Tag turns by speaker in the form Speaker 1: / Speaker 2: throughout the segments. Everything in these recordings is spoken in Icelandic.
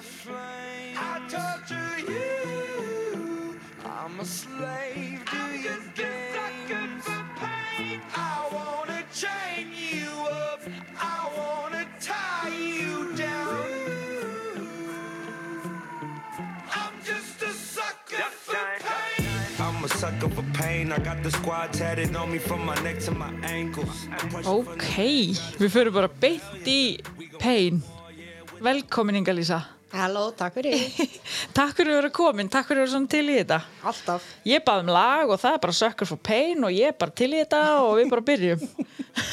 Speaker 1: flame. I torture you. I'm a slave to your games. I wanna chain you up. I wanna tie you down. I'm just a sucker for pain. I'm a sucker for pain. I got the squad tatted on me from my neck to my ankles.
Speaker 2: Ok, við förum bara beint í pain. Velkomin Inga Lísa.
Speaker 3: Halló, takk fyrir.
Speaker 2: Takk fyrir að vera komin, takk fyrir að vera svona til í þetta.
Speaker 3: Alltaf.
Speaker 2: Ég bað um lag og það er bara sökkur for pain og ég er bara til í þetta og við bara byrjum.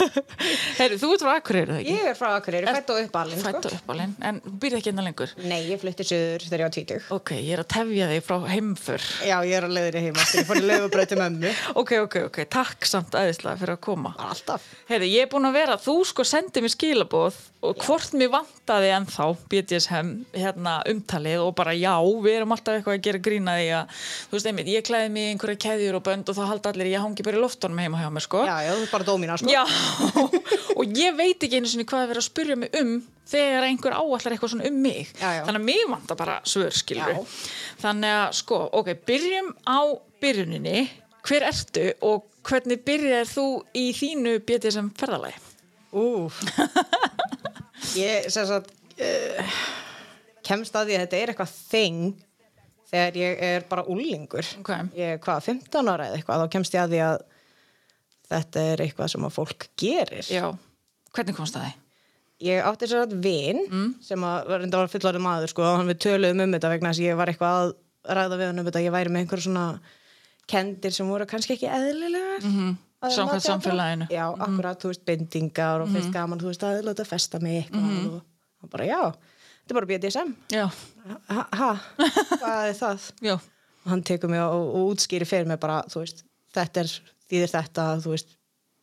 Speaker 2: Herru, þú ert frá Akureyri, er það ekki?
Speaker 3: Ég er frá Akureyri, fætt og uppalinn.
Speaker 2: Fætt og uppálinn, en þú byrði ekki enna lengur.
Speaker 3: Nei, ég flutti söður þegar ég var tvítug.
Speaker 2: Ok, ég er að tefja þig frá heimför.
Speaker 3: Já, ég er á leiðinni heima, þegar ég fór í leiðubröti mömmu.
Speaker 2: Ok, ok, ok, takk samt aðeinslega fyrir að koma.
Speaker 3: Bara Alltaf.
Speaker 2: Heiði, ég er búin að vera, þú sko sendið mér skilabóð og hvort mér vantaði ennþá BDSM hérna, umtalið og bara já, við erum alltaf eitthvað að gera grína því að, þú veist einmitt, ég klæði mig í einhverja keðjur og bönd og þá halda allir, ég hangi bara í loftunum heima hjá mér sko.
Speaker 3: Já, já, þú er bara dómina, sko.
Speaker 2: Já, og ég veit ekki einu sinni hvað er verið að spyrja mig um þegar einhver áallar eitthvað svona um mig.
Speaker 3: Já, já.
Speaker 2: Þannig að mig vanda bara svörskilur.
Speaker 3: Já.
Speaker 2: Þannig að sko, ok, byrjum á byrjuninni. Hver ertu og hvernig byrjar þú í þínu BDSM ferðalagi?
Speaker 3: Úf. Ég, sem sagt, uh, kemst að því að þetta er eitthvað þing þegar ég er bara úlingur.
Speaker 2: Ok.
Speaker 3: Ég er hvað, 15 ára eða eitthvað, þá kemst ég að því að þetta er eitthvað sem að fólk gerir.
Speaker 2: Já. Hvernig komst það þið?
Speaker 3: ég átti sér að vin
Speaker 2: Mm.
Speaker 3: sem að var reynda var fullorðið maður sko, og hann við töluðum um þetta vegna þess að ég var eitthvað að ræða við hann um þetta, ég væri með einhver svona kendir sem voru kannski ekki eðlilegar mm -hmm.
Speaker 2: Mhm. Samkvæmt samfélaginu. Mhm.
Speaker 3: Já, akkurat, þú veist, bindingar og finnst gaman, þú veist, að láta festa mig eitthvað
Speaker 2: Mhm.
Speaker 3: og hann bara, já, þetta er bara BDSM
Speaker 2: Já,
Speaker 3: ha, ha, hvað er það?
Speaker 2: já,
Speaker 3: og hann tekur mig og, og útskýri fyrir mig bara, þú veist, þetta er þýðir þetta, þú veist,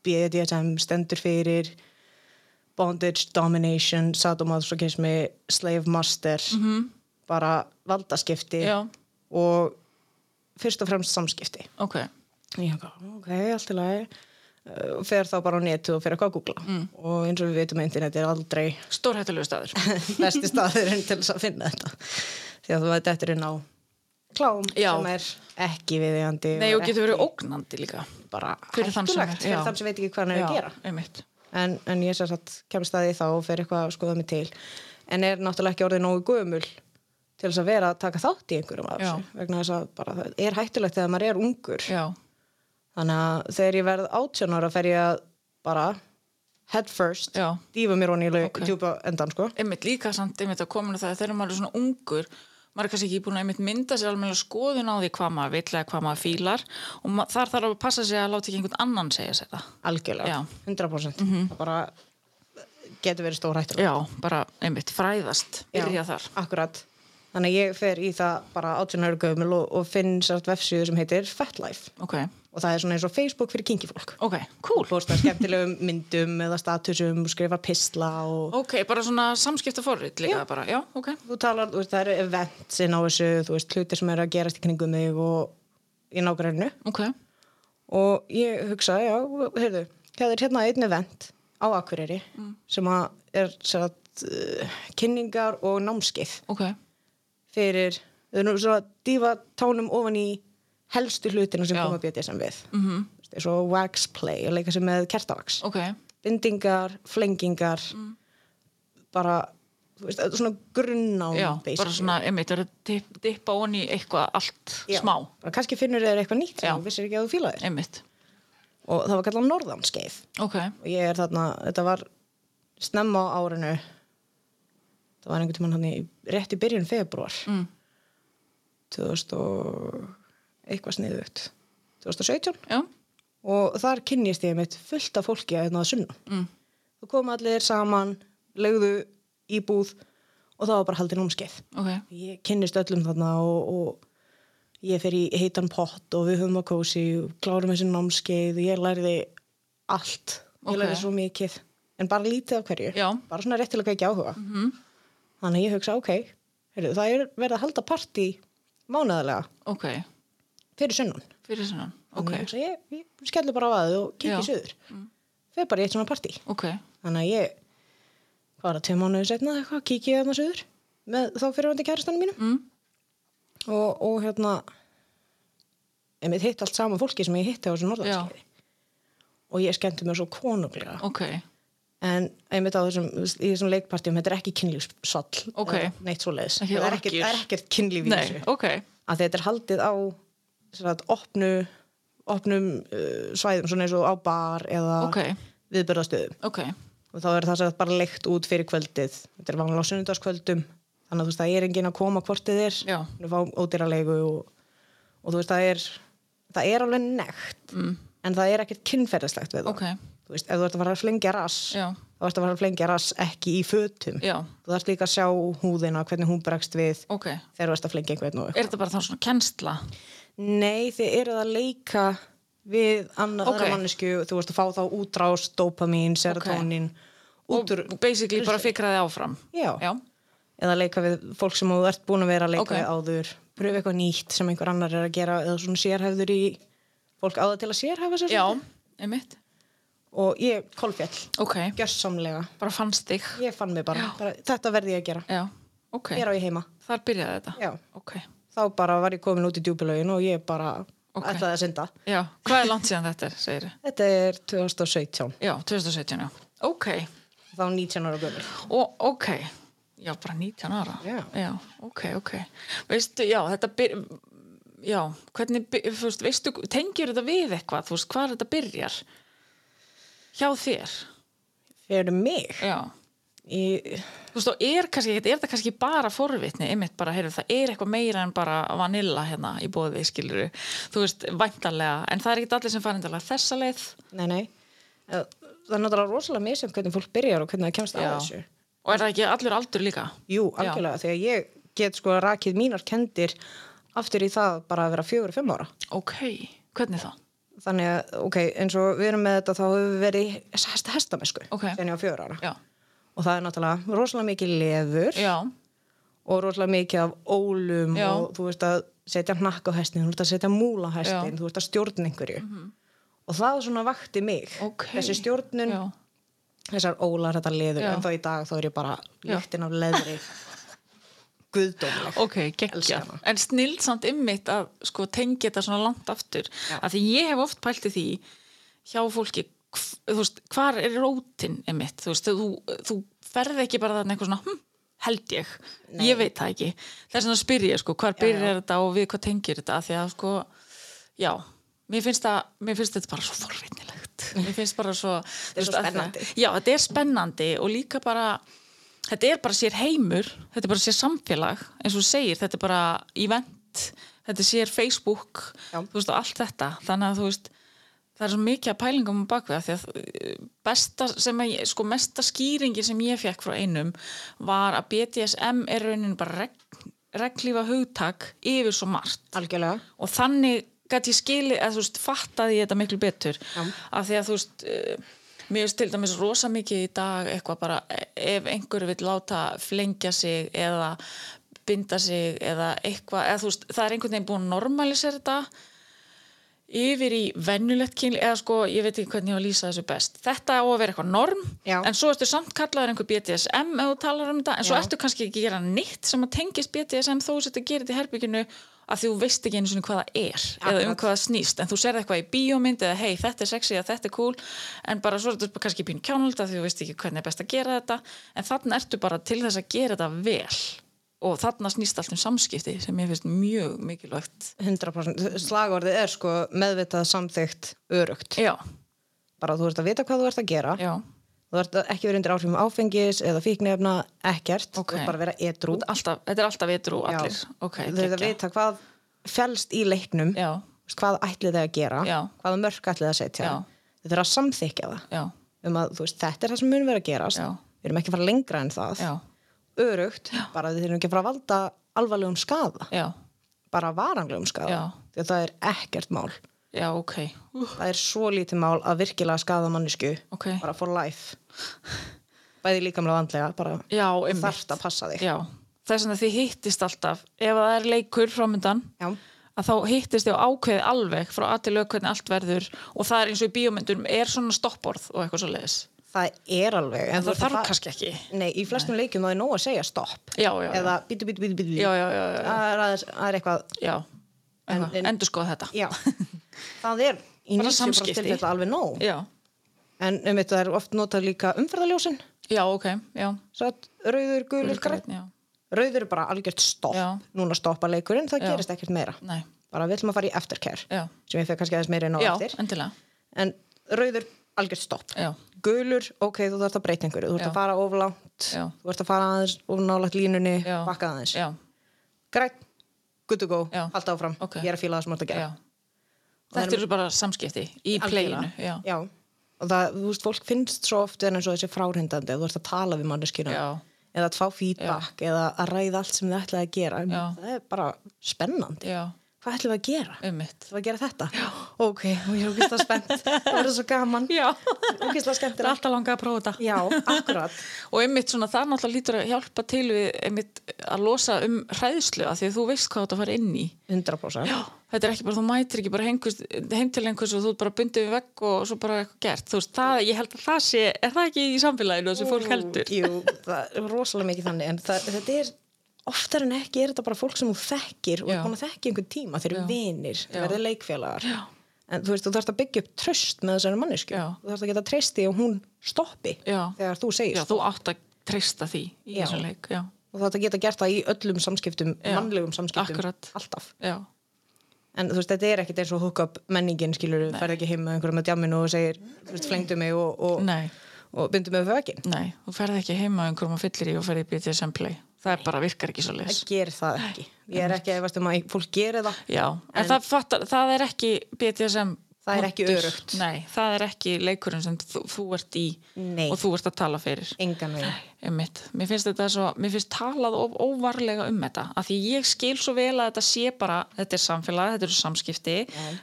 Speaker 3: BDSM stendur fyrir bondage, domination, sadomasochismi slave master bara valdaskipti
Speaker 2: já,
Speaker 3: og fyrst og fremst samskipti
Speaker 2: ok.
Speaker 3: ég hef ok, allt í lagi Eh, og fer þá bara á netu og fer eitthvað að googla og eins og við veitum að internet er aldrei
Speaker 2: Stórhættulegu staður.
Speaker 3: besti staðurinn til þess að finna þetta því að þú veit eftir inn á klám
Speaker 2: Já.
Speaker 3: sem er ekki viðjandi
Speaker 2: Nei, og getur verið
Speaker 3: ekki
Speaker 2: ógnandi líka.
Speaker 3: bara
Speaker 2: fyrir þann sem er-
Speaker 3: hættulegt fyrir
Speaker 2: já.
Speaker 3: þann sem veit ekki hvað hann er að gera
Speaker 2: einmitt.
Speaker 3: en, en ég sér satt kemst að því þá og fer eitthvað að skoða mig til en er náttúrulega ekki orðið nógu gömul til þess að vera að taka þátt í einhverjum af þessu vegna þess að bara, það er hættulegt þegar maður er ungur
Speaker 2: Já,
Speaker 3: þannig að þegar ég verð 18 ára fer ég að bara head first,
Speaker 2: Já.
Speaker 3: dýfa mér honi í okay.
Speaker 2: Ok.
Speaker 3: djúpa endan sko
Speaker 2: einmitt líka samt, einmitt að kominu það að þegar maður er svona ungur, maður er kannski ekki búin að einmitt mynda sér alveg skoðun á því hvað maður vill eða hvað maður fílar og ma þar þarf að passa sig að láta ekki einhvern annan segja sér það.
Speaker 3: algjörlega,
Speaker 2: Já. Mhm.
Speaker 3: 100% það bara getur verið stór hættur
Speaker 2: Já, bara einmitt fræðast, byrja þar.
Speaker 3: akkurat þannig að ég fer í það bara 18 ára gömul og, og finn sært vefsíðu sem heitir Fatlife
Speaker 2: Ok,
Speaker 3: og það er svona eins og Facebook fyrir kynkifólk
Speaker 2: ok, cool.
Speaker 3: posta skemmtilegum myndum eða statusum, skrifa pistla og
Speaker 2: Ok, bara svona samskipta forrið líka bara, já, ok.
Speaker 3: þú talar, þú veist, það eru events inn á þessu, þú veist, hlutir sem eru að gerast í kringum þig og í nágræninu
Speaker 2: Ok,
Speaker 3: og ég hugsa, já, heyrðu, það er hérna einn event á Akureyri
Speaker 2: Mm.
Speaker 3: sem að er sér að uh, kynningar og námskeið
Speaker 2: ok,
Speaker 3: fyrir, þau eru svo að dýfa tánum ofan í helstu hlutina sem
Speaker 2: Já.
Speaker 3: koma BDSM við mm -hmm. eins og wax play að leika sem með kertavax
Speaker 2: mhm, ok,
Speaker 3: bindingar, flengingar
Speaker 2: Mm.
Speaker 3: bara þú veist, þetta er svona grunnám
Speaker 2: já, bara
Speaker 3: basically.
Speaker 2: svona, einmitt, er að dip- dippa onni í eitthvað allt
Speaker 3: Já.
Speaker 2: smá,
Speaker 3: bara kannski finnur þér eitthvað nýtt
Speaker 2: Já.
Speaker 3: sem þú vissir ekki að þú fílaðir
Speaker 2: einmitt,
Speaker 3: og það var kallað norðanskeið
Speaker 2: ok,
Speaker 3: og ég er þarna, þetta var snemma á árinu það var einhvern tímann hann í rétt í byrjun februar mm. 2000 og eitthvað sniðugt 2017
Speaker 2: já,
Speaker 3: og þar kynnist ég mitt fullt af fólki að hérna að sunna mm. þú kom allir saman, lögðu í búð og það var bara haldið námskeið
Speaker 2: ok,
Speaker 3: ég kynnist öllum þarna og, og ég fer í heitan pott og við höfum að kósi og klárum þessi námskeið og ég lærði allt, ég
Speaker 2: Ok.
Speaker 3: lærði svo mikið en bara lítið af hverju,
Speaker 2: Já. Mhm.
Speaker 3: bara svona rétt til að kveikja áhuga -hmm. þannig að ég hugsa ok heyrðu, það er verið að halda partí mánaðarlega
Speaker 2: ok,
Speaker 3: fyrir sunnan
Speaker 2: fyrir svona,
Speaker 3: Þannig
Speaker 2: ok,
Speaker 3: að ég, hugsa, ég, ég skellu bara á aðið og kikki
Speaker 2: Já.
Speaker 3: söður mm. fer bara í eitt svona partí
Speaker 2: ok,
Speaker 3: þannig að ég hvað var það, tveim mánuði setna eitthvað, kikið þarna söður með þá fyrirvandi kærastanum mínum mm. og, og hérna einmitt hitt allt saman fólki sem ég hitti á þessu norðarskiði og ég skemmti mér svo konunglega
Speaker 2: ok,
Speaker 3: en einmitt á þessum, í þessum leikpartíum þetta er ekki kynlífsall
Speaker 2: Ok.
Speaker 3: eða neitt svo leiðis,
Speaker 2: Ekki
Speaker 3: það er ekkert,
Speaker 2: orgíur.
Speaker 3: það er ekkert kynlíf í
Speaker 2: nei,
Speaker 3: þessu
Speaker 2: ok
Speaker 3: að þetta er haldið á sagt, opnu, opnum uh, svæðum svona eins og á bar eða
Speaker 2: ok,
Speaker 3: viðbörðastöðum
Speaker 2: ok
Speaker 3: og þá er það sagt, bara leikt út fyrir kvöldið þetta er vanlega á sunnudagskvöldum þannig að þú veist það er enginn að koma hvort þið er
Speaker 2: Já.
Speaker 3: þú fá ódýralegu og, og þú veist það er það er alveg nekt mm. en það er ekkert kynferðislegt við það
Speaker 2: ok,
Speaker 3: þú veist, ef þú ert að fara að flengja rass
Speaker 2: Já.
Speaker 3: þá ert að fara að flengja rass ekki í fötum
Speaker 2: já,
Speaker 3: þú þarft líka að sjá húðina hvernig hún bregst við
Speaker 2: ok er
Speaker 3: þegar þú ert að flengja einhvern og eitthvað.
Speaker 2: þetta bara þá svona kennsla
Speaker 3: Nei, þið eruð að leika við annað
Speaker 2: Ok.
Speaker 3: okay. mannesku þú ert að fá þá útrás, dopamin, serotonin
Speaker 2: og
Speaker 3: út úr,
Speaker 2: basically bara fikraði áfram
Speaker 3: Já.
Speaker 2: já,
Speaker 3: eða leika við fólk sem þú ert búin að vera að leika
Speaker 2: Ok.
Speaker 3: við áður pröfu eitthvað nýtt sem einhver annar er að gera eða svona sérhæfður í fólk áður til að sérhæfa sér
Speaker 2: já
Speaker 3: svolítið.
Speaker 2: einmitt,
Speaker 3: og ég kolfjall,
Speaker 2: ok
Speaker 3: gjörsamlega
Speaker 2: bara fannst þig
Speaker 3: ég fann mig bara, bara þetta verði ég að gera
Speaker 2: já, ok,
Speaker 3: hér á ég heima
Speaker 2: þar byrjaði þetta
Speaker 3: Já.
Speaker 2: ok,
Speaker 3: þá bara var ég komin út í djúpilögin og ég bara
Speaker 2: Ok.
Speaker 3: ætlaði að synda
Speaker 2: já, hvað er langt síðan þetta er, segir
Speaker 3: þetta er 2017
Speaker 2: já, 2017, já, ok
Speaker 3: þá 19 ára gömur
Speaker 2: og ok já, bara 19 ára
Speaker 3: Já.
Speaker 2: ok, ok veistu, já, þetta byr... já, hvernig byr... Fúst, veistu, tengir þetta við eitthvað þú veist, hvar þetta byrjar hjá þér
Speaker 3: fyrir mig
Speaker 2: já,
Speaker 3: ég,
Speaker 2: þú veist, og er, kannski, er þetta kannski bara forvitni, einmitt bara, heyrðu, það er eitthvað meira en bara vanilla hérna í bóði, skilur þú veist, væntanlega, en það er ekkit allir sem farindalega þessa leið
Speaker 3: nei, nei Eh, það er náttúrulega rosalega misjum hvernig fólk byrjar og hvernig það kemst að
Speaker 2: Já.
Speaker 3: þessu
Speaker 2: og er það ekki allur aldur líka
Speaker 3: jú, algjörlega, þegar ég get sko rakið mínar kendir aftur í það bara að vera fjögur, fimm ára
Speaker 2: ok, hvernig þá?
Speaker 3: þannig að, ok, eins og við erum með þetta þá höfum við verið í hest, hestamesku
Speaker 2: Ok.
Speaker 3: þegar ég var fjögur ára
Speaker 2: já,
Speaker 3: og það er náttúrulega rosalega mikið lefur
Speaker 2: já,
Speaker 3: og rosalega mikið af ólum
Speaker 2: Já.
Speaker 3: og þú veist að setja hnakk á hestin, þú veist að setja múla á hestin, þú veist að stjórna einhverju og það svona vakti mig
Speaker 2: Mhm. ok
Speaker 3: þessi stjórnun,
Speaker 2: já.
Speaker 3: þessar ólar, þetta leður
Speaker 2: Já.
Speaker 3: en þá í dag þá er ég bara
Speaker 2: Já.
Speaker 3: líktin af leðri guðdómleg
Speaker 2: Ok,
Speaker 3: Elska
Speaker 2: geggja.
Speaker 3: hana.
Speaker 2: En snild samt ymmit að sko tengja þetta svona langt aftur. Af því ég hef oft pælt í því hjá fólki, hv- þú veist, hvar er rótin ymmit? Þú veist, þú, þú ferð ekki bara þarna eitthvað svona, hm, held ég, ég veit það ekki. Þess vegna spyr ég sko, hvar byrjar þetta og við hvað tengir þetta? Af því að sko, já, mér finnst, það, mér finnst þetta bara svo forvinnilegt. Mér finnst bara svo... Þetta
Speaker 3: er svo spennandi.
Speaker 2: Já, þetta er spennandi og líka bara þetta er bara sér heimur, þetta er bara sér samfélag eins og þú segir, þetta er bara event, þetta er sér Facebook
Speaker 3: Já.
Speaker 2: þú veist og allt þetta þannig að þú veist, það er svo mikið að pælingum á bakvið af því að eh, besta sem að ég, sko mesta skýringi sem ég fekk frá einum var að BDSM er raunin bara regn, reglífa hugtak yfir svo margt
Speaker 3: algjörlega
Speaker 2: og þannig gæti ég skili að þú veist, fattaði ég þetta miklu betur af því að þú veist uh, mér veist til dæmis rosa mikið í dag eitthvað bara, eh, ef einhver vill láta flengja sig eða binda sig eða eitthvað eða þú veist, það er einhvern veginn búin að normalisera þetta yfir í vennulegt kynli eða sko, ég veit ekki hvernig ég á að lýsa þessu best þetta á að vera eitthvað norm
Speaker 3: Já.
Speaker 2: en svo ertu samt kallaður einhver BDSM ef þú talar um þetta, en svo
Speaker 3: Já.
Speaker 2: ertu kannski ekki að gera nýtt sem að tengist BDSM þó þess að þetta gerir þetta í herbygginu að þú veist ekki einu svona hvað það er eða um
Speaker 3: Akkurat.
Speaker 2: hvað það snýst, en þú serð eitthvað í bíómynd eða hei, þetta er sexy eða þetta er cool en bara svo er þetta kannski pínu kjánald að þú veist ekki hvernig er best að gera þetta en þannig ertu bara til þess að gera þetta vel og þarna snýst allt um samskipti sem ég finnst mjög mikilvægt
Speaker 3: 100% slagorðið er sko meðvitað samþygt örugt
Speaker 2: Já,
Speaker 3: bara þú ert að vita hvað þú ert að gera
Speaker 2: já,
Speaker 3: þú ert að ekki verið undir áhrifum áfengis eða fíknefna, ekkert
Speaker 2: Ok.
Speaker 3: þú ert bara að vera edrú
Speaker 2: alltaf, þetta er alltaf vitur og
Speaker 3: Já.
Speaker 2: allir ok,
Speaker 3: þú ert að
Speaker 2: geggjað.
Speaker 3: vita hvað fælst í leiknum
Speaker 2: já,
Speaker 3: Þú veist, hvað ætlið þið að gera
Speaker 2: Já.
Speaker 3: hvaða mörk ætlið þið að setja
Speaker 2: Já.
Speaker 3: þið þurfa að samþykja það
Speaker 2: já,
Speaker 3: um að, þú veist, þetta er það sem mun vera að gerast
Speaker 2: Já.
Speaker 3: við erum ekki að fara lengra en það
Speaker 2: já,
Speaker 3: örugt, bara þið þurfum ekki að fara að valda alvarlegum skada,
Speaker 2: já
Speaker 3: bara varanlegum skada
Speaker 2: Já.
Speaker 3: því að það er ekkert mál
Speaker 2: já, ok,
Speaker 3: það er svo lítið mál að virkilega skada mannisku
Speaker 2: ok
Speaker 3: bara for life bæði líkamlega og andlega, bara
Speaker 2: já,
Speaker 3: þarft að passa þig
Speaker 2: já, þess að þið hittist alltaf ef það er leikur framöndan
Speaker 3: Já.
Speaker 2: að þá hittist þið á ákveði alveg frá aðtilög hvernig allt verður og það er eins og í bíómyndum er svona stopporð og eitthvað svo leiðis
Speaker 3: það er alveg
Speaker 2: en það
Speaker 3: þú
Speaker 2: þarf
Speaker 3: ert að
Speaker 2: kannski ekki
Speaker 3: fa- Nei, í flestum leikjum þá er nóg að segja stopp
Speaker 2: já, já, já,
Speaker 3: eða bítu, bítu, bítu, bítu
Speaker 2: já, já, já, já,
Speaker 3: Það er aðeins- það er eitthvað
Speaker 2: já.
Speaker 3: En-
Speaker 2: En,
Speaker 3: en-
Speaker 2: endur skoða þetta
Speaker 3: Já, það er í
Speaker 2: Bara
Speaker 3: 90%
Speaker 2: samskipti.
Speaker 3: tilfella alveg nóg
Speaker 2: já,
Speaker 3: en um þetta er oft notað líka umferðaljósin
Speaker 2: já ok já,
Speaker 3: satt, rauður, gulur, græn
Speaker 2: já.
Speaker 3: rauður er bara algjört stopp
Speaker 2: Já.
Speaker 3: núna stoppa leikurinn, það
Speaker 2: Já.
Speaker 3: gerist ekkert meira
Speaker 2: Nei,
Speaker 3: bara við ætlum að fara í eftercare
Speaker 2: já,
Speaker 3: sem ég fekk kannski aðeins meira inn á
Speaker 2: já
Speaker 3: eftir
Speaker 2: endilega
Speaker 3: en rauður, algjört stopp
Speaker 2: já,
Speaker 3: gulur, ok, þú þarft að breyta einhverju þú ert
Speaker 2: Já.
Speaker 3: að fara oflánt,
Speaker 2: Já.
Speaker 3: þú ert að fara aðeins of nálægt línunni,
Speaker 2: Já.
Speaker 3: bakka aðeins
Speaker 2: já,
Speaker 3: græn, good to go,
Speaker 2: Já.
Speaker 3: halda áfram
Speaker 2: Ok.
Speaker 3: ég er að fíla það sem þú ert að gera
Speaker 2: já. þetta eru bara samskipti í pleginu
Speaker 3: Algjörlega.
Speaker 2: já,
Speaker 3: já. og það, þú veist, fólk finnst svo oft en eins og þessi fráhrindandi að þú ert að tala við manneskina
Speaker 2: Já.
Speaker 3: eða að fá feedback eða að ræða allt sem þið ætlaði að gera
Speaker 2: Já.
Speaker 3: það er bara spennandi
Speaker 2: já,
Speaker 3: hvað ætlum við að gera?
Speaker 2: ummitt
Speaker 3: ætlum við að gera þetta? Já. ok, og ég er ógeðslega spennt það verður svo gaman,
Speaker 2: já,
Speaker 3: ógeðslega
Speaker 2: það er
Speaker 3: skemmtilegt
Speaker 2: alltaf langað að prófa þetta
Speaker 3: já, akkurat
Speaker 2: og einmitt svona það náttúrulega lítur að hjálpa til við einmitt að losa um hræðslu að því að þú veist hvað þú ert að fara inn í
Speaker 3: 100%
Speaker 2: Já, þetta er ekki bara, þú mætir ekki bara hengust, heim til einhvers og þú ert bara bundið við vegg og svo bara eitthvað gert, þú veist, það, ég held að það sé er það ekki í samfélaginu þessu fólk heldur
Speaker 3: Jú, það er rosalega mikið þannig en það, þetta er oftar en ekki er þetta bara fólk sem þú þekkir og
Speaker 2: Já.
Speaker 3: er búin að þekki einhvern tíma þeir eru
Speaker 2: Já.
Speaker 3: vinir,
Speaker 2: Já.
Speaker 3: þeir verður leikfélagar Já. en þú veist, þú þarfst að byggja upp tröst með þessari mannesku,
Speaker 2: Já.
Speaker 3: þú þarfst að geta treyst því og hún stoppi
Speaker 2: Já.
Speaker 3: þegar þú segir
Speaker 2: Já, þú átt að treysta því í
Speaker 3: Já.
Speaker 2: þessum leik, já,
Speaker 3: og þú þarfst að geta gert það í öllum samskiptum
Speaker 2: Já.
Speaker 3: mannlegum samskiptum,
Speaker 2: Akkurat.
Speaker 3: alltaf
Speaker 2: já,
Speaker 3: en þú veist, þetta er ekkit eins og hookup menningin skilur, þú ferð ekki heim með einhverjum að djáminu og segir, þú veist, flengdu mig og, og,
Speaker 2: nei,
Speaker 3: og bindu mig við veginn
Speaker 2: nei þú ferð ekki heima á einhverjum að fyllir í og ferð í BDSM play, það er bara virkar ekki svo
Speaker 3: það gerir það ekki, ég er ekki að efast um að fólk gerir það
Speaker 2: Já, en, það, fattar, það er ekki BDSM
Speaker 3: Það er ekki
Speaker 2: punktur.
Speaker 3: öruggt.
Speaker 2: Nei, það er ekki leikurinn sem þú, þú ert í
Speaker 3: Nei.
Speaker 2: og þú ert að tala fyrir
Speaker 3: engan veginn
Speaker 2: Einmitt. Mér finnst þetta svo, mér finnst talað of óvarlega um þetta, af því ég skil svo vel að þetta sé bara, þetta er samfélag þetta eru samskipti,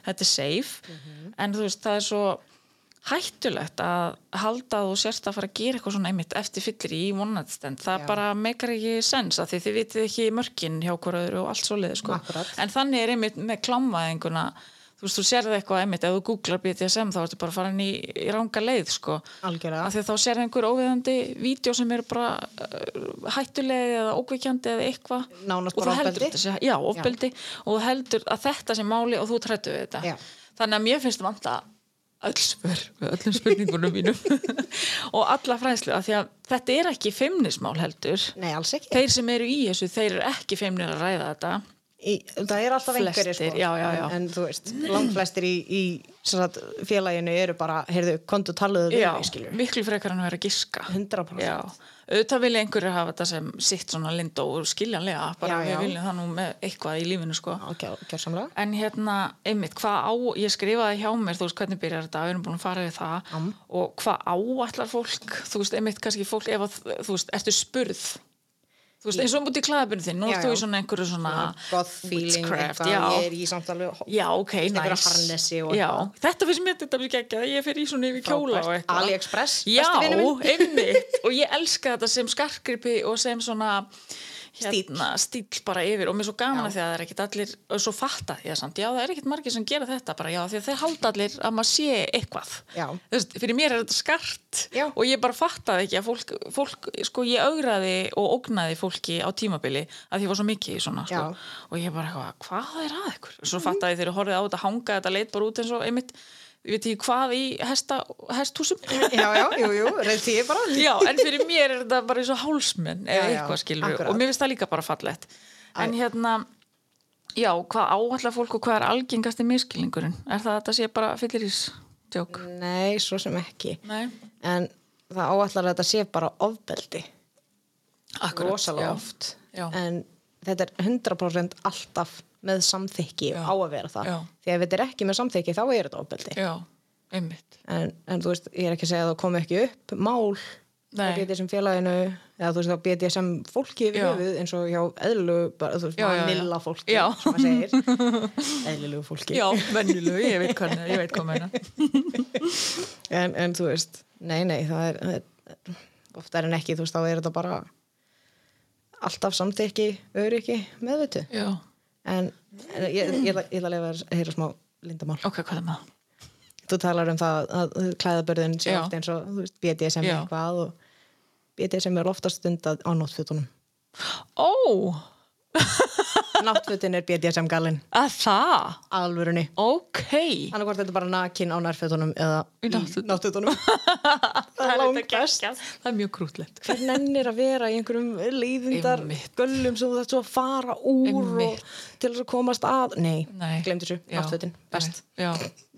Speaker 2: þetta er safe en þú veist, það er svo hættulegt að halda að þú sérst að fara að gera eitthvað svona einmitt eftir fyllir í vonatstend, það
Speaker 3: Já.
Speaker 2: bara meikar ekki sens af því þið vitið ekki mörkin hjá hver öðru og allt svo leiði sko,
Speaker 3: Akkurat.
Speaker 2: en þannig er einmitt með klámaðinguna þú veist, þú sérði eitthvað einmitt, ef þú googlar BDSM þá ertu bara farin í, í ranga leið sko,
Speaker 3: Algjörlega.
Speaker 2: af því að þá sér einhver óviðandi vídeo sem eru bara uh, hættulegi eða ókvikjandi eða eitthvað
Speaker 3: Nánast
Speaker 2: og
Speaker 3: bara
Speaker 2: þú heldur
Speaker 3: ofbeldi.
Speaker 2: þetta sé, já, ofbeldi og þú heldur að þetta sé máli og þú trættu við þetta
Speaker 3: Já.
Speaker 2: þannig að mér finnst vanta öll spör með öllum spurningunum mínum og alla fræðslu af því að þetta er ekki feimnismál heldur
Speaker 3: Nei, alls ekki.
Speaker 2: þeir sem eru í þessu, þeir eru ekki feimnir að ræða þetta
Speaker 3: Í, það er alltaf
Speaker 2: Flestir,
Speaker 3: einhverjir sko.
Speaker 2: já, já, já.
Speaker 3: En, en þú veist, langflestir í, í sem sagt, félaginu eru bara, heyrðu, kontu talaðu við
Speaker 2: Já,
Speaker 3: mig, skilur.
Speaker 2: miklu frekar en að vera að giska
Speaker 3: 100%.
Speaker 2: Já, auðvitað vilja einhverju hafa þetta sem sitt svona lindó og skiljanlega bara
Speaker 3: Já, já.
Speaker 2: við viljum það nú með eitthvað í lífinu sko
Speaker 3: Já, gjör, gjörsamlega.
Speaker 2: En hérna, einmitt, hvað á, ég skrifaði hjá mér, þú veist, hvernig byrjar þetta, við erum búin að fara við það og hvað áallar fólk, þú veist, einmitt, kannski fólk, ef að, þú veist, ertu spurð, þú veist, eins og mútið klæðabinu þinn, nú
Speaker 3: Já,
Speaker 2: ert þú
Speaker 3: já.
Speaker 2: í svona einhverju svona
Speaker 3: Gott feeling,
Speaker 2: witchcraft,
Speaker 3: eitthvað,
Speaker 2: já.
Speaker 3: ég er í samtali við
Speaker 2: Já, ok, næs.
Speaker 3: einhverja harnessi og
Speaker 2: Já,
Speaker 3: eitthvað.
Speaker 2: þetta finnst mér þetta fyrir geggjað, ég fer í svona yfir kjóla og
Speaker 3: Frábært.
Speaker 2: eitthvað.
Speaker 3: AliExpress,
Speaker 2: Já,
Speaker 3: besti vinur minn.
Speaker 2: einmitt. Og ég elska þetta sem skarkripi og sem svona hérna, stíl bara yfir og mér er svo gaman að því að það er ekkit allir, og svo fatta því að samt, já, það er ekkit margir sem gera þetta bara, já, því að þeir halda allir að maður sé eitthvað.
Speaker 3: Já.
Speaker 2: Þú veist, fyrir mér er þetta skart
Speaker 3: Já.
Speaker 2: og ég bara fattaði ekki að fólk, fólk sko, ég augraði og ógnaði fólki á tímabili að því ég var svo mikið í svona, sko
Speaker 3: Já.
Speaker 2: og ég bara eitthvað, hvað er að ykkur? Svo
Speaker 3: Mhm.
Speaker 2: fattaði ég þegar ég horfið á þetta hanga þetta leit bara út eins og einmitt, ég veit ekki hvað í hesta, hesthúsum
Speaker 3: Já, já, jú, jú, reyndi ég bara.
Speaker 2: Já, en fyrir mér er þetta bara eins og hálsmenn eða
Speaker 3: Já, já,
Speaker 2: eitthvað skilur
Speaker 3: akkurat.
Speaker 2: og mér finnst það líka bara fallegt en hérna, já, hvað áallar fólk og hvað er algengasti miskilningurinn? Er það að þetta sé bara fyllir ís djók?
Speaker 3: Nei, svo sem ekki.
Speaker 2: Nei,
Speaker 3: En það áallar að þetta sé bara ofbeldi.
Speaker 2: akkurat
Speaker 3: rosalega
Speaker 2: já.
Speaker 3: oft.
Speaker 2: Já.
Speaker 3: En þetta er 100% alltaf með samþykki
Speaker 2: Já.
Speaker 3: og á að vera það.
Speaker 2: Já.
Speaker 3: Því að ef þetta er ekki með samþykki, þá er þetta ofbeldi.
Speaker 2: Já, einmitt
Speaker 3: en, en þú veist, ég er ekki að segja að það komi ekki upp mál
Speaker 2: Nei.
Speaker 3: á BDSM félaginu eða þú veist þá BDSM fólki yfir
Speaker 2: Já.
Speaker 3: höfuð eins og hjá eðlu bara, þú veist,
Speaker 2: Já, já, já.
Speaker 3: vanilla fólki
Speaker 2: Já.
Speaker 3: sem maður segir eðlilegu fólki
Speaker 2: Já, venjulegu, ég veit hvað, ég veit hvað meina
Speaker 3: en, en þú veist, nei, nei það er, það er oftar en ekki, þú veist, þá er þetta bara alltaf samþykki, öryggi meðvitu,
Speaker 2: Já,
Speaker 3: en, en ég, ég, ég, ætla- ég ætla að lefa að heyra smá lindamál
Speaker 2: ok, hvað er maður?
Speaker 3: þú talar um það að klæðabörðin sé
Speaker 2: Já.
Speaker 3: oft eins og þú veist, BDSM
Speaker 2: Já.
Speaker 3: eitthvað og BDSM er oftast stundað á náttfötunum
Speaker 2: Ó,
Speaker 3: náttfötun er BDSM galinn
Speaker 2: að það,
Speaker 3: alvörunni
Speaker 2: ok.
Speaker 3: annarkvort þetta er bara nakin á nærfötunum eða
Speaker 2: Í náttfötunum.
Speaker 3: náttfötunum það er langbest
Speaker 2: Það er mjög krútlegt.
Speaker 3: hver nennir að vera í einhverjum leiðindar
Speaker 2: Einmitt.
Speaker 3: göllum sem þú þarft svo að fara úr
Speaker 2: Einmitt.
Speaker 3: og til þess að komast að nei,
Speaker 2: Nei.
Speaker 3: glemdu þessu,
Speaker 2: Já,
Speaker 3: náttfötun, best
Speaker 2: Já,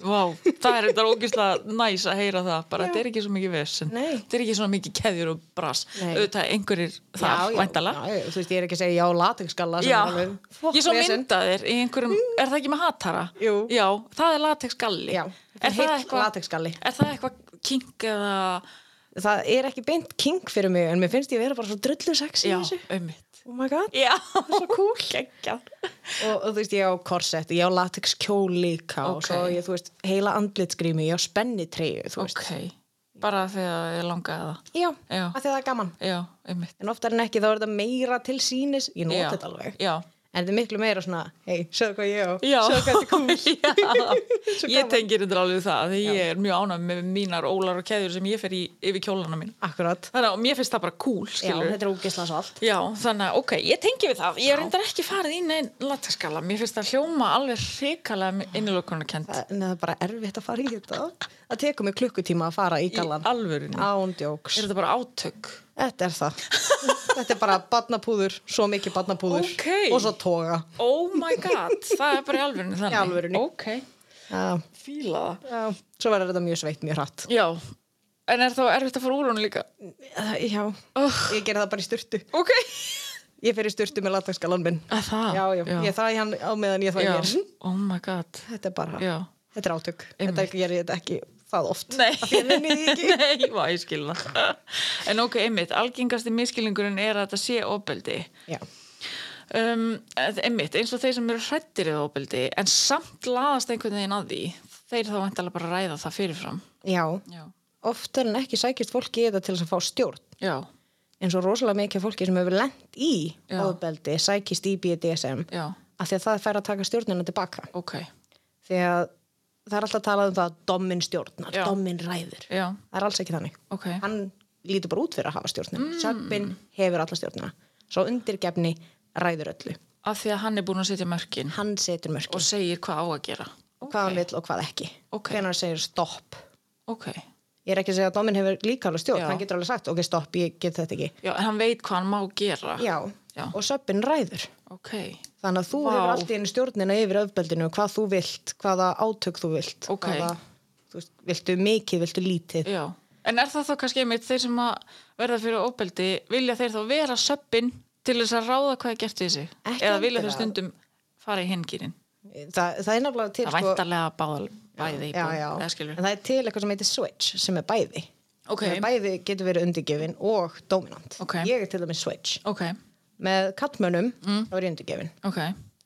Speaker 2: vá, það er þetta ógislega næs að heyra það, bara þetta er ekki svo mikið vesen,
Speaker 3: Nei.
Speaker 2: þetta er ekki svona mikið keðjur og bras,
Speaker 3: Nei.
Speaker 2: auðvitað einhverjir
Speaker 3: Já,
Speaker 2: þar,
Speaker 3: já,
Speaker 2: væntala.
Speaker 3: já, já, þú veist, ég er ekki að segja já latexgalla sem
Speaker 2: Já,
Speaker 3: er alveg fokk
Speaker 2: ég svo
Speaker 3: vesen. Mm.
Speaker 2: mynda þér í einhverjum, er það ekki með hatara?
Speaker 3: Jú.
Speaker 2: Já, það er latexgalli.
Speaker 3: Já,
Speaker 2: er það
Speaker 3: heill
Speaker 2: eitthvað,
Speaker 3: latexgalli.
Speaker 2: er það eitthvað kink eða,
Speaker 3: það er ekki beint king fyrir mig en mér finnst ég vera bara svo drullu sexy í
Speaker 2: já,
Speaker 3: þessu
Speaker 2: ummitt.
Speaker 3: oh my god
Speaker 2: Já, svo cool, ekki.
Speaker 3: og, og þú veist, ég á korsett, ég á latex kjól líka og
Speaker 2: Ok.
Speaker 3: svo ég, þú veist, heila andlitsgrími ég á spennitreyju, þú veist
Speaker 2: Ok, bara þegar ég langaði það.
Speaker 3: já,
Speaker 2: Já.
Speaker 3: af því að það er gaman
Speaker 2: Já, ummitt.
Speaker 3: en oftar en ekki þá er þetta meira til sínis ég nota þetta alveg
Speaker 2: Já,
Speaker 3: en þetta er miklu meira svona, hei, sjáðu hvað ég á
Speaker 2: Já,
Speaker 3: sjáðu hvað þetta er cool
Speaker 2: já.
Speaker 3: Svo
Speaker 2: ég
Speaker 3: gaman.
Speaker 2: tengir þetta alveg við það því ég er mjög ánægð með mínar ólar og keðjur sem ég fer í yfir kjólana mín
Speaker 3: akkurat,
Speaker 2: þannig að mér finnst það bara cool
Speaker 3: já,
Speaker 2: skilur
Speaker 3: þetta er ógislega svo allt
Speaker 2: Já, þannig að, ok, ég tengi við það. Ég er reyndar ekki farið í neinn lataskala. Mér finnst það hljóma alveg hrikalega innilökunarkend.
Speaker 3: en það er bara erfitt að fara í þetta það tekur mig klukkutíma að fara í
Speaker 2: Í
Speaker 3: gallan
Speaker 2: alvörunni.
Speaker 3: Ah. ándjóks
Speaker 2: Er þetta bara átök?
Speaker 3: Þetta er það. Þetta er bara barnapúður, svo mikið barnapúður
Speaker 2: Ok.
Speaker 3: og svo toga.
Speaker 2: Oh my god, það er bara í alvörunni þannig.
Speaker 3: Í alvörunni.
Speaker 2: Ok,
Speaker 3: Já,
Speaker 2: fíla það.
Speaker 3: já. Svo verður þetta mjög sveitt, mjög hratt.
Speaker 2: Já, en er þá erfitt að fara úr hún líka?
Speaker 3: Já,
Speaker 2: Oh,
Speaker 3: ég gerði það bara í styrtu.
Speaker 2: ok.
Speaker 3: Ég fer í styrtu með latagsgalan minn.
Speaker 2: Að það?
Speaker 3: Já, já, ég þræði hann á meðan ég
Speaker 2: Ah, Já.
Speaker 3: þræði hér.
Speaker 2: Oh my god,
Speaker 3: Þetta er bara,
Speaker 2: já.
Speaker 3: þetta er átök.
Speaker 2: Einmitt.
Speaker 3: Þetta gerði þetta ekki það oft.
Speaker 2: Nei,
Speaker 3: Af því að nenni því ekki.
Speaker 2: Nei, vá, ég skilna En ok, einmitt, algengasti miskilningurinn er að þetta sé ofbeldi
Speaker 3: Já,
Speaker 2: um, eð- einmitt, eins og þeir sem eru hrættir eða ofbeldi, en samt laðast einhvern veginn að því, þeir þá vantarlega bara að ræða það fyrirfram
Speaker 3: já.
Speaker 2: Já,
Speaker 3: Oftar en ekki sækist fólki í þetta til þess að fá stjórn.
Speaker 2: já,
Speaker 3: En svo rosalega mikið af fólki sem hefur lent í
Speaker 2: Já.
Speaker 3: ofbeldi sækist í BDSM
Speaker 2: já
Speaker 3: af því að það fær að taka stjórnina tilbaka.
Speaker 2: ok,
Speaker 3: því að það er alltaf að tala um það að dommin stjórnar,
Speaker 2: Já.
Speaker 3: dommin ræður
Speaker 2: já,
Speaker 3: það er alls ekki þannig
Speaker 2: ok
Speaker 3: hann lítur bara út fyrir að hafa stjórnina mm. söppin hefur alla stjórnina svo undirgefni ræður öllu
Speaker 2: Af því að hann er búin að setja mörkin
Speaker 3: hann setur mörkin
Speaker 2: og segir hvað á að gera
Speaker 3: hvað hann vill og hvað ekki
Speaker 2: Ok.
Speaker 3: hvenær segir stopp
Speaker 2: Ok,
Speaker 3: ég er ekki að segja að dommin hefur líka alveg stjórn
Speaker 2: Já.
Speaker 3: hann getur alveg sagt, ok stopp, ég get þetta ekki
Speaker 2: já, en hann veit hvað hann má gera
Speaker 3: já,
Speaker 2: Já.
Speaker 3: og söppin ræður
Speaker 2: ok,
Speaker 3: þannig að þú
Speaker 2: Vá.
Speaker 3: hefur alltaf einu stjórnina yfir öfbeldinu hvað þú vilt, hvaða átök þú vilt
Speaker 2: Ok.
Speaker 3: hvaða, þú veist, viltu mikið, viltu lítið
Speaker 2: já En er það þá kannski einmitt þeir sem að verða fyrir ofbeldi, vilja þeir þá vera söppin til þess að ráða hvað er gert við sig?
Speaker 3: Ekki
Speaker 2: Eða vilja þeir
Speaker 3: endilega.
Speaker 2: stundum fara í hingirinn?
Speaker 3: Þa, það er nefnilega til
Speaker 2: Það sko, væntarlega báðal bæði í
Speaker 3: já,
Speaker 2: búin,
Speaker 3: já.
Speaker 2: eða
Speaker 3: en
Speaker 2: skilur.
Speaker 3: það er til eitthvað sem heitir switch sem er bæði
Speaker 2: Ok.
Speaker 3: Sem er bæði getur verið undirgefin og dominant
Speaker 2: Ok.
Speaker 3: ég er til dæmis switch
Speaker 2: Ok,
Speaker 3: með kattmönum
Speaker 2: Mm.
Speaker 3: þá er ég undirgefin
Speaker 2: ok,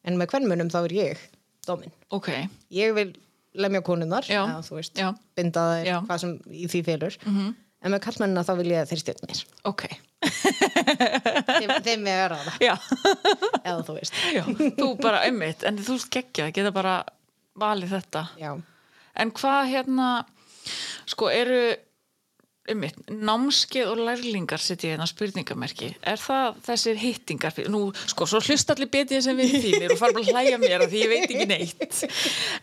Speaker 3: en með kvennmönum þá er ég domin
Speaker 2: ok,
Speaker 3: ég vil lemja konunnar
Speaker 2: Já.
Speaker 3: eða, þú veist,
Speaker 2: Já.
Speaker 3: binda þær
Speaker 2: Já. Mhm.
Speaker 3: hvað sem í því félur -hmm. en með kattmönuna þá vil ég að þeir stjórna mér
Speaker 2: ok.
Speaker 3: þeim, þeim með að ráða
Speaker 2: Já,
Speaker 3: eða þú veist
Speaker 2: já, þú bara einmitt, en þú skekkja, geta bara valið þetta.
Speaker 3: já,
Speaker 2: En hvað hérna, sko, eru einmitt, námskeið og lærlingar setja hérna spurningamerki. Er það þessir hittingar? Nú, sko, svo hlust allir betið sem við þínir og fara bara að hlæja mér af því ég veit ekki neitt.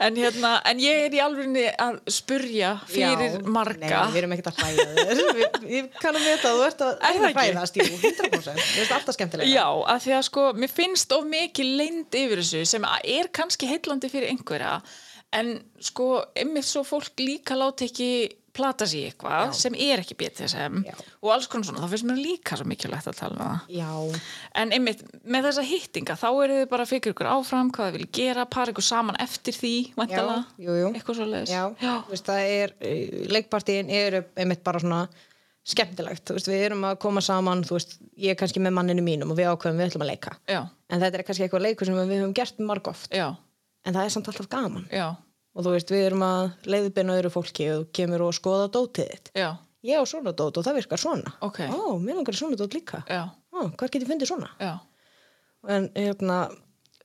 Speaker 2: En hérna, en ég er í alvegni að spurja fyrir
Speaker 3: já,
Speaker 2: marga.
Speaker 3: nei, við erum ekkert að hlæja þér Við- ég kannum við þetta að þú ert að,
Speaker 2: Er það
Speaker 3: að
Speaker 2: ekki?
Speaker 3: hlæðast, jú, 100% þú veist alltaf skemmtilega
Speaker 2: Já, að því að sko, mér finnst of mikið leynd yfir þessu sem er kannski heillandi fyrir einhverja en sko, einmitt svo fólk líka láti ekki plata sig í eitthvað sem er ekki BDSM
Speaker 3: Já.
Speaker 2: og alls konar svona, þá finnst mér líka svo mikilvægt að tala um það.
Speaker 3: já.
Speaker 2: En einmitt, með þessa hittinga, þá eru þið bara að fyrir ykkur áfram, hvað þið vil gera, para ykkur saman eftir því, vantala,
Speaker 3: jú, jú.
Speaker 2: eitthvað svo leiðis.
Speaker 3: Já,
Speaker 2: Já,
Speaker 3: Þú veist, það er, eh, leikpartíin eru einmitt bara svona skemmtilegt, þú veist, við erum að koma saman, þú veist, ég er kannski með manninu mínum og við ákveðum við ætlum að leika.
Speaker 2: já,
Speaker 3: En þetta er kannski eitthvað leikur sem við höfum gert marg oft,
Speaker 2: já,
Speaker 3: en það er samt alltaf gaman.
Speaker 2: já,
Speaker 3: Og þú veist, við erum að leiðbyrna öðru fólki og þú kemur og skoða dótið þitt.
Speaker 2: já,
Speaker 3: Ég á svona dót og það virkar svona.
Speaker 2: Ok.
Speaker 3: Ó, mér langar í svona dót líka.
Speaker 2: já,
Speaker 3: Ó, hvað get ég fundið svona?
Speaker 2: já,
Speaker 3: En hérna,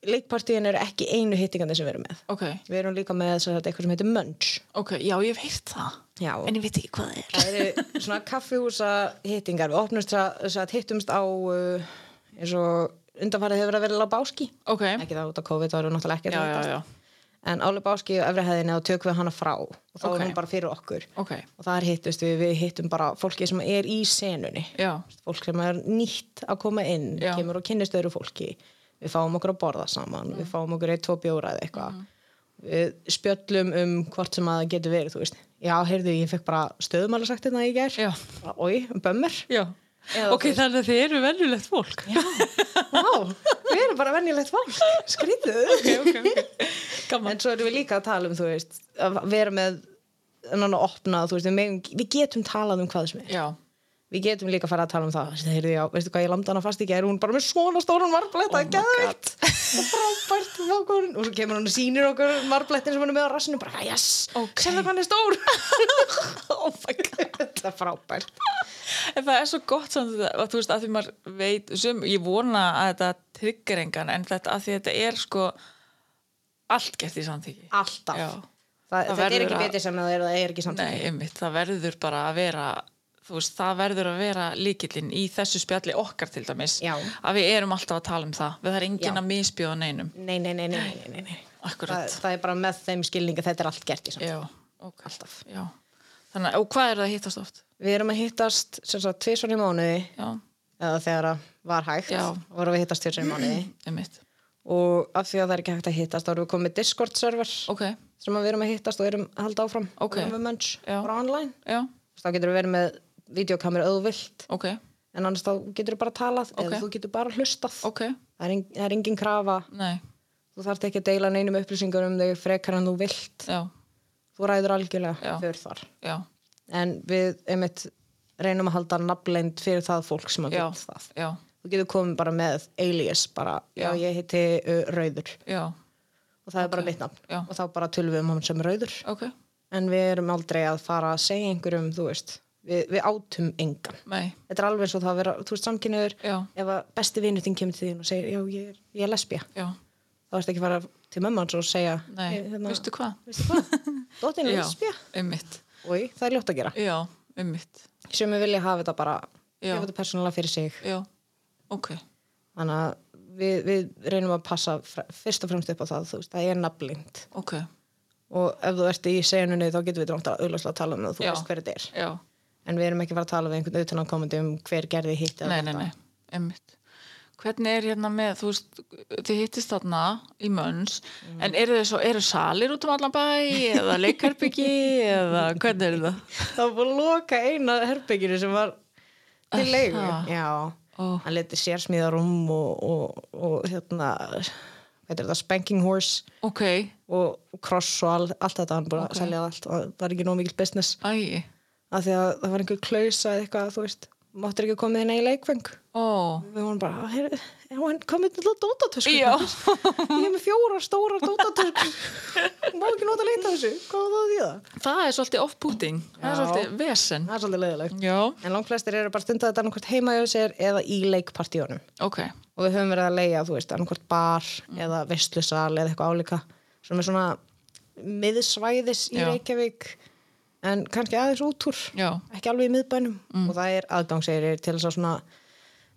Speaker 3: leikpartíin eru ekki einu hittingarnir sem við erum með
Speaker 2: ok,
Speaker 3: við erum líka með þess að eitthvað sem heitir Munch
Speaker 2: ok, já ég hef heyrt það
Speaker 3: Já.
Speaker 2: en ég veit ekki hvað það er
Speaker 3: það eru svona kaffihúsa hittingar við opnumst að, að hittumst á uh, eins og undanfarið hefur verið að vera lábáski
Speaker 2: ok,
Speaker 3: ekki það út af COVID, þá erum við náttúrulega ekki
Speaker 2: já,
Speaker 3: að
Speaker 2: já,
Speaker 3: hittast.
Speaker 2: já,
Speaker 3: en Áli Báski og efri hefðinni og tökum við hana frá og þá
Speaker 2: Ok.
Speaker 3: er hún bara fyrir okkur
Speaker 2: ok
Speaker 3: og þar hittust við, við hittum bara fólki sem er í senunni
Speaker 2: já,
Speaker 3: fólk sem er nýtt að koma inn
Speaker 2: Já.
Speaker 3: kemur og kynnist öðru fólki við fáum okkur að borða saman, við fáum okkur eitt, tvo bjóra eða eitthvað
Speaker 2: Mhm.
Speaker 3: við spjöllum um hvort sem að það getur verið þú veist, já, heyrðu, ég fekk bara stöðumæla sagt þetta í gær,
Speaker 2: Já.
Speaker 3: oi, bömmur
Speaker 2: já
Speaker 3: Eða
Speaker 2: ok,
Speaker 3: þú veist-
Speaker 2: þannig að þið eru venjulegt fólk já,
Speaker 3: Vá, við erum bara venjulegt fólk, skrýtið
Speaker 2: ok, ok, gaman
Speaker 3: en svo erum við líka að tala um, þú veist að vera með annan að opna, þú veist, við, megum, við getum talað um hvað sem er,
Speaker 2: já,
Speaker 3: við getum líka að fara að tala um það, það heyrðu, já, veistu hvað, ég landa hana fast í gær, hún bara með svona stóran marblætt,
Speaker 2: Oh
Speaker 3: það er geðvikt og frábært, vákur, og svo kemur hún og sýnir okkur marblættin sem hún er með á rassinu bara, yes,
Speaker 2: Ok.
Speaker 3: okay. sérðu hvað hann er stór oh my god það er frábært
Speaker 2: en það er svo gott samt að, að þú veist að því maður veit sem, ég vona að þetta tryggir engan en þetta að því þetta er sko allt gert í samþyggi
Speaker 3: alltaf,
Speaker 2: Já.
Speaker 3: það,
Speaker 2: Það
Speaker 3: þetta er
Speaker 2: verður
Speaker 3: ekki
Speaker 2: að-
Speaker 3: betur sem það er, það er ekki samt
Speaker 2: Nei, einmitt, það verður bara að vera þú veist, það verður að vera líkillinn í þessu spjalli okkar til dæmis
Speaker 3: Já.
Speaker 2: að við erum alltaf að tala um það við það er engin
Speaker 3: Já.
Speaker 2: að misbjóða neinum
Speaker 3: nei, nei, nei, nei, nei, nei, nei. Það,
Speaker 2: akkurat,
Speaker 3: það er bara með þeim skilninga, þetta er allt gert í samt
Speaker 2: já, ok alltaf, já, þannig, að- og hvað er það að hittast oft?
Speaker 3: Við erum að hittast sem sagt tvisvar í mánuði
Speaker 2: Já,
Speaker 3: eða þegar að var hægt
Speaker 2: Já.
Speaker 3: vorum við að hittast tvisvar í mánuði
Speaker 2: einmitt,
Speaker 3: og af því að það er ekki hægt að hittast þá erum við komið með Discord server
Speaker 2: ok,
Speaker 3: sem að við erum að hittast og erum að halda áfram
Speaker 2: Ok.
Speaker 3: við erum með mönns
Speaker 2: Já.
Speaker 3: bara online
Speaker 2: já,
Speaker 3: þá getur við verið með videokameru öðu vilt
Speaker 2: ok
Speaker 3: en annars þá getur við bara talað
Speaker 2: Ok.
Speaker 3: eða þú getur bara hlustað
Speaker 2: ok,
Speaker 3: það, er en, það er engin krafa
Speaker 2: nei,
Speaker 3: þú þarft ekki að deila neinum upplýsingar um þau frekar en þú vilt
Speaker 2: já,
Speaker 3: þú ræður algjörlega
Speaker 2: Já.
Speaker 3: fyrir þar
Speaker 2: já
Speaker 3: en við einmitt reynum að halda nafnleind fyrir það fólk sem að
Speaker 2: já,
Speaker 3: vill það
Speaker 2: já,
Speaker 3: þú getur komið bara með alias bara, já,
Speaker 2: Já.
Speaker 3: ég heiti uh, Rauður
Speaker 2: já,
Speaker 3: og það er bara mitt nafn
Speaker 2: Já.
Speaker 3: og þá bara tölum við um hann sem Rauður
Speaker 2: ok
Speaker 3: en við erum aldrei að fara að segja einhverjum, þú veist við, við átum engan
Speaker 2: nei,
Speaker 3: þetta er alveg eins og það að vera, þú veist, samkynniður
Speaker 2: já,
Speaker 3: ef að besti vinutin kemur til þín og segir já, ég er, ég er lesbía,
Speaker 2: já,
Speaker 3: þá ertu ekki að fara til mömmu hans og segja
Speaker 2: nei,
Speaker 3: "Hey, hérna,
Speaker 2: veistu hvað?
Speaker 3: veistu hvað, dóttin er
Speaker 2: Já,
Speaker 3: lesbía
Speaker 2: einmitt,
Speaker 3: Új, það er ljótt að gera
Speaker 2: já, einmitt
Speaker 3: sem við vilja hafa þetta bara
Speaker 2: Já.
Speaker 3: hafa þetta persónulega fyrir sig
Speaker 2: já, ok
Speaker 3: þannig að við, við reynum að passa fr- fyrst og fremst upp á það þú veist, það er nafnlind
Speaker 2: ok,
Speaker 3: og ef þú ert í senunni þá getur við drónt að auðlagslega tala um það, þú
Speaker 2: Já.
Speaker 3: veist hver þetta er
Speaker 2: já,
Speaker 3: en við erum ekki að fara að tala við einhvern utan á komandi um hver gerði hitt
Speaker 2: nei, nei, nei, einmitt hvernig er hérna með, þú veist þið hittist þarna í mönns en eru þið svo, eru salir út um allan bæ eða leikherbyggi eða hvernig er það?
Speaker 3: það var búin að loka eina herbygginu sem var til leigu
Speaker 2: það?
Speaker 3: já,
Speaker 2: Öh, Ó.
Speaker 3: hann leti sérsmíðarum og, og, og hérna hvað er þetta, spanking horse
Speaker 2: ok,
Speaker 3: og cross og all, allt þetta hann búin að selja það allt og það var ekki nóg mikill business
Speaker 2: æ,
Speaker 3: af því að það var einhver klausa eða eitthvað, þú veist, máttir ekki komið inn í leikfeng
Speaker 2: ó
Speaker 3: við vorum bara, "Heyrðu, er hún komið til að dótatösku
Speaker 2: já,
Speaker 3: ég hef með fjórar stórar dótatösku hún má ekki nota að leita þessu hvað var það að því það?
Speaker 2: það er svolítið off-putting það er
Speaker 3: Já.
Speaker 2: svolítið vesen
Speaker 3: það er svolítið leiðilegt
Speaker 2: já,
Speaker 3: en langflestir eru bara stundið þetta annarkvort heima hjá sér eða í leikpartíunum
Speaker 2: ok,
Speaker 3: og við höfum verið að leia, þú veist, annarkvort bar
Speaker 2: Mm.
Speaker 3: eða vestlusal eða eitthvað álíka sem er svona miðsvæðis í
Speaker 2: Já.
Speaker 3: Reykjavík en kannski aðeins út úr
Speaker 2: já,
Speaker 3: ekki alveg í miðbænum
Speaker 2: Mm.
Speaker 3: og það er aðgangseyri til þess að svona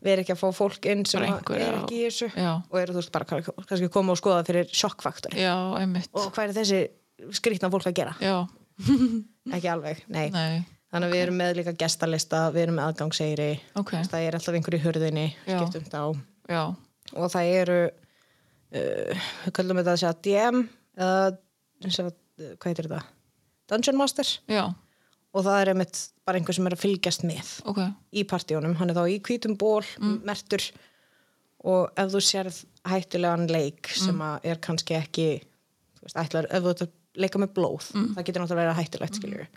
Speaker 3: við erum ekki að fá fólk inn sem
Speaker 2: Bara
Speaker 3: að
Speaker 2: einhver
Speaker 3: er
Speaker 2: á-
Speaker 3: ekki í þessu
Speaker 2: já.
Speaker 3: og eru þú veist bara kann- kannski koma og skoða fyrir sjokkfaktori
Speaker 2: já, einmitt
Speaker 3: og hvað er þessi skrýtna fólk að gera
Speaker 2: já,
Speaker 3: ekki alveg, nei,
Speaker 2: nei,
Speaker 3: þannig að við erum með líka gestalista, við erum með aðgangseyri
Speaker 2: ok
Speaker 3: Þess, það er alltaf einhverju hurðinni
Speaker 2: Já.
Speaker 3: skiptum þá
Speaker 2: já,
Speaker 3: og það eru uh, við kallum þetta að segja DM eða sem sagt, uh, hvað heitir þetta? Dungeon Master
Speaker 2: já,
Speaker 3: og það er einmitt bara einhver sem er að fylgjast með
Speaker 2: ok
Speaker 3: í partíunum, hann er þá í hvítum ból
Speaker 2: Mm.
Speaker 3: mertur og ef þú sérð hættulegan leik sem
Speaker 2: Mm.
Speaker 3: að er kannski ekki þú veist, ætlar, ef þú ert að leika með blóð
Speaker 2: Mm.
Speaker 3: það getur náttúrulega að vera hættulegt skiljur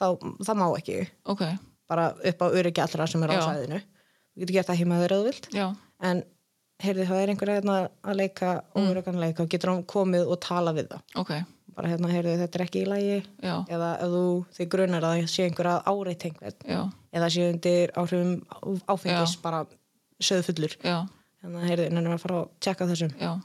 Speaker 3: þá, það má ekki
Speaker 2: ok,
Speaker 3: bara upp á öryggi allra sem er á
Speaker 2: Já.
Speaker 3: sæðinu þú getur gert það heima þegar þú vilt
Speaker 2: já,
Speaker 3: en heyrðu það er einhver hérna að leika
Speaker 2: Mm.
Speaker 3: óöryggan leik og getur hann komið og tala við það
Speaker 2: ok
Speaker 3: bara hérna heyrðu þetta er ekki í lagi
Speaker 2: já,
Speaker 3: eða ef þú þig grunar að það sé einhver að áreitt einhvern
Speaker 2: já,
Speaker 3: eða sé undir áhrifum á- áfengis bara söðfullur
Speaker 2: já,
Speaker 3: hérna heyrðu en hann er að fara að tjekka þessum
Speaker 2: já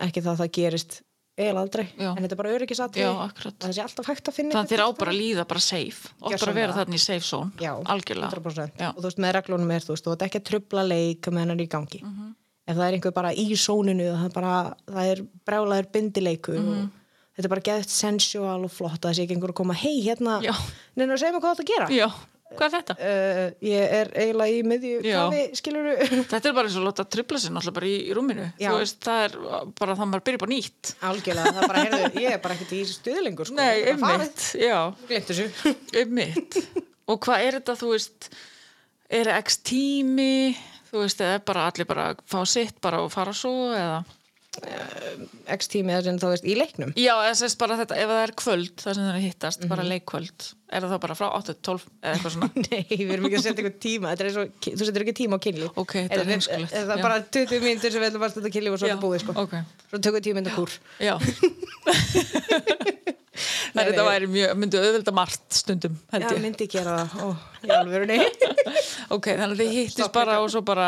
Speaker 3: ekki það að það gerist eiginlega aldrei,
Speaker 2: Já.
Speaker 3: en þetta er bara öryggisatrið
Speaker 2: Já, akkurat.
Speaker 3: það sé alltaf hægt að finna
Speaker 2: Þannig þér á
Speaker 3: einhvern
Speaker 2: bara að líða bara safe og bara að
Speaker 3: Gjörsamlega.
Speaker 2: vera þarna í safe zone
Speaker 3: Já,
Speaker 2: algjörlega
Speaker 3: 100%.
Speaker 2: Já.
Speaker 3: og þú veist með reglunum er þú veist, þú ert ekki að trubla leik með hennar í gangi
Speaker 2: Mhm.
Speaker 3: ef það er einhver bara í sóninu það er, bara, það er brjálaður bindileikur
Speaker 2: Mhm.
Speaker 3: og þetta er bara geðt sensual og flott að það sé ekki einhver að koma hei hérna,
Speaker 2: Já.
Speaker 3: neina að segja mig hvað það að gera
Speaker 2: Já, hvað er þetta?
Speaker 3: uh, ég er eiginlega í miðju
Speaker 2: Já.
Speaker 3: kafi, skilur
Speaker 2: Þetta er bara eins og láta tripla sér náttúrulega bara í, í rúminu
Speaker 3: Já.
Speaker 2: Þú veist, það er bara það maður byrja bara nýtt
Speaker 3: algjörlega, það er bara, heyrðu, ég er bara ekkert í stuðlingur sko.
Speaker 2: Nei,
Speaker 3: Ég er bara farið.
Speaker 2: einmitt, já
Speaker 3: Gleymt þessu
Speaker 2: Einmitt. og hvað er þetta, þú veist, er það x tími, þú veist, eða er bara allir bara að fá sitt bara og fara svo eða?
Speaker 3: X tími eða sem þá veist í leiknum
Speaker 2: Já, eða sérst bara þetta, ef það er kvöld, það sem það er að hittast, bara leikkvöld, er það þá bara frá 8-12 eða eitthvað svona?
Speaker 3: Nei, við erum ekki að setja einhvern tíma Þetta er eins og, þú setur ekki tíma á kynlíf
Speaker 2: Ok, þetta er
Speaker 3: Eða við-
Speaker 2: heimskulegt.
Speaker 3: eða
Speaker 2: Já.
Speaker 3: Það er bara 20 mínútur sem við ætlum að stunda kynlíf og svo er
Speaker 2: Já,
Speaker 3: þetta búið sko.
Speaker 2: ok.
Speaker 3: Svo tökum við tíu mínútur kúr
Speaker 2: Já. Það er
Speaker 3: Nei,
Speaker 2: þetta
Speaker 3: nei.
Speaker 2: væri mjög, myndi auðvelda margt stundum,
Speaker 3: Já,
Speaker 2: held ég.
Speaker 3: myndi gera það Ó, í alvörunni
Speaker 2: Ok, þannig að þið hittist
Speaker 3: Stopp
Speaker 2: bara
Speaker 3: líka.
Speaker 2: og svo bara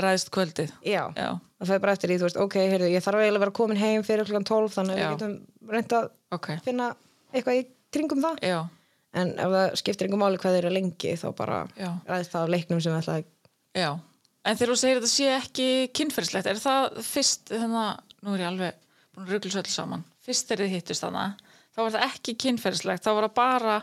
Speaker 2: ræðist kvöldið.
Speaker 3: Já,
Speaker 2: Já.
Speaker 3: það fer bara eftir í, þú veist, ok, heyrðu, ég þarf eiginlega að vera komin heim fyrir klukkan 12 þannig að
Speaker 2: Já.
Speaker 3: við getum reynd að
Speaker 2: Ok,
Speaker 3: finna eitthvað í kringum það
Speaker 2: já,
Speaker 3: En ef það skiptir einhver máli hvað þeir eru lengi þá bara
Speaker 2: Já.
Speaker 3: ræðist það af leiknum sem við ætla að
Speaker 2: já. En þegar þú segir þetta sé ekki kynferðislegt, er það fyrst, þannig að, nú er ég alveg búin að ruggla öll saman, fyrst þegar þið hittist þannig, þá var það ekki kynferðislegt, þá var það bara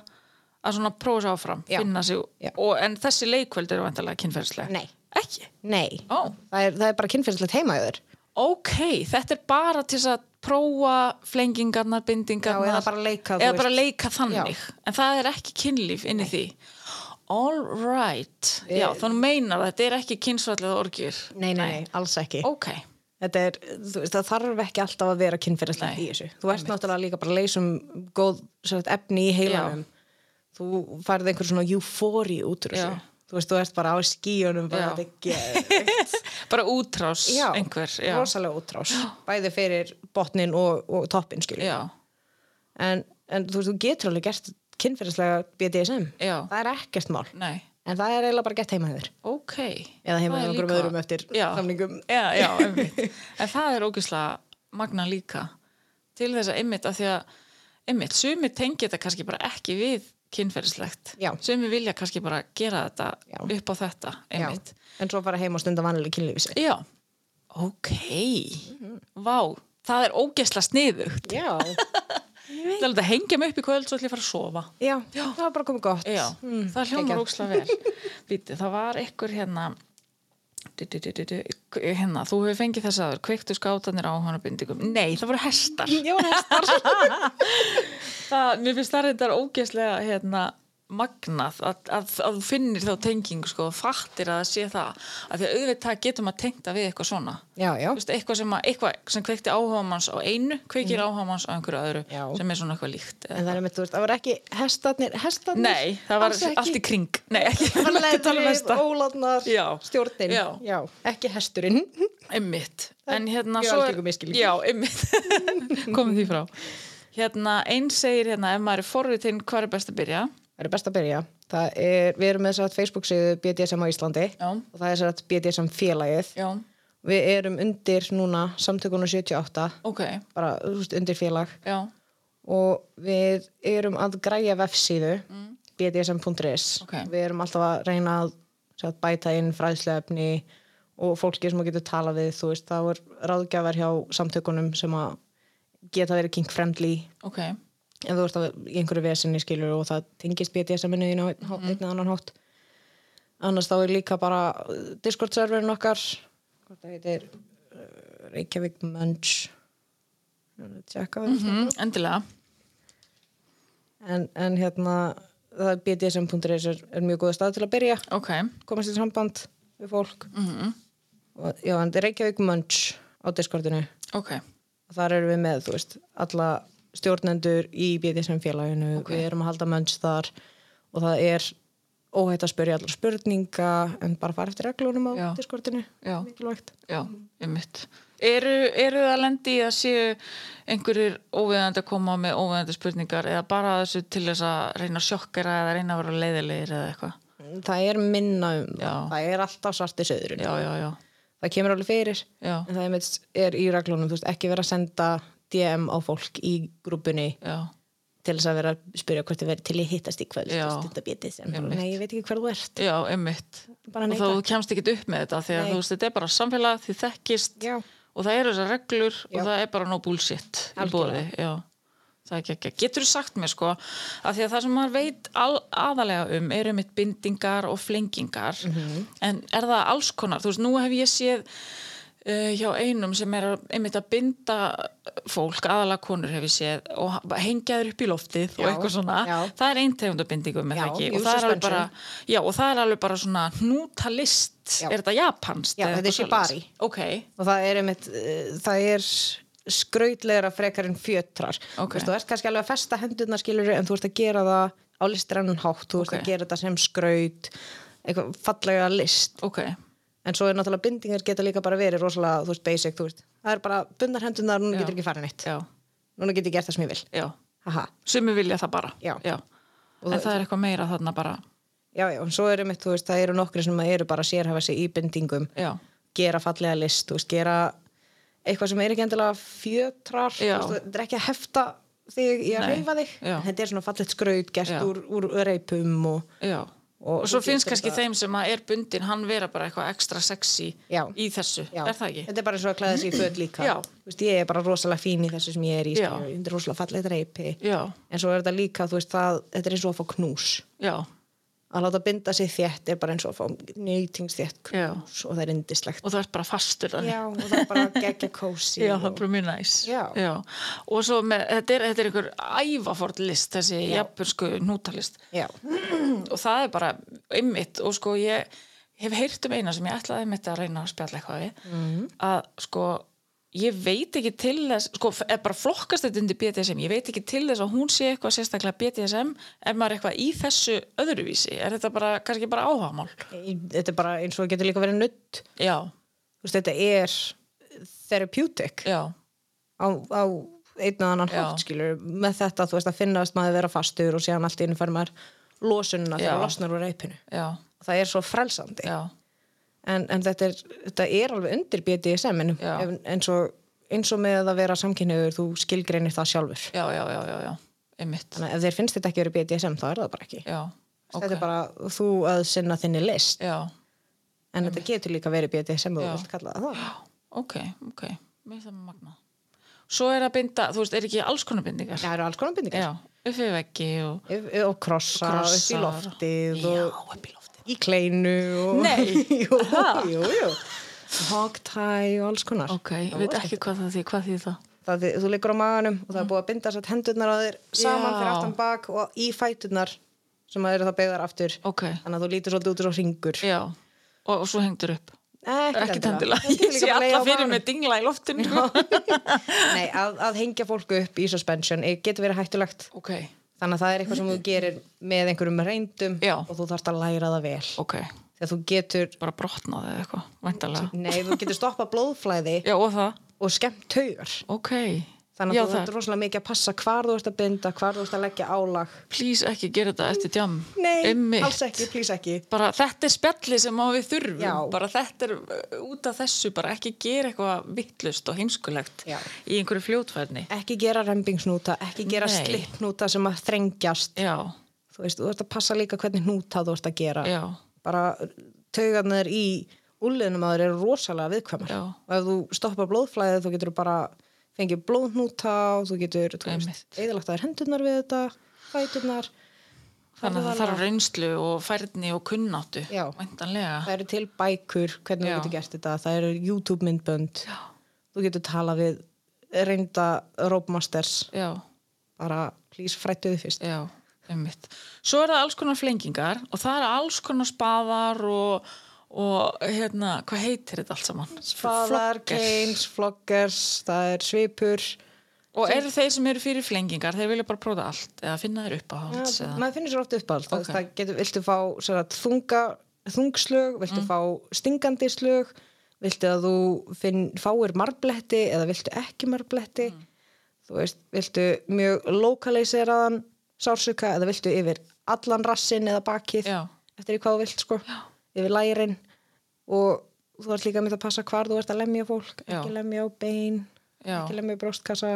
Speaker 2: að svona prófa sér áfram,
Speaker 3: Já.
Speaker 2: finna sig,
Speaker 3: Já.
Speaker 2: og, en þessi leikvöld eru vandalega kynferðislegt.
Speaker 3: Nei,
Speaker 2: Ekki?
Speaker 3: nei
Speaker 2: Ó.
Speaker 3: það, er, það er bara kynfinnslegt heima hjá þér
Speaker 2: Ok, þetta er bara til þess að prófa flengingarnar, bindingarnar
Speaker 3: Já, eða bara leika, þú
Speaker 2: eða
Speaker 3: veist.
Speaker 2: bara leika þannig en það er ekki kynlíf inn í því All right Já, þannig meinar að þetta er ekki kynsvallið orgjur
Speaker 3: Nei, nei, nei, alls ekki
Speaker 2: Ok,
Speaker 3: þetta er, þú veist, það þarf ekki alltaf að vera kynferðislegt
Speaker 2: Nei,
Speaker 3: í þessu. Þú ert náttúrulega líka bara að leysum góð sagt, efni í heilanum. Þú færði einhver svona eufóri út úr
Speaker 2: Já.
Speaker 3: þessu. Þú veist, þú ert bara á skíunum bara
Speaker 2: Já.
Speaker 3: að byggja.
Speaker 2: bara útrás einhver Já,
Speaker 3: rosalega útrás. Bæði fyrir botnin og, og toppin, skilju.
Speaker 2: já,
Speaker 3: En, en þú veist, þú getur alveg gert kynferðislega BDSM.
Speaker 2: Já.
Speaker 3: Það er ekkert mál.
Speaker 2: nei,
Speaker 3: En það er eiginlega bara gett heima þér.
Speaker 2: ok Það
Speaker 3: Eða heima hjá
Speaker 2: er
Speaker 3: einhverjum
Speaker 2: líka-
Speaker 3: öðrum eftir
Speaker 2: Já.
Speaker 3: samningum.
Speaker 2: Já, já, einmitt. En það er ógislega magna líka til þess að einmitt að því að einmitt, sumi tengi þetta kannski bara ekki við kynferðislegt.
Speaker 3: Já.
Speaker 2: Sumi vilja kannski bara gera þetta
Speaker 3: Já.
Speaker 2: upp á þetta, einmitt.
Speaker 3: Já. En svo fara heima og stunda vanlega kynlífis.
Speaker 2: Já. Ok.
Speaker 3: Mhm.
Speaker 2: Vá, það er ógislega sniðugt.
Speaker 3: Já.
Speaker 2: Það er alveg að hengja mig upp í kvöld svo ætlum ég að fara að sofa.
Speaker 3: Já, það var bara komið gott. Hmm.
Speaker 2: Já, Hmm, það hljómar
Speaker 3: geggjað.
Speaker 2: ógislega vel. Víti, það var einhver hérna du, du, du, du, du, hérna, þú hefur fengið þess aður kveiktu skátanir á hana bindingum nei, það voru hestar
Speaker 3: Já, hestar.
Speaker 2: það, mér finnst það reyndar ógeðslega hérna, magnað að, að, að þú finnir þá tengingu sko, og fattir að það sé það að því að auðvitað getur maður tengta við eitthvað svona
Speaker 3: já, já.
Speaker 2: Þú veist, eitthvað, sem að, eitthvað sem kveikti áhugamanns á einu kveikir mm. áhugamanns á einhverju öðru
Speaker 3: Já.
Speaker 2: sem er svona eitthvað líkt eða-
Speaker 3: En það er með, þú veist, það var ekki hestarnir, hestarnir.
Speaker 2: nei, það var
Speaker 3: alls ekki.
Speaker 2: allt í kring nei, ekki,
Speaker 3: Það var
Speaker 2: ekki tala um
Speaker 3: leðrið,
Speaker 2: hesta.
Speaker 3: ólarnar,
Speaker 2: Já.
Speaker 3: stjórnin.
Speaker 2: Já.
Speaker 3: Ekki hesturinn.
Speaker 2: Einmitt, en hérna
Speaker 3: mjög
Speaker 2: svo
Speaker 3: algengur misskilningur.
Speaker 2: Já, einmitt, komum því frá Hérna, einn segir hérna ef maður er forvitinn, hvað er best að byrja?
Speaker 3: Það er best að byrja. Það er, við erum með þess að Facebook síðu BDSM á Íslandi.
Speaker 2: Já.
Speaker 3: Og það er þess að BDSM félagið.
Speaker 2: Já,
Speaker 3: Við erum undir núna samtökunum 78,
Speaker 2: ok,
Speaker 3: bara, þú veist, undir félag.
Speaker 2: já,
Speaker 3: og við erum að græja vefsíðu bdsm.is
Speaker 2: Ok.
Speaker 3: við erum alltaf að reyna að sagt, bæta inn fræðslefni og fólki sem að getur tala við þú veist, það voru ráðgjafar hjá samtökunum sem að geta verið kink friendly
Speaker 2: ok
Speaker 3: ef þú ert að í einhverju vesinni skilur og það tengist BDSM-inu í einn og annan hátt annars þá er líka bara uh, Discord-serverin okkar hvort það heitir uh, Reykjavík Munch tjekka við
Speaker 2: mm, Endilega,
Speaker 3: en, en hérna það er bdsm.is er, er mjög góða stað til að byrja
Speaker 2: ok mhm,
Speaker 3: komast í samband við fólk mm og, já, en þetta er Reykjavík Munch á Discordinu
Speaker 2: Ok,
Speaker 3: og þar erum við með, þú veist, alla stjórnendur í BDSM félaginu
Speaker 2: Ok.
Speaker 3: við erum að halda mönns þar og það er óhætt að spyrja allar spurninga en bara fara eftir reglunum á
Speaker 2: Já.
Speaker 3: Discordinu
Speaker 2: Já.
Speaker 3: mikilvægt
Speaker 2: já, einmitt Eru, eru það lendi í að séu einhverjir óveðandi að koma með óveðandi spurningar eða bara þessu til þess að reyna að sjokkera eða reyna að vera leiðilegir eða eitthvað
Speaker 3: það er minna um
Speaker 2: Já.
Speaker 3: það það er alltaf svart í söðurinn
Speaker 2: Já, já, já,
Speaker 3: það kemur alveg fyrir
Speaker 2: Já.
Speaker 3: en það einmitt er í reglunum þú veist, ekki vera að senda DM á fólk í grúpunni
Speaker 2: já,
Speaker 3: til þess að vera að spyrja hvort þið verið til í hittast í kvöld
Speaker 2: Já.
Speaker 3: og stunda bítið sem bara,
Speaker 2: Einmitt.
Speaker 3: nei, ég veit ekki hver þú ert
Speaker 2: já, emmitt
Speaker 3: Bara
Speaker 2: og
Speaker 3: neita.
Speaker 2: þá þú kemst ekki upp með þetta því að
Speaker 3: Nei.
Speaker 2: þú veist, þetta er bara samfélag, þið þekkist
Speaker 3: Já.
Speaker 2: og það eru þessar reglur
Speaker 3: Já.
Speaker 2: og það er bara no bullshit í bóði, já það er ekki ekki, getur þú sagt mér sko að því að það sem maður veit al, aðalega um eru mitt bindingar og flengingar
Speaker 3: Mhm.
Speaker 2: en er það alls konar þú veist, nú hef ég séð uh, hjá einum sem er að- einmitt að binda fólk, aðalega konur hef ég séið og ha- hengja þeir upp í loftið og
Speaker 3: Já,
Speaker 2: eitthvað svona,
Speaker 3: já.
Speaker 2: það er eintegundabindingu með
Speaker 3: Já,
Speaker 2: það ekki
Speaker 3: jú,
Speaker 2: og það, er alveg
Speaker 3: suspension.
Speaker 2: bara, já, og það er alveg bara svona hnútalist,
Speaker 3: Já.
Speaker 2: er þetta japanst?
Speaker 3: Já,
Speaker 2: eða
Speaker 3: þetta er
Speaker 2: eitthvað svoleiðis?
Speaker 3: shibari.
Speaker 2: ok,
Speaker 3: og það er einmitt, eh, það er skrautlegra frekar en fjötrar
Speaker 2: Ok.
Speaker 3: Þú veist, þú ert kannski alveg að festa hendurnar skilur en þú ert að gera það á listrannan hátt þú ert
Speaker 2: Ok.
Speaker 3: að gera þetta sem skraut eitthvað fallega list
Speaker 2: ok
Speaker 3: en svo er náttúrulega bindingar geta líka bara verið rosalega, þú veist, basic, þú veist það er bara bundnar hendurnar, núna
Speaker 2: Já.
Speaker 3: getur ekki farið neitt
Speaker 2: já,
Speaker 3: núna getur ég gert það sem ég vil
Speaker 2: já,
Speaker 3: Haha.
Speaker 2: sumi vilja það bara
Speaker 3: Já.
Speaker 2: en það er eitthvað meira þarna bara
Speaker 3: já, já, en svo er einmitt, þú veist, það eru nokkri sem eru bara að sérhafa sig í bindingum
Speaker 2: já,
Speaker 3: gera fallega list, þú veist, gera eitthvað sem er ekki endilega fjötrar þú
Speaker 2: Já.
Speaker 3: veist, þetta er ekki að hefta þig í að
Speaker 2: Nei,
Speaker 3: reyfa þig,
Speaker 2: já.
Speaker 3: þetta er svona fallegt skraut gert
Speaker 2: Já.
Speaker 3: úr, úr reipum og
Speaker 2: já
Speaker 3: Og
Speaker 2: og, svo
Speaker 3: þú
Speaker 2: finnst
Speaker 3: getur
Speaker 2: kannski
Speaker 3: þetta-
Speaker 2: þeim sem að er bundin hann vera bara eitthvað ekstra sexy
Speaker 3: Já.
Speaker 2: í þessu,
Speaker 3: já.
Speaker 2: er það ekki?
Speaker 3: þetta er bara eins og að klæða sig í föt líka
Speaker 2: Já.
Speaker 3: Þú veist, ég er bara rosalega fín í þessu sem ég er í
Speaker 2: Já.
Speaker 3: skilur, þetta er rosalega fallegt reipi
Speaker 2: já,
Speaker 3: en svo er þetta líka, þú veist, það, þetta er eins og að fá knús
Speaker 2: já,
Speaker 3: að láta binda sig þétt er bara eins og að fá nýtingsþétt
Speaker 2: Já.
Speaker 3: knús og það er indislegt
Speaker 2: og það er bara fastur þannig.
Speaker 3: já, og það er bara geggja kósi
Speaker 2: Já, það er
Speaker 3: og...
Speaker 2: bara mjög næs
Speaker 3: Já.
Speaker 2: Og svo með, þetta er, þetta er einhver ævafort list þessi
Speaker 3: Já.
Speaker 2: jafnbursku nútalist
Speaker 3: já,
Speaker 2: og það er bara einmitt og sko ég hef heyrt um eina sem ég ætlaði einmitt að reyna að spjalla eitthvað við
Speaker 3: Mhm.
Speaker 2: að sko ég veit ekki til þess, sko er bara flokkast þetta undir BDSM, ég veit ekki til þess að hún sé eitthvað sérstaklega BDSM ef maður er eitthvað í þessu öðruvísi er þetta bara, kannski bara áhagamál
Speaker 3: þetta er bara eins og að getur líka verið nutt
Speaker 2: já,
Speaker 3: þú veist, þetta er therapeutic
Speaker 2: já,
Speaker 3: á, á einn og annan
Speaker 2: Já.
Speaker 3: hátt skilur með þetta, þú veist, að finnast maður vera fastur og síðan allt í einu fær maður losunina
Speaker 2: Já.
Speaker 3: þegar maður losnar úr reipinu
Speaker 2: já,
Speaker 3: það er svo frelsandi
Speaker 2: já
Speaker 3: en, en þetta, er, þetta er alveg undir BDSM en,
Speaker 2: Já.
Speaker 3: en, eins, og, eins og með að vera samkynniður þú skilgreinir það sjálfur
Speaker 2: já, já, já, já, já einmitt,
Speaker 3: þannig að ef þeir finnst þetta ekki verið BDSM þá er það bara ekki
Speaker 2: já, ok
Speaker 3: þetta er bara þú að sinna þinni list
Speaker 2: já,
Speaker 3: en þetta getur líka verið BDSM og þú
Speaker 2: Já.
Speaker 3: vilt kalla það það
Speaker 2: ok, ok mér finnst það magna svo er að binda, þú veist, er ekki alls konar bindingar
Speaker 3: það eru alls konar bindingar
Speaker 2: Já, upp við veggi og
Speaker 3: Yf- og krossa, upp í
Speaker 2: Krossar.
Speaker 3: loftið og
Speaker 2: upp í loftið
Speaker 3: í kleinu og
Speaker 2: Nei,
Speaker 3: jú,
Speaker 2: aha.
Speaker 3: jú, jú. hogtie og alls konar
Speaker 2: Ok, ég veit ekki hvað það því, hvað því það
Speaker 3: það, þið- þú liggur á maganum og það er búið að binda satt hendurnar á þér saman
Speaker 2: Já.
Speaker 3: fyrir aftan bak og í fæturnar sem að eru það beigðar aftur
Speaker 2: Ok,
Speaker 3: þannig að þú lítur svolítið út og ringur
Speaker 2: já, og, og svo hengdur upp Ekki tendilega,
Speaker 3: Heldur
Speaker 2: ég
Speaker 3: líka
Speaker 2: sé
Speaker 3: bara að
Speaker 2: alla
Speaker 3: leiða á
Speaker 2: fyrir
Speaker 3: maganum.
Speaker 2: með dingla í loftinu
Speaker 3: Nei, að, að hengja fólku upp í suspension eh, getur verið hættulegt
Speaker 2: Ok,
Speaker 3: þannig að það er eitthvað sem þú gerir með einhverjum reyndum
Speaker 2: Já.
Speaker 3: og þú þarft að læra það vel
Speaker 2: ok,
Speaker 3: þegar þú getur,
Speaker 2: bara brotnaði eða eitthvað, væntalega
Speaker 3: nei, þú getur stoppa blóðflæði
Speaker 2: Já, og það,
Speaker 3: og skemmt taugar
Speaker 2: ok
Speaker 3: þannig
Speaker 2: Já,
Speaker 3: að þú
Speaker 2: það,
Speaker 3: þarft rosalega mikið að passa hvar þú ert að binda, hvar þú ert að leggja álag
Speaker 2: please ekki gera þetta eftir djam
Speaker 3: Nei,
Speaker 2: Einmitt.
Speaker 3: alls ekki, please ekki
Speaker 2: Bara þetta er spjalli sem á við þurfum
Speaker 3: Já.
Speaker 2: bara þetta er uh, út af þessu bara ekki gera eitthvað vittlust og heimskulegt
Speaker 3: Já.
Speaker 2: í einhverju fljótfærni
Speaker 3: ekki gera rembingsnúta, ekki gera
Speaker 2: Nei.
Speaker 3: slippnúta sem að þrengjast
Speaker 2: Já,
Speaker 3: þú veist, þú ert að passa líka hvernig hnúta þú ert að gera
Speaker 2: já,
Speaker 3: bara taugarnir í úliðnum að þeir eru rosalega viðkvæmar
Speaker 2: Já.
Speaker 3: og ef þú stoppar blóðflæðið þú getur bara fengið blóðhnúta og þú getur, þú veist,
Speaker 2: Einmitt.
Speaker 3: eðalagt að þér hendurnar við þetta, fæturnar
Speaker 2: þannig að það
Speaker 3: Farðu
Speaker 2: þarf reynslu og færni og kunnáttu
Speaker 3: Já.
Speaker 2: væntanlega
Speaker 3: það eru til bækur
Speaker 2: Já.
Speaker 3: hvernig þú getur gert þetta, það eru YouTube myndbönd Já. þú getur tala við reynda Robemasters
Speaker 2: Já,
Speaker 3: bara please frættuðu fyrst
Speaker 2: já, einmitt. Svo er það alls konar flengingar og það er alls konar spaðar og, og hérna, hvað heitir þetta allt saman? Flogger.
Speaker 3: Spaðar, Keynes, Floggers það er svipur
Speaker 2: Og eru þeir sem eru fyrir flengingar, þeir vilja bara prófa allt eða finna þeir upp á hans eða...
Speaker 3: ja, Ah, maður finnir sér oft upp allt
Speaker 2: Ok.
Speaker 3: okay. það getur, viltu fá sem sagt, þunga, þungslög
Speaker 2: Mm.
Speaker 3: viltu fá stingandi slög viltu að þú finn, fáir marbletti eða viltu ekki marbletti
Speaker 2: Mm.
Speaker 3: þú veist, viltu mjög lokaliseraðan sársuka eða viltu yfir allan rassin eða bakið
Speaker 2: Já.
Speaker 3: eftir í hvað þú vilt sko Já. yfir lærin og þú ert líka með að passa hvar þú ert að lemja fólk
Speaker 2: Já.
Speaker 3: ekki lemja á bein,
Speaker 2: Já.
Speaker 3: ekki lemja á bróstkassa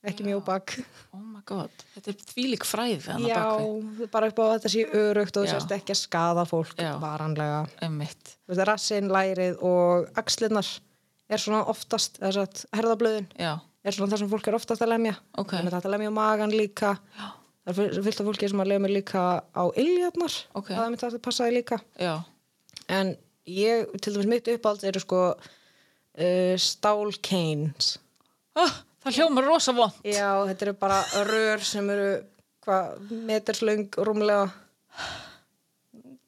Speaker 3: ekki mjög bak
Speaker 2: Oh my god, þetta er þvílík fræð þannig
Speaker 3: já,
Speaker 2: að bakvið,
Speaker 3: bara upp á að þetta sé örugt og þú
Speaker 2: Já.
Speaker 3: sérst ekki að skaða fólk
Speaker 2: Já.
Speaker 3: varanlega
Speaker 2: emmitt
Speaker 3: Þú veist, rassinn, lærið og axlirnar er svona oftast þess að herðablöðin
Speaker 2: Já,
Speaker 3: er svona það sem fólk er oftast að lemja
Speaker 2: Ok.
Speaker 3: þannig að þetta lemja magan líka Já. það er fyl- fullt af fólki sem að lemja líka á iljarnar
Speaker 2: Ok.
Speaker 3: það er mitt að þetta passaði líka
Speaker 2: já,
Speaker 3: en ég, til dæmis mitt uppáld eru sko uh, stálkeins
Speaker 2: oh, það hljómar rosa vond
Speaker 3: Já, þetta eru bara rör sem eru hvað, meterslöng rúmlega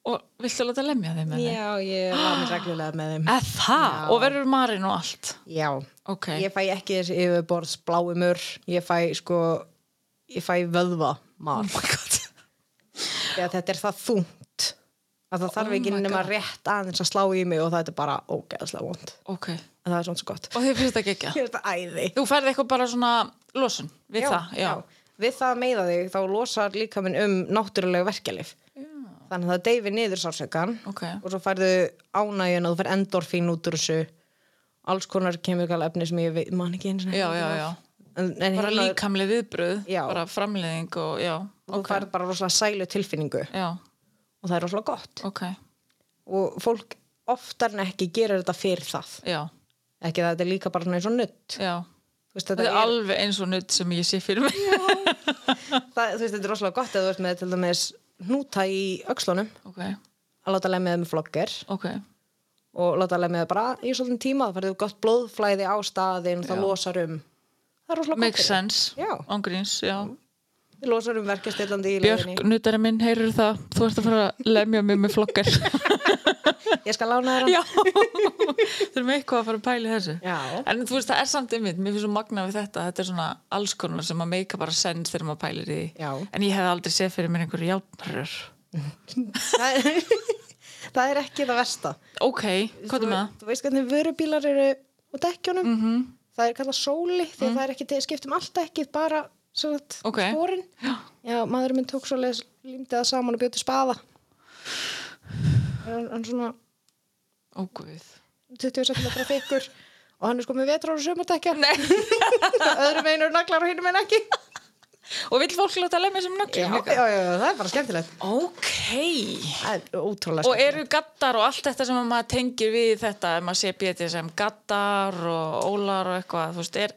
Speaker 2: og viltu láta lemja þeim með
Speaker 3: Já, ég var mér reglulega með þeim
Speaker 2: Eð það,
Speaker 3: Já.
Speaker 2: og verður marinn og allt
Speaker 3: Já,
Speaker 2: Ok,
Speaker 3: ég fæ ekki þessi yfirborðs bláumur ég fæ sko ég fæ vöðva mar
Speaker 2: oh my god
Speaker 3: Já, þetta er það þungt að það þarf ekki
Speaker 2: Oh my
Speaker 3: nema
Speaker 2: God.
Speaker 3: rétt aðeins að slá í mig og það er bara ógeðslega vond
Speaker 2: Ok,
Speaker 3: en það er svona svo gott
Speaker 2: og þið finnst ekki ekki
Speaker 3: Ég er þetta æði
Speaker 2: Þú færði eitthvað bara svona losun við það, já,
Speaker 3: Við það að meiða þig þá losar líka minn um náttúrulega verkelif þannig að það deyfi niður sársökan
Speaker 2: Ok.
Speaker 3: og svo færðu ánægjun og þú fær endorfín út úr þessu alls konar kemikal efni sem ég veit, man ekki eins og
Speaker 2: já, já, já.
Speaker 3: En, en
Speaker 2: Bara
Speaker 3: hérna,
Speaker 2: líkamlega viðbröð,
Speaker 3: Já.
Speaker 2: bara framleiðing og já,
Speaker 3: þú
Speaker 2: ok,
Speaker 3: færðu bara rosalega sælu tilfinningu
Speaker 2: já,
Speaker 3: og það er rosalega gott
Speaker 2: ok,
Speaker 3: og fólk oftar en ekki gerir þetta fyrir það
Speaker 2: já,
Speaker 3: ekki það, þetta er líka bara svona eins og nutt
Speaker 2: já.
Speaker 3: þú
Speaker 2: Þetta
Speaker 3: veist, þetta
Speaker 2: er
Speaker 3: er,
Speaker 2: alveg eins og nutt sem ég sé fyrir mig.
Speaker 3: það, þú veist, þetta er rosalega gott eða þú veist með til dæmis hnúta í öxlunum
Speaker 2: Ok,
Speaker 3: að láta lemja það með flokker
Speaker 2: ok,
Speaker 3: og láta lemja það bara í svolítinn tíma það færðu gott blóðflæði á staðin það
Speaker 2: Já.
Speaker 3: losar um það er rosalega
Speaker 2: make
Speaker 3: gott fyrir.
Speaker 2: sense,
Speaker 3: Já.
Speaker 2: ángríns, já.
Speaker 3: það losar um verkjastillandi í
Speaker 2: Björk,
Speaker 3: leiðinni
Speaker 2: nutari minn, heyrur það, þú ert að fara að lemja mig með flokkar.
Speaker 3: ég skal lána þér hann
Speaker 2: já, þurfum eitthvað að fara að pæli þessu.
Speaker 3: Já.
Speaker 2: En þú veist, það er samt einmitt, mér finnst svo magna við þetta, þetta er svona alls konar sem að meika bara sens þegar maður pælir í því.
Speaker 3: Já.
Speaker 2: En ég hef aldrei séð fyrir mér einhverju játnarur.
Speaker 3: það, er, það er ekki það versta
Speaker 2: Ok, hvað er með
Speaker 3: þú,
Speaker 2: Mhm. það?
Speaker 3: þú veist hvernig vörubílar eru á dekkjónum -hmm. það er kallað sóli því að það er ekki til- skipt um allt ekki bara svona
Speaker 2: Mhm. Ok.
Speaker 3: okay. spórin
Speaker 2: Já.
Speaker 3: já, maðurinn minn tók svo leis límdi það saman og bjóti spaða hann hann svona
Speaker 2: Ó, guð.
Speaker 3: 20 cm þykkur og hann er sko með vetrar og sömardekja öðrum einu er naglar og hinum einu ekki
Speaker 2: Og vill fólk láta lemja sem nöglum
Speaker 3: já, já, já, það er bara skemmtilegt
Speaker 2: Ok.
Speaker 3: það er ótrúlega
Speaker 2: Og eru gattar og allt þetta sem að maður tengir við þetta ef maður sé betið sem gattar og ólar og eitthvað, þú veist, er,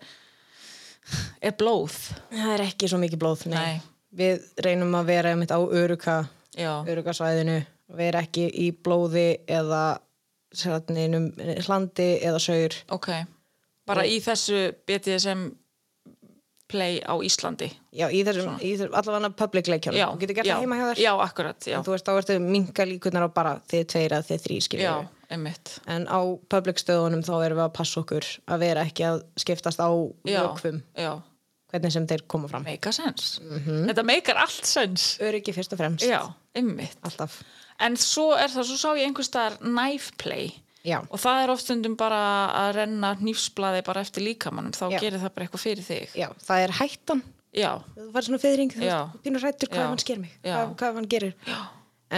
Speaker 2: er blóð.
Speaker 3: það er ekki svo mikið blóð nei.
Speaker 2: Nei.
Speaker 3: við reynum að vera einmitt á öruka
Speaker 2: Já,
Speaker 3: örugasvæðinu vera ekki í blóði eða sérnum, hlandi eða saur
Speaker 2: ok. Bara í þessu betið sem play á Íslandi.
Speaker 3: já, í þessum, í þessum allavega public leikjónum
Speaker 2: Já,
Speaker 3: þú getur gert
Speaker 2: já,
Speaker 3: það heima hjá þér
Speaker 2: Já, akkurat, já.
Speaker 3: En þú veist, þá ertu minga líkunar á bara þið tveir að þið þrý
Speaker 2: Já,
Speaker 3: skiljum
Speaker 2: einmitt.
Speaker 3: en á public stöðunum þá erum við að passa okkur að vera ekki að skiptast á
Speaker 2: Já,
Speaker 3: vökvum,
Speaker 2: já.
Speaker 3: hvernig sem þeir koma fram Mhm.
Speaker 2: Meika sens. Þetta meikar allt sens.
Speaker 3: öryggi fyrst og fremst
Speaker 2: Já, einmitt.
Speaker 3: alltaf,
Speaker 2: En svo er það, svo sá ég einhvers staðar knife play
Speaker 3: já,
Speaker 2: og það er oftundum bara að renna nýfsblaði bara eftir líkamannum, þá
Speaker 3: Já.
Speaker 2: gerir það bara eitthvað fyrir þig.
Speaker 3: já, það er hættan
Speaker 2: Já,
Speaker 3: þú færi svona fyrring, þú
Speaker 2: Já.
Speaker 3: veist, pínur rættur hvað
Speaker 2: Já.
Speaker 3: ef hann sker mig,
Speaker 2: Já.
Speaker 3: hvað, hvað ef hann gerir já.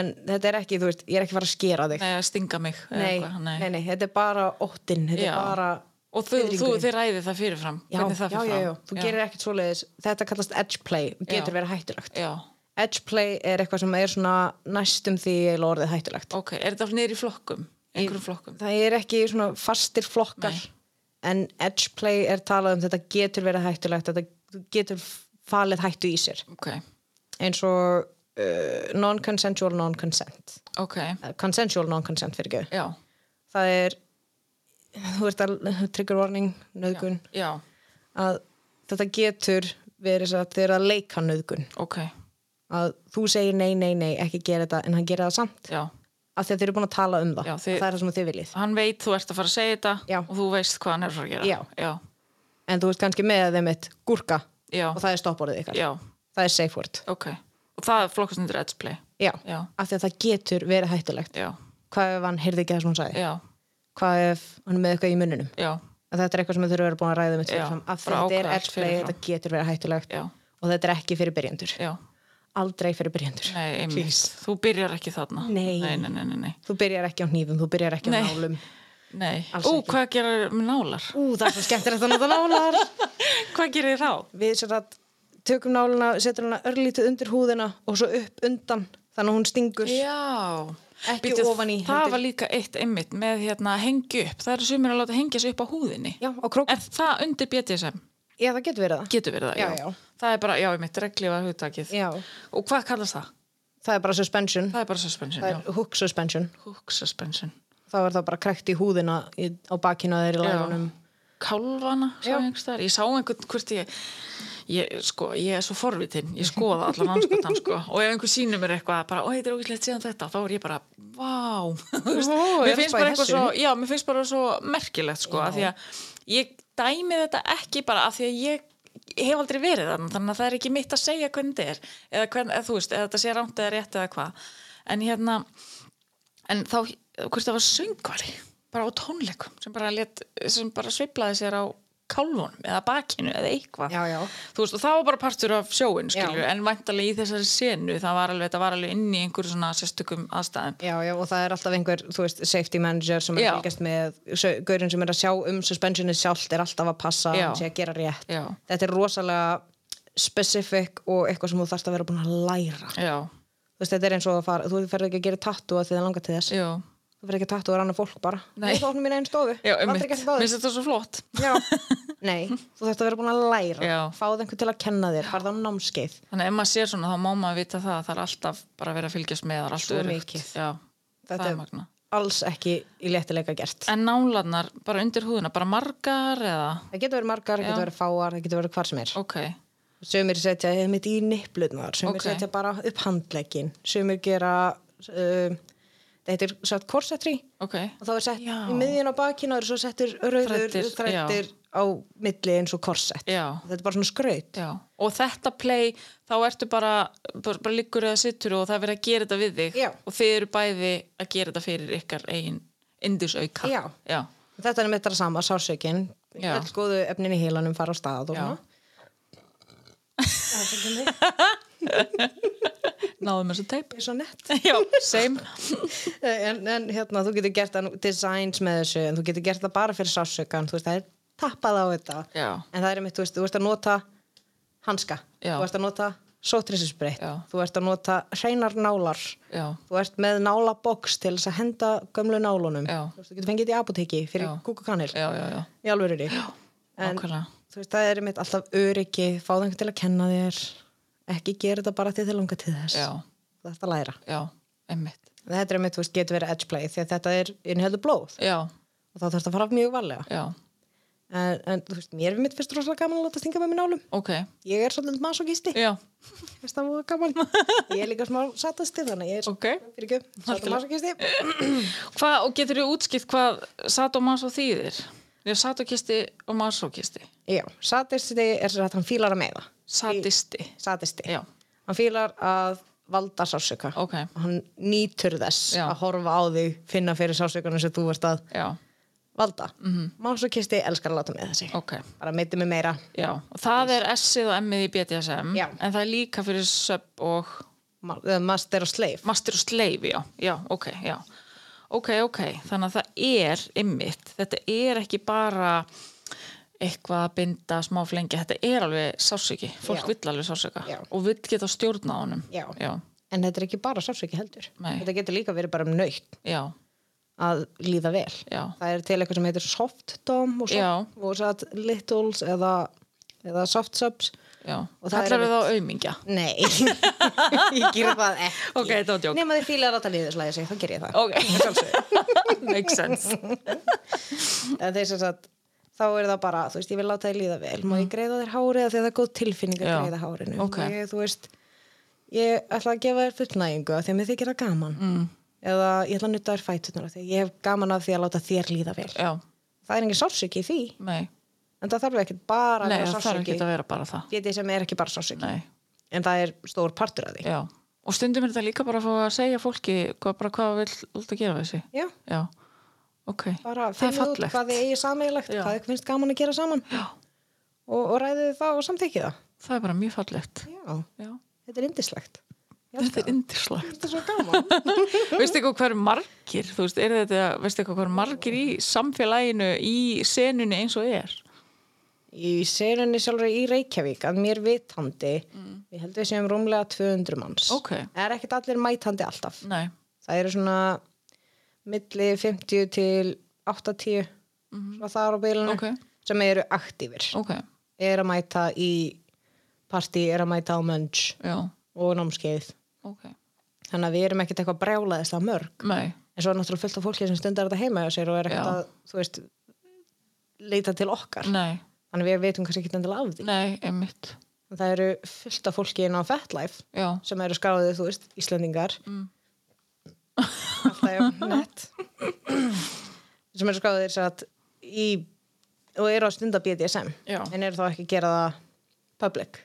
Speaker 3: en þetta er ekki, þú veist, ég er ekki að fara að skera þig
Speaker 2: nei, að stinga mig. eða
Speaker 3: nei,
Speaker 2: eitthvað,
Speaker 3: nei. nei, þetta er bara óttinn, þetta
Speaker 2: Já.
Speaker 3: er bara
Speaker 2: Og þú, þú,
Speaker 3: fiðringurinn.
Speaker 2: þið ræðið það fyrirfram,
Speaker 3: já,
Speaker 2: hvernig það
Speaker 3: já,
Speaker 2: fyrir
Speaker 3: já,
Speaker 2: fram.
Speaker 3: já, þú gerir ekkert svoleiðis þetta kallast edge play og getur
Speaker 2: Já.
Speaker 3: verið hættulegt
Speaker 2: Já,
Speaker 3: edge play er eitthvað sem er svona næstum því eiginlega orðið hættulegt
Speaker 2: ok, er þetta allir niður í flokkum, einhverjum flokkum?
Speaker 3: það er ekki svona fastir flokkar
Speaker 2: Nei.
Speaker 3: en edge play er talað um þetta getur verið hættulegt þetta þú getur falið hættu í sér
Speaker 2: Ok,
Speaker 3: eins og uh, non-consensual non-consent
Speaker 2: ok,
Speaker 3: Eh, consensual non-consent fyrir göð
Speaker 2: já,
Speaker 3: það er þú ert að trigger warning nöðgun
Speaker 2: já,
Speaker 3: að þetta getur verið svo að þeir eru að leika nöðgun
Speaker 2: ok,
Speaker 3: að þú segir nei, nei, nei, ekki gera þetta en hann gera það samt
Speaker 2: já.
Speaker 3: af því að þeir eru búin að tala um það
Speaker 2: Já, þið-
Speaker 3: það er það sem þið viljið
Speaker 2: Hann veit þú ert að fara að segja þetta
Speaker 3: Já.
Speaker 2: og þú veist hvað hann er að fara að gera.
Speaker 3: Já.
Speaker 2: já,
Speaker 3: en þú ert kannski með þeim eitt gúrka
Speaker 2: Já.
Speaker 3: og það er stopporðið ykkar
Speaker 2: já,
Speaker 3: það er safe word
Speaker 2: ok. Og það er flokkast undir edge play.
Speaker 3: Já.
Speaker 2: Já.
Speaker 3: af því að það getur verið hættulegt
Speaker 2: Já,
Speaker 3: hvað ef hann heyrði ekki það sem hann sagði
Speaker 2: já,
Speaker 3: hvað ef hann er með eitthvað í munninum
Speaker 2: já,
Speaker 3: að þetta er eitthvað sem þau eru að vera búin að ræða með
Speaker 2: Já,
Speaker 3: af því
Speaker 2: bara
Speaker 3: að þetta er
Speaker 2: ákveða
Speaker 3: edge play,
Speaker 2: fyrirfram.
Speaker 3: þetta getur verið hættulegt
Speaker 2: Já.
Speaker 3: og þetta er ekki fyrir byrjendur
Speaker 2: já.
Speaker 3: aldrei fyrir byrjendur
Speaker 2: Nei, einmitt.
Speaker 3: Please.
Speaker 2: Þú byrjar ekki þarna.
Speaker 3: Nei.
Speaker 2: Nei, nei, nei, nei, nei.
Speaker 3: þú byrjar ekki á hnífum, þú byrjar ekki á
Speaker 2: Nei.
Speaker 3: nálum
Speaker 2: Nei,
Speaker 3: Alls
Speaker 2: ú,
Speaker 3: ekki.
Speaker 2: hvað gerir með nálar?
Speaker 3: Ú, það er svo skemmtilegt að nota nálar.
Speaker 2: Hvað gerir þá?
Speaker 3: Við sér að tökum náluna, setjum hana örlítið undir húðina og svo upp undan þannig að hún stingur.
Speaker 2: Já,
Speaker 3: Ekki ofan í,
Speaker 2: Það
Speaker 3: heldur-
Speaker 2: var líka eitt einmitt með hérna að hengja upp. Það eru sumir að láta hengja sig upp á húðinni.
Speaker 3: Já, og krók.
Speaker 2: En það undir BDSM
Speaker 3: Já, það getur verið það.
Speaker 2: getur verið það,
Speaker 3: Já, já.
Speaker 2: Það er bara, já, einmitt, reglifa hugtakið.
Speaker 3: Já.
Speaker 2: Og hvað kallast það?
Speaker 3: Það er bara suspension.
Speaker 2: Það er bara suspension,
Speaker 3: Það er hook suspension.
Speaker 2: já. Hook suspension.
Speaker 3: Þá er það bara krekt í húðina í, á bakinu þeirri lægunum.
Speaker 2: Kálvana, sá
Speaker 3: Já.
Speaker 2: ég einhvers þar. Ég sá einhvern hvort ég, ég, sko, ég er svo forvitin, ég skoða allan anskotan, sko. Og ef einhver sýnir mér eitthvað, bara, ó, þetta er ógæslegt síðan þetta, þá er ég bara, vá. Þú veist,
Speaker 3: Ó, er
Speaker 2: mér
Speaker 3: að
Speaker 2: finnst
Speaker 3: spá í
Speaker 2: bara eitthvað
Speaker 3: þessu?
Speaker 2: svo, já, mér finnst bara svo merkilegt, sko, af því að ég dæmi þetta ekki bara af því að ég hef aldrei verið þannig, þannig að það er ekki mitt að segja hvernig þetta er, eða hvern, eða þú veist, eða þetta sé rámt eða rétt eða hvað. En hérna, en þá, hvort það var söngvari bara á tónleikum sem bara, let, sem bara sveiflaði sér á kálfunum eða bakinu eða eitthvað
Speaker 3: Já, já.
Speaker 2: þú veist og það var bara partur af sjóin skilju,
Speaker 3: Já.
Speaker 2: en væntalega í þessari senu það var alveg, það var alveg inn í einhverju svona sérstökum aðstæðum
Speaker 3: Já, já, og það er alltaf einhver, þú veist, safety manager sem er
Speaker 2: Já.
Speaker 3: að fylgjast með, sau- gaurinn sem er að sjá um suspensionið sjálft er alltaf að passa
Speaker 2: Já.
Speaker 3: hann sé að gera rétt.
Speaker 2: Já.
Speaker 3: Þetta er rosalega specific og eitthvað sem þú þarft að vera búin að læra.
Speaker 2: já,
Speaker 3: Þú veist, þetta er eins og að fara, þú ferð ekki að gera tattoo að því það langar til þess.
Speaker 2: já,
Speaker 3: Þú ferð ekki að tattoo að ranna fólk bara.
Speaker 2: Nei.
Speaker 3: Þú þáttum mín einn stofu.
Speaker 2: já,
Speaker 3: Aldrei
Speaker 2: um mitt
Speaker 3: gert það áður.
Speaker 2: minnst þetta svo flott
Speaker 3: Já, nei, þú þarft að vera búin að læra.
Speaker 2: Já.
Speaker 3: Fáð einhvern til að kenna þér, farð á námskeið.
Speaker 2: þannig að ef maður sér svona þá má maður vita það að það er alltaf bara verið að fylgjast með það er allt
Speaker 3: Svo
Speaker 2: öryggt.
Speaker 3: mikið.
Speaker 2: já,
Speaker 3: Þetta
Speaker 2: það
Speaker 3: er-
Speaker 2: er magna
Speaker 3: Alls ekki í léttileika gert.
Speaker 2: en nálarnar bara undir húðuna, bara margar eða,
Speaker 3: Það getur verið margar, það
Speaker 2: Já.
Speaker 3: getur verið fáar, það getur verið hvar sem er.
Speaker 2: ok
Speaker 3: Sumir setja einmitt í nipplunar, sumir
Speaker 2: Ok.
Speaker 3: setja bara upp handlegin, sumir gera, uh, það heitir satt korsetri
Speaker 2: ok,
Speaker 3: og þá er sett
Speaker 2: Já.
Speaker 3: í miðjun á bakinu og svo settur rauður
Speaker 2: Þræddir,
Speaker 3: þrættir, á milli eins og korsett.
Speaker 2: Já.
Speaker 3: Þetta er bara svona skraut.
Speaker 2: Já, og þetta play, þá ertu bara, bara, bara liggur eða sittur og það er verið að gera þetta við þig
Speaker 3: Já.
Speaker 2: og þið eru bæði að gera þetta fyrir ykkar eigin indusauka.
Speaker 3: Já.
Speaker 2: Já,
Speaker 3: Þetta er með þetta sama, sársökin,
Speaker 2: Já.
Speaker 3: öll góðu efnin í heilanum fara á stað
Speaker 2: Já.
Speaker 3: og svona.
Speaker 2: náðum þessu teip.
Speaker 3: Ég er svo nett.
Speaker 2: Já, same.
Speaker 3: En, en hérna, þú getur gert það nú- designs með þessu, en þú getur gert það bara fyrir sársökan, þú veist, það er tappað á þetta.
Speaker 2: Já.
Speaker 3: En það er einmitt, þú veist, þú veist að nota hanska,
Speaker 2: Já.
Speaker 3: þú veist að nota sótrisisbreytt,
Speaker 2: Já.
Speaker 3: þú veist að nota hreinar nálar,
Speaker 2: Já,
Speaker 3: þú ert með nálaboks til þess að henda gömlu nálunum.
Speaker 2: Já.
Speaker 3: Þú veist, þú getur fengið þetta í apoteki fyrir
Speaker 2: Já.
Speaker 3: kúkukanil,
Speaker 2: já, já, já,
Speaker 3: í alvörunni. En
Speaker 2: ákvæmlega.
Speaker 3: þú veist, það er einmitt alltaf öryggi, fáðu einhvern til að kenna þér, ekki gera þetta bara til þér langa til þess.
Speaker 2: Já,
Speaker 3: Þú þarft að læra.
Speaker 2: já, einmitt.
Speaker 3: En Þetta er einmitt, þú veist, getur verið edge play því að þetta er innhjöldu blóð
Speaker 2: Já,
Speaker 3: og þá þarfst að fara mjög varlega.
Speaker 2: já,
Speaker 3: En, en þú veist, mér er mitt fyrst rosalega gaman að láta stinga með mér nálum.
Speaker 2: ok,
Speaker 3: Ég er svolítið masokisti.
Speaker 2: já,
Speaker 3: Veist það var gaman. Ég er líka smá satasti þannig að ég er
Speaker 2: ok.
Speaker 3: fyrir ekki satomasokisti.
Speaker 2: Hvað, og getur þú útskipt hvað sadomaso þýðir? Já, sadokisti og masokisti.
Speaker 3: Já, satisti er sér að hann fílar að meða.
Speaker 2: Sadisti.
Speaker 3: Satisti.
Speaker 2: Já,
Speaker 3: Hann fílar að valda sásöka.
Speaker 2: ok,
Speaker 3: Og hann nýtur þess
Speaker 2: Já.
Speaker 3: að horfa á þig, finna fyrir sásökanum sem þú varst að
Speaker 2: já,
Speaker 3: valda. Mm -hmm. Masokisti elskar að láta með þessi.
Speaker 2: Mhm. ok.
Speaker 3: Bara meiti mig meira.
Speaker 2: Já, og það er S-ið og M-ið í BDSM
Speaker 3: Já.
Speaker 2: en það er líka fyrir sub og
Speaker 3: Ma- eða Master og slave.
Speaker 2: master og slave, já, já, ok, já ok, ok, þannig að það er ymmit, þetta er ekki bara eitthvað að binda smá flengja, þetta er alveg sásöki, fólk
Speaker 3: Já.
Speaker 2: vill alveg sásöka
Speaker 3: Já.
Speaker 2: og vill geta stjórna á honum
Speaker 3: Já.
Speaker 2: já,
Speaker 3: En þetta er ekki bara sásöki heldur.
Speaker 2: Nei.
Speaker 3: Þetta getur líka verið bara um nöytt
Speaker 2: já,
Speaker 3: að líða vel.
Speaker 2: Já.
Speaker 3: Það er til eitthvað sem heitir soft dom og,
Speaker 2: Já.
Speaker 3: soft, og satt littles eða, eða soft subs.
Speaker 2: já.
Speaker 3: Og það er
Speaker 2: kallar við þá aumingja
Speaker 3: Nei, ég ger það ekki.
Speaker 2: Ok, þetta var djók.
Speaker 3: Nefn að þið fílar að láta liðislega sig, þá ger ég það.
Speaker 2: ok, makes sense
Speaker 3: En þeir sem sagt, þá er það bara, þú veist, ég vil láta þið líða vel. Má ég greiða þér hárið af því að það er góð tilfinning að
Speaker 2: Mm. Já.
Speaker 3: greiða hárinu.
Speaker 2: Ok.
Speaker 3: Ég, þú veist, ég ætla að gefa þér fullnægingu af því að mér þykir það gaman. Mm. Eða ég ætla að nutta þér fætunar af því að ég hef gaman af því að láta þér líða vel.
Speaker 2: já,
Speaker 3: það er engin sársöki í því
Speaker 2: nei,
Speaker 3: en það þarf ekki bara að
Speaker 2: nei
Speaker 3: vera
Speaker 2: það þarf
Speaker 3: sársöki
Speaker 2: ekki að vera bara það
Speaker 3: getið sem er ekki bara sársöki
Speaker 2: nei
Speaker 3: en það er stór partur af því
Speaker 2: Já, og stundum er þetta líka bara að fá að segja fólki hvað, bara hvað það vill út að gera við þessi.
Speaker 3: já,
Speaker 2: Já, ok.
Speaker 3: bara
Speaker 2: það er
Speaker 3: finna út
Speaker 2: fallegt.
Speaker 3: hvað þið eigi sameigilegt
Speaker 2: Já.
Speaker 3: hvað þið finnst gaman að gera saman
Speaker 2: Já,
Speaker 3: og, og ræðið það og samþykja það
Speaker 2: það er bara mjög fallegt.
Speaker 3: já,
Speaker 2: Já,
Speaker 3: þetta er indislegt
Speaker 2: Þetta er yndislagt.
Speaker 3: Þetta er svo gaman.
Speaker 2: Veistu eitthvað hver margir, þú veist, er þetta, veistu eitthvað hver margir í samfélaginu, í senunni eins og er?
Speaker 3: í serunni sjálfur í Reykjavík að mér vitandi, við heldum við séum rúmlega 200 manns.
Speaker 2: Mm. Ok.
Speaker 3: Er ekkert allir mætandi alltaf.
Speaker 2: Nei.
Speaker 3: Það eru svona milli 50 til 80 svona þar á bílunum
Speaker 2: Mhm. Ok.
Speaker 3: sem eru aktífir.
Speaker 2: Ok,
Speaker 3: Er að mæta í partí, er að mæta á mönch
Speaker 2: já,
Speaker 3: og námskeið.
Speaker 2: ok.
Speaker 3: Þannig að við erum ekkert eitthvað brjálaðist að mörg.
Speaker 2: Nei,
Speaker 3: En svo er náttúrulega fullt af fólki sem stundar þetta heima hjá sér og er ekkert
Speaker 2: Já.
Speaker 3: að, þú veist, leita til okkar.
Speaker 2: nei,
Speaker 3: Þannig að við veitum kannski ekkert endilega af því.
Speaker 2: nei, einmitt.
Speaker 3: En það eru fullt af fólki inn á FetLife
Speaker 2: Já,
Speaker 3: sem eru skráðið, þú veist, Íslendingar mm. alltaf jafn nett sem eru skráðið satt, í, og eru að stunda BDSM
Speaker 2: Já.
Speaker 3: en eru þá ekki að gera það public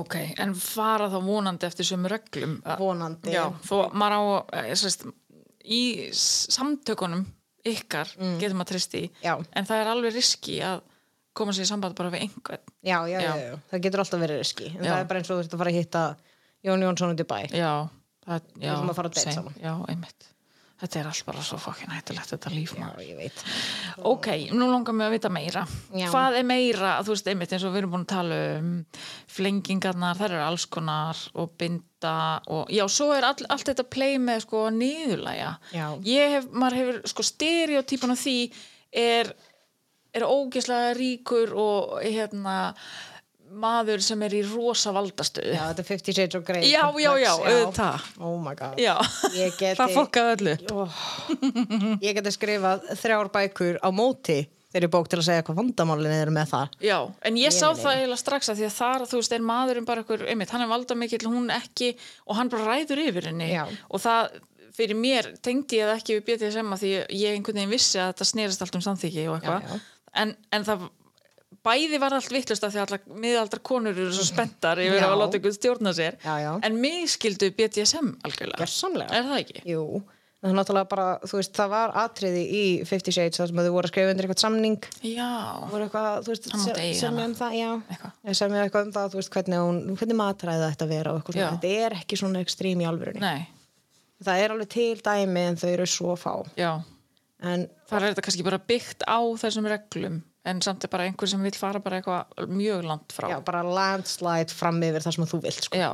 Speaker 2: ok, en fara þá vonandi eftir sömu reglum.
Speaker 3: vonandi
Speaker 2: Já, þó maður á, eh, sérst, í s- samtökunum ykkar getur maður trist í,
Speaker 3: Já.
Speaker 2: en það er alveg riski að koma sér í samband bara við einhvern.
Speaker 3: já, já, já,
Speaker 2: Já.
Speaker 3: já. það getur alltaf verið riski en
Speaker 2: Já.
Speaker 3: það er bara eins og þú veist að fara að hitta Jón Jónsson út í bæ
Speaker 2: Já, það, já,
Speaker 3: ætlum að fara á date
Speaker 2: same.
Speaker 3: saman.
Speaker 2: Já, einmitt. Þetta er allt bara svo fokkin hættilegt þetta líf
Speaker 3: já,
Speaker 2: maður.
Speaker 3: ég veit
Speaker 2: Ok, nú langar mig að vita meira.
Speaker 3: Já.
Speaker 2: Hvað er meira, þú veist, einmitt eins og við erum búin að tala um flengingarnar, þær eru alls konar og binda og já, svo er all, allt þetta play með sko niðurlæja.
Speaker 3: Já.
Speaker 2: Ég hef, maður hefur sko stereotypun á því er, er ógeðslega ríkur og hérna maður sem er í rosa valdastöðu.
Speaker 3: já, þetta er 50 Shades of Grey
Speaker 2: Já, já, já,
Speaker 3: complex,
Speaker 2: auðvitað.
Speaker 3: oh my god
Speaker 2: Já,
Speaker 3: Ég geti-
Speaker 2: það fokkaði öllu.
Speaker 3: oh. ég geti skrifað þrjár bækur á móti þeirri bók til að segja hvað vandamálin er með það
Speaker 2: Já, en ég sá
Speaker 3: Ég meina-
Speaker 2: það eiginlega strax að því að þar, þú veist, er maðurinn bara einhver, einmitt, hann er valda mikill, hún ekki og hann bara ræður yfir henni
Speaker 3: Já.
Speaker 2: og það, fyrir mér, tengdi ég það ekki við BDSM að því ég einhvern veginn vissi að þetta snerist allt um samþyggi og
Speaker 3: Já, já.
Speaker 2: eitthvað en, en það, bæði var allt vittlust af því að allar miðaldar konur eru svo spenntar yfir
Speaker 3: Já.
Speaker 2: að láta ykkur stjórna sér
Speaker 3: Já, já.
Speaker 2: en mig skildu BDSM algjörlega
Speaker 3: Gjörsamlega.
Speaker 2: Er það ekki?
Speaker 3: Jú, en það er náttúrulega bara, þú veist, það var atriði í Fifty Shades þar sem þau voru að skrifa undir eitthvað samning
Speaker 2: Já,
Speaker 3: voru eitthvað, þú veist,
Speaker 2: Hann mátti eiga
Speaker 3: sem
Speaker 2: hana.
Speaker 3: um það, já
Speaker 2: Eitthvað.
Speaker 3: sem er eitthvað um það, þú veist, hvernig, hún, hvernig matræði þetta að vera og eitthvað, svona.
Speaker 2: Já.
Speaker 3: þetta er ekki svona ekstrím í alvörunni
Speaker 2: nei,
Speaker 3: það er alveg til dæmi en þau eru svo fá
Speaker 2: já
Speaker 3: en
Speaker 2: þar er þetta kannski bara byggt á þessum reglum en samt er bara einhver sem vil fara bara eitthvað mjög langt frá
Speaker 3: já, bara landslide fram yfir það sem þú vilt, sko
Speaker 2: Já.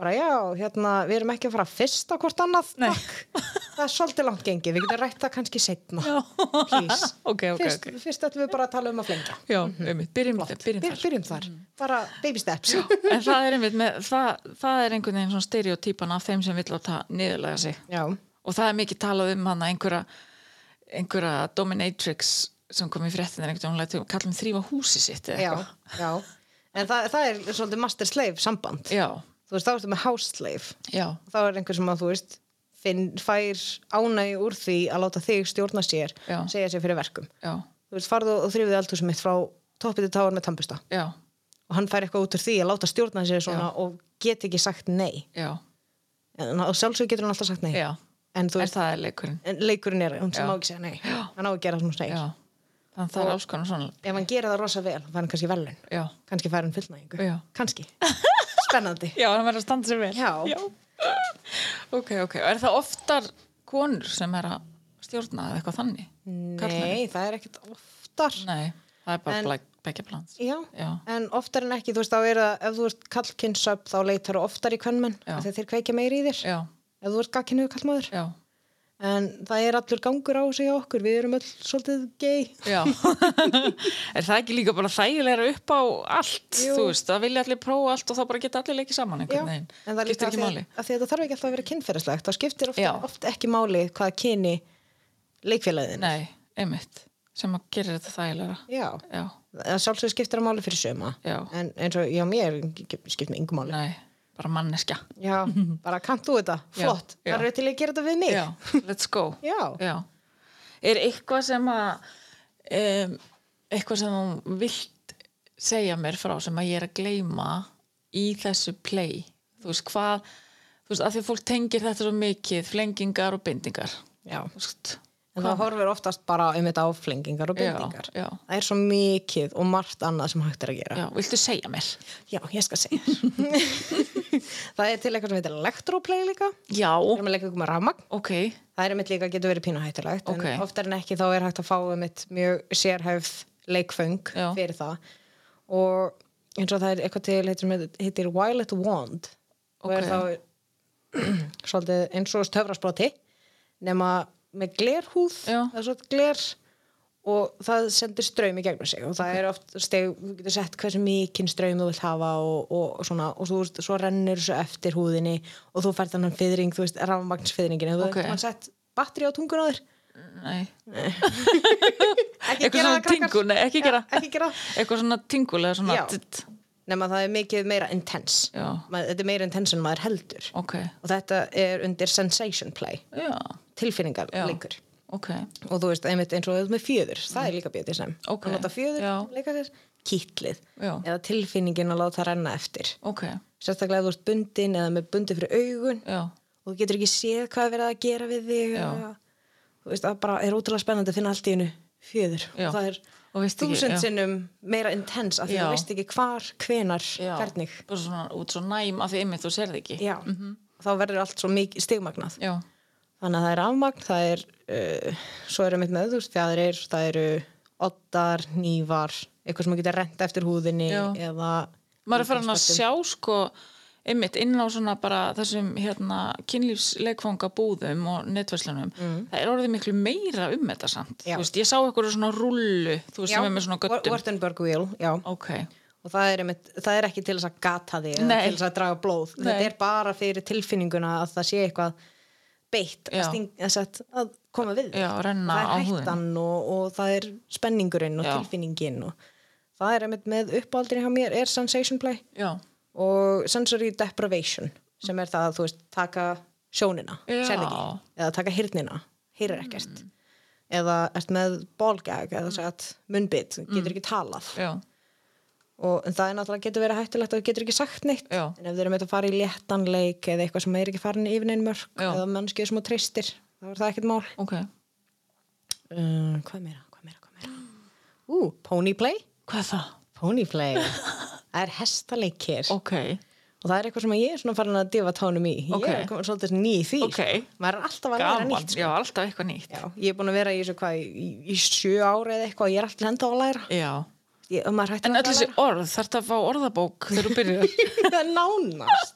Speaker 3: bara já, hérna, við erum ekki að fara fyrst á hvort annað, takk það er svolítið langt gengið, við getum rætt það kannski setna please
Speaker 2: Ok, ok,
Speaker 3: fyrst,
Speaker 2: ok.
Speaker 3: fyrst ætlum við bara að tala um að flengja
Speaker 2: Já, einmitt, byrjum, þar, byrjum
Speaker 3: Byr,
Speaker 2: þar Mm.
Speaker 3: byrjum þar, bara baby steps
Speaker 2: en það er einmitt með, það, það er einhvern veginn svona stereotypan af þeim sem vil láta niðurlega sig
Speaker 3: já,
Speaker 2: og það er mikið talað um hann einhverja, einhverja dominatrix sem kom í fréttinir einhvern veginn, hún lætur kallum þrýfa húsi sitt eða
Speaker 3: já,
Speaker 2: eitthvað
Speaker 3: já en það, það er svolítið master slave samband
Speaker 2: Já,
Speaker 3: þú veist, þá ertu með house slave
Speaker 2: já,
Speaker 3: þá er einhver sem að þú veist finn, fær ánægi úr því að láta þig stjórna sér
Speaker 2: Já.
Speaker 3: segja sér fyrir verkum
Speaker 2: já,
Speaker 3: þú veist, farðu og þrýfðu eldhúsum mitt frá toppið til táan með tampusta
Speaker 2: já,
Speaker 3: og hann fær eitthvað út úr því að láta stjórna sér svona og get ekki sagt nei
Speaker 2: já,
Speaker 3: en á sjálfsög getur hann alltaf sagt nei
Speaker 2: já
Speaker 3: en þú
Speaker 2: En
Speaker 3: veist,
Speaker 2: það er leikurinn
Speaker 3: en leikurinn er hún sem
Speaker 2: Já.
Speaker 3: má ekki segja nei, hann á að gera það sem hún segir
Speaker 2: Já, þannig að það er alls konar svona
Speaker 3: ef hann gera það rosa vel, þá fær hann kannski velun
Speaker 2: Já,
Speaker 3: kannski fær hann fullnægingu,
Speaker 2: Já.
Speaker 3: kannski spennandi
Speaker 2: Já, það verður að standa sér vel.
Speaker 3: Já.
Speaker 2: Ok, ok. Og Er það oftar konur sem er að stjórna eða eitthvað þannig?
Speaker 3: Mm.
Speaker 2: Karlmenn?
Speaker 3: nei, það er ekkit oftar
Speaker 2: Nei, það er bara
Speaker 3: En-
Speaker 2: black, begge plans.
Speaker 3: já.
Speaker 2: Já.
Speaker 3: en oftar en ekki, þú veist, þá er það ef þú ert kallkynnsöp, þá leitar þú oftar í kvennmenn
Speaker 2: Já.
Speaker 3: þegar þeir kveikja meiri í þér
Speaker 2: Já,
Speaker 3: ef þú ert gagkinuðu kallmaður
Speaker 2: já,
Speaker 3: en það er allur gangur á sig á okkur við erum öll svolítið gay
Speaker 2: já. er það ekki líka bara þægilega upp á allt?
Speaker 3: Jú.
Speaker 2: Þú veist, það vilja allir prófa allt og þá bara geta allir leikið saman
Speaker 3: Já,
Speaker 2: einhvern veginn.
Speaker 3: en það
Speaker 2: Skiptir
Speaker 3: líka
Speaker 2: ekki
Speaker 3: að,
Speaker 2: máli.
Speaker 3: að því að það þarf ekki alltaf að vera kynferðislegt það skiptir oft,
Speaker 2: Já.
Speaker 3: oft ekki máli hvaða kyni leikfélagin
Speaker 2: Nei, einmitt. Sem að gera þetta þægilega.
Speaker 3: já,
Speaker 2: Já,
Speaker 3: það sjálfsög skiptir að máli fyrir söma
Speaker 2: Já.
Speaker 3: en eins og já mér skiptir mig yngum máli
Speaker 2: nei, bara manneskja.
Speaker 3: já, bara kannt þú þetta,
Speaker 2: Já,
Speaker 3: flott
Speaker 2: já.
Speaker 3: það eru til að gera þetta við mig
Speaker 2: Já, let's go.
Speaker 3: Já.
Speaker 2: sko. Er eitthvað sem að um, eitthvað sem hún vilt segja mér frá sem að ég er að gleyma í þessu play þú veist hvað þú veist, að því að fólk tengir þetta svo mikið flengingar og bindingar
Speaker 3: Já.
Speaker 2: Þú veist,
Speaker 3: en það horfir oftast bara um þetta á flengingar og
Speaker 2: Já,
Speaker 3: bindingar
Speaker 2: já.
Speaker 3: það er svo mikið og margt annað sem hægt er að gera
Speaker 2: Já, viltu segja mér?
Speaker 3: já, ég skal segja þér. það er til eitthvað sem heitir elektroplay líka
Speaker 2: Já,
Speaker 3: það er með leika ykkur með rafmagn
Speaker 2: ok,
Speaker 3: það er einmitt líka getur verið pínu hættulegt
Speaker 2: Ókei.
Speaker 3: en oftar en ekki þá er hægt að fá einmitt mjög sérhæfð leikföng
Speaker 2: Já.
Speaker 3: fyrir það og eins og það er eitthvað til heitir, með, heitir Violet Wand og er
Speaker 2: Ókei.
Speaker 3: þá svolítið eins og stöfrasproti nema með glerhúð
Speaker 2: Já.
Speaker 3: það er svolítið gler og það sendir straum í gegnum sig og það er oft steg, þú getur sett hversu mikinn straum þú vilt hafa og, og svona og þú veist, svo rennur þessu eftir húðinni og þú fært annan fyrring, þú veist, rafmagnsfyrringin og þú
Speaker 2: Ókei.
Speaker 3: okay. mann sett batteri á tungun á þér
Speaker 2: nei
Speaker 3: ekki
Speaker 2: Eitthvað
Speaker 3: gera
Speaker 2: svona
Speaker 3: það krakkar
Speaker 2: tingu, nei, ekki gera
Speaker 3: ekki gera það.
Speaker 2: Eitthvað svona tingulega svona
Speaker 3: Já.
Speaker 2: titt.
Speaker 3: nema það er mikið meira intense
Speaker 2: Já.
Speaker 3: Maður- þetta er meira intense en maður heldur
Speaker 2: Ok,
Speaker 3: og þetta er undir sensation play
Speaker 2: já,
Speaker 3: tilfinningar
Speaker 2: Já.
Speaker 3: leikur
Speaker 2: ok
Speaker 3: og þú veist, einmitt eins og þú ert með fjöður það er líka BDSM
Speaker 2: Ok.
Speaker 3: að láta fjöður
Speaker 2: Já.
Speaker 3: leika sér kýtlið
Speaker 2: Já.
Speaker 3: eða tilfinningin að láta renna eftir
Speaker 2: Ok,
Speaker 3: sérstaklega ef þú ert bundin eða með bundi fyrir augun
Speaker 2: já,
Speaker 3: og þú getur ekki séð hvað er verið að gera við þig
Speaker 2: Já.
Speaker 3: eða- þú veist, það bara er ótrúlega spennandi að finna allt í hennu fjöður
Speaker 2: Já.
Speaker 3: og það er
Speaker 2: Og veist ekki,
Speaker 3: þúsund
Speaker 2: já.
Speaker 3: sinnum meira intens af því
Speaker 2: Já.
Speaker 3: að þú veist ekki hvar, hvenar,
Speaker 2: já Mhm.
Speaker 3: hvernig
Speaker 2: Bara svona út svo næm af því einmitt þú sér það ekki
Speaker 3: já, þá verður allt svo mikið stigmagnað
Speaker 2: Já,
Speaker 3: þannig að það er afmagn, það er uh, svo erum við með, þú veist, fjæðrir það eru oddar, nývar eitthvað sem þú getur rent eftir húðinni
Speaker 2: Já.
Speaker 3: eða
Speaker 2: maður er farin að sjá sko einmitt inn á svona bara þessum hérna kynlífsleikfangabúðum og netverslunum, það er orðið miklu meira um þetta samt,
Speaker 3: Mm. Já.
Speaker 2: þú veist, ég sá eitthvað svona rullu, þú veist,
Speaker 3: Já,
Speaker 2: sem er með svona göttum
Speaker 3: Wartenberg wheel, já
Speaker 2: ok,
Speaker 3: og það er, einmitt, það er ekki til þess að gata þig eða
Speaker 2: Nei.
Speaker 3: til þess að draga blóð
Speaker 2: Nei.
Speaker 3: þetta er bara fyrir tilfinninguna að það sé eitthvað beitt að,
Speaker 2: Já.
Speaker 3: sting, að, sett, að koma við þig.
Speaker 2: Já, renna
Speaker 3: það
Speaker 2: á
Speaker 3: er
Speaker 2: húðina.
Speaker 3: hættan og, og það er spenningurinn og
Speaker 2: Já.
Speaker 3: tilfinningin og það er einmitt með uppáldinu hjá mér er sensation play
Speaker 2: já,
Speaker 3: og sensory deprivation sem er það að þú veist taka sjónina,
Speaker 2: Já.
Speaker 3: sér ekki eða taka hirnina, heyrir ekkert eða ert með bólgag eða sagt munnbytt, getur ekki talað
Speaker 2: já,
Speaker 3: og en það er náttúrulega getur verið hættulegt að þú getur ekki sagt neitt
Speaker 2: Já.
Speaker 3: en ef þau eru með að fara í léttanleik eða eitthvað sem er ekki farin yfir neinn mörg
Speaker 2: Já.
Speaker 3: eða mannskið sem þú treystir, þá er það ekkert mál
Speaker 2: ok
Speaker 3: uh, hvað meira, hvað meira, hvað meira ú, ponyplay
Speaker 2: hvað er það?
Speaker 3: ponyplay, það er hestaleikir
Speaker 2: ok,
Speaker 3: og það er eitthvað sem ég er svona farin að difa tánum í
Speaker 2: Ok.
Speaker 3: ég er komin svolítið ný í því
Speaker 2: Ok.
Speaker 3: maður er alltaf að læra
Speaker 2: gaman,
Speaker 3: nýtt sko.
Speaker 2: já, alltaf eitthvað nýtt
Speaker 3: Já, ég er búin að vera í þessu hvað í, í sjö ári eða eitthvað, ég er alltaf enda á að læra
Speaker 2: já,
Speaker 3: ég, maður er hægt
Speaker 2: en
Speaker 3: að
Speaker 2: öll þessi orð þarf þetta að fá orðabók þegar þú byrjar
Speaker 3: það er nánast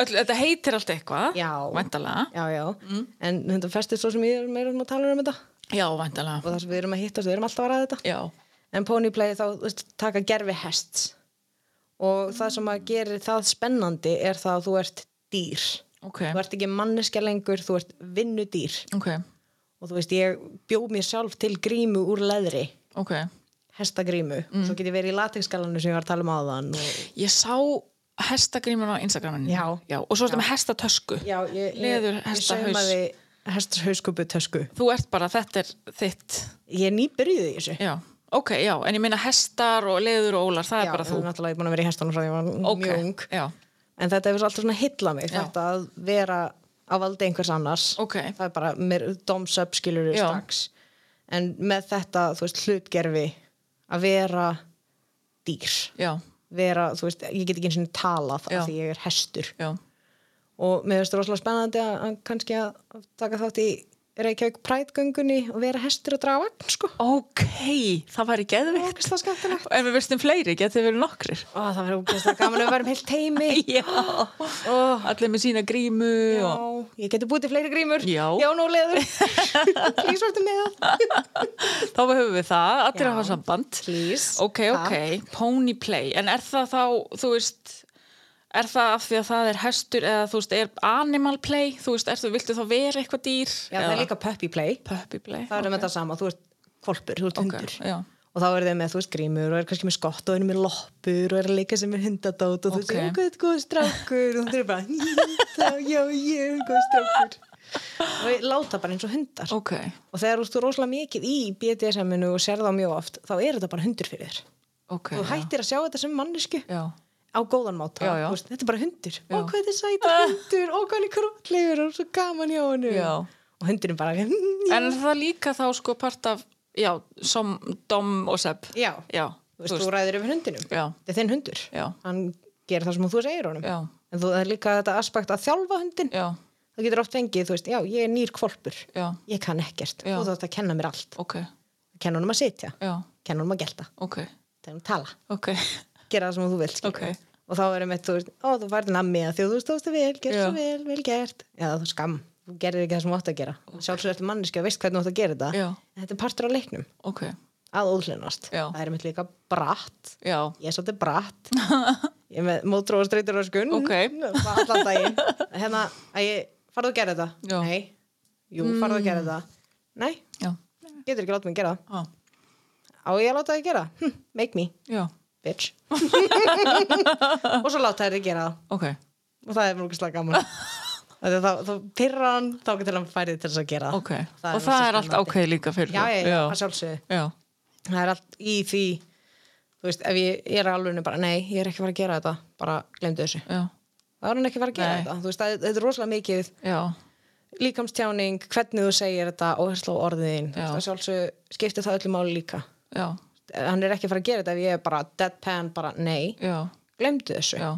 Speaker 2: öll, þetta heitir allt eitthvað
Speaker 3: Já.
Speaker 2: væntalega,
Speaker 3: já, já,
Speaker 2: Mm.
Speaker 3: en þetta festist svo sem ég er meira um að tala um þetta
Speaker 2: já,
Speaker 3: og
Speaker 2: væntalega
Speaker 3: það sem við erum að hittast, við erum alltaf að ræða þetta
Speaker 2: já,
Speaker 3: en ponyplay þá þú veist, taka gerfi hest og það sem að gerir það spennandi er það að þú ert dýr
Speaker 2: ok,
Speaker 3: þú ert ekki manneskja lengur, þú ert vinnudýr
Speaker 2: ok
Speaker 3: og þú veist, ég bjó mér sjálf til grímu úr leðri
Speaker 2: ok,
Speaker 3: hestagrímu,
Speaker 2: Mm.
Speaker 3: og svo get ég verið í latexskalanu sem ég var að tala um áðan og...
Speaker 2: Ég sá hestagrímur á Instagraminu.
Speaker 3: Já.
Speaker 2: og svo ertu með hestatösku.
Speaker 3: já, ég, ég,
Speaker 2: Leður
Speaker 3: ég
Speaker 2: hestahaus.
Speaker 3: saumaði hestahauskupu tösku
Speaker 2: Þú ert bara, þetta er þitt.
Speaker 3: ég er nýbyrjuð í þessu
Speaker 2: Já. Ok, já, en ég meina hestar og leður og ólar, það
Speaker 3: Já,
Speaker 2: er bara þú.
Speaker 3: er náttúrulega búin að vera í hestunum frá því að ég var
Speaker 2: Ok,
Speaker 3: mjög ung
Speaker 2: Já,
Speaker 3: en þetta hefur alltaf svona hilla mig
Speaker 2: Já.
Speaker 3: þetta að vera á valdi einhvers annars
Speaker 2: Ok.
Speaker 3: það er bara, mér doms up skilur
Speaker 2: Já.
Speaker 3: strax en með þetta, þú veist, hlutgerfi að vera dýr
Speaker 2: já,
Speaker 3: vera, þú veist, ég get ekki eins og talað
Speaker 2: Já.
Speaker 3: af því ég er hestur
Speaker 2: já,
Speaker 3: og mér finnst rosalega spennandi að, að kannski að taka þátt í Reykjavík prætgöngunni og vera hestur að draga vagn, sko,
Speaker 2: Ok, það væri geðvikt.
Speaker 3: það er það skemmtilegt
Speaker 2: En við veistum fleiri, getið verið nokkrir.
Speaker 3: Ó, það verður ógeðslega gaman að vera um heilt teimi
Speaker 2: Já. Allir með sína grímu
Speaker 3: Já,
Speaker 2: og...
Speaker 3: ég geti búið til fleiri grímur
Speaker 2: Já.
Speaker 3: Já, nú leður Please verður með það
Speaker 2: Þá höfum við það, allir
Speaker 3: Já.
Speaker 2: að hafa samband.
Speaker 3: Please
Speaker 2: Ok, ok, pony play En er það þá, þú veist Er það af því að það er hestur eða þú veist, er animal play þú veist, er þú, viltu þá vera eitthvað dýr
Speaker 3: Já, það er líka puppy play
Speaker 2: puppy play
Speaker 3: Það er um þetta sama, þú ert kvolpur, þú ert
Speaker 2: Ok,
Speaker 3: hundur
Speaker 2: já.
Speaker 3: Og þá eru þau með, þú veist, grímur og eru kannski með skott og eru með loppur og eru líka sem er hundadót og þú veist,
Speaker 2: Ok.
Speaker 3: ok, þetta er góð strákur og þú er bara, "Ný, þá, já, ég er góð strákur og ég láta bara eins og hundar
Speaker 2: Ok,
Speaker 3: og þegar þú ert rosalega mikið í BDSM-inu og sér þá mjög oft, þá er þetta bara hundur fyrir þér
Speaker 2: ok
Speaker 3: Þú
Speaker 2: já.
Speaker 3: hættir að sjá þetta sem mannesku
Speaker 2: Já,
Speaker 3: á góðan máta
Speaker 2: Já, já.
Speaker 3: þú Veist, þetta er bara hundur, ó
Speaker 2: Já. Ah.
Speaker 3: hvað þetta er sætur hundur ó hvað hann er krútlegur og svo gaman hjá hann
Speaker 2: Já.
Speaker 3: og hundurinn bara
Speaker 2: En er það líka þá sko part af, já, som, dom og sepp.
Speaker 3: já,
Speaker 2: Já,
Speaker 3: þú veist, þú ræður yfir hundinum
Speaker 2: Já,
Speaker 3: þetta er þinn hundur,
Speaker 2: Já.
Speaker 3: hann gerir það sem þú segir honum
Speaker 2: já,
Speaker 3: en þú, það er líka þetta aspekt að þjálfa hundin
Speaker 2: já,
Speaker 3: það getur oft fengið, þú veist, já, ég er nýr kvolpur
Speaker 2: já,
Speaker 3: ég kann ekkert,
Speaker 2: Já.
Speaker 3: og þú ætti að kenna mér allt
Speaker 2: ok,
Speaker 3: kenna honum að sitja,
Speaker 2: já,
Speaker 3: kenna honum að gelta
Speaker 2: ok,
Speaker 3: kenna honum að tala,
Speaker 2: ok,
Speaker 3: gera það sem þú vilt skilur
Speaker 2: Ok.
Speaker 3: við. og þá erum við, þú veist, ó, þú færði nammi að því að þú stóðst þig vel, gerði
Speaker 2: Já.
Speaker 3: svo vel, vel gert já, þú skam, þú gerir ekki það sem þú átt að gera okay. sjálfsög ertu manneski og veist hvernig þú átt að gera þetta
Speaker 2: Já.
Speaker 3: en þetta er partur á leiknum,
Speaker 2: ok,
Speaker 3: að óhlunast
Speaker 2: Já.
Speaker 3: það er mitt líka bratt
Speaker 2: já,
Speaker 3: ég er svolítið bratt ég er með mótró og streytur og skun
Speaker 2: Ok.
Speaker 3: allan daginn hérna, að ég, farðu að gera þetta?
Speaker 2: Já. Mm.
Speaker 3: nei, jú, farðu að gera þetta nei,
Speaker 2: já,
Speaker 3: getur ekki láta mig að gera það.
Speaker 2: já,
Speaker 3: á ég að láta þig gera? það? Hm, make me,
Speaker 2: já,
Speaker 3: bitch og svo láta þér þig gera það
Speaker 2: ok,
Speaker 3: og það er mjög slag gaman Af því að þá, þá pyrra hann þá getur hann færið til þess að gera það.
Speaker 2: ok.
Speaker 3: Það er
Speaker 2: og það
Speaker 3: rosa
Speaker 2: er allt
Speaker 3: spennandi.
Speaker 2: ok líka fyrir
Speaker 3: já,
Speaker 2: það.
Speaker 3: ég, já, að sjálfsögðu
Speaker 2: já,
Speaker 3: það er allt í því þú veist, ef ég, ég er alveg bara, nei, ég er ekki að fara að gera þetta bara glemdu þessu
Speaker 2: já,
Speaker 3: það er hann ekki að fara að gera
Speaker 2: Nei.
Speaker 3: þetta þú veist, það, þetta er rosalega mikið
Speaker 2: já,
Speaker 3: líkamstjáning, hvernig þú segir þetta óherslu á orðin,
Speaker 2: Já.
Speaker 3: það sjálfsög skiptir það öllu máli líka
Speaker 2: já,
Speaker 3: hann er ekki að fara að gera þetta ef ég er bara deadpan bara nei,
Speaker 2: já,
Speaker 3: glemdu þessu
Speaker 2: já,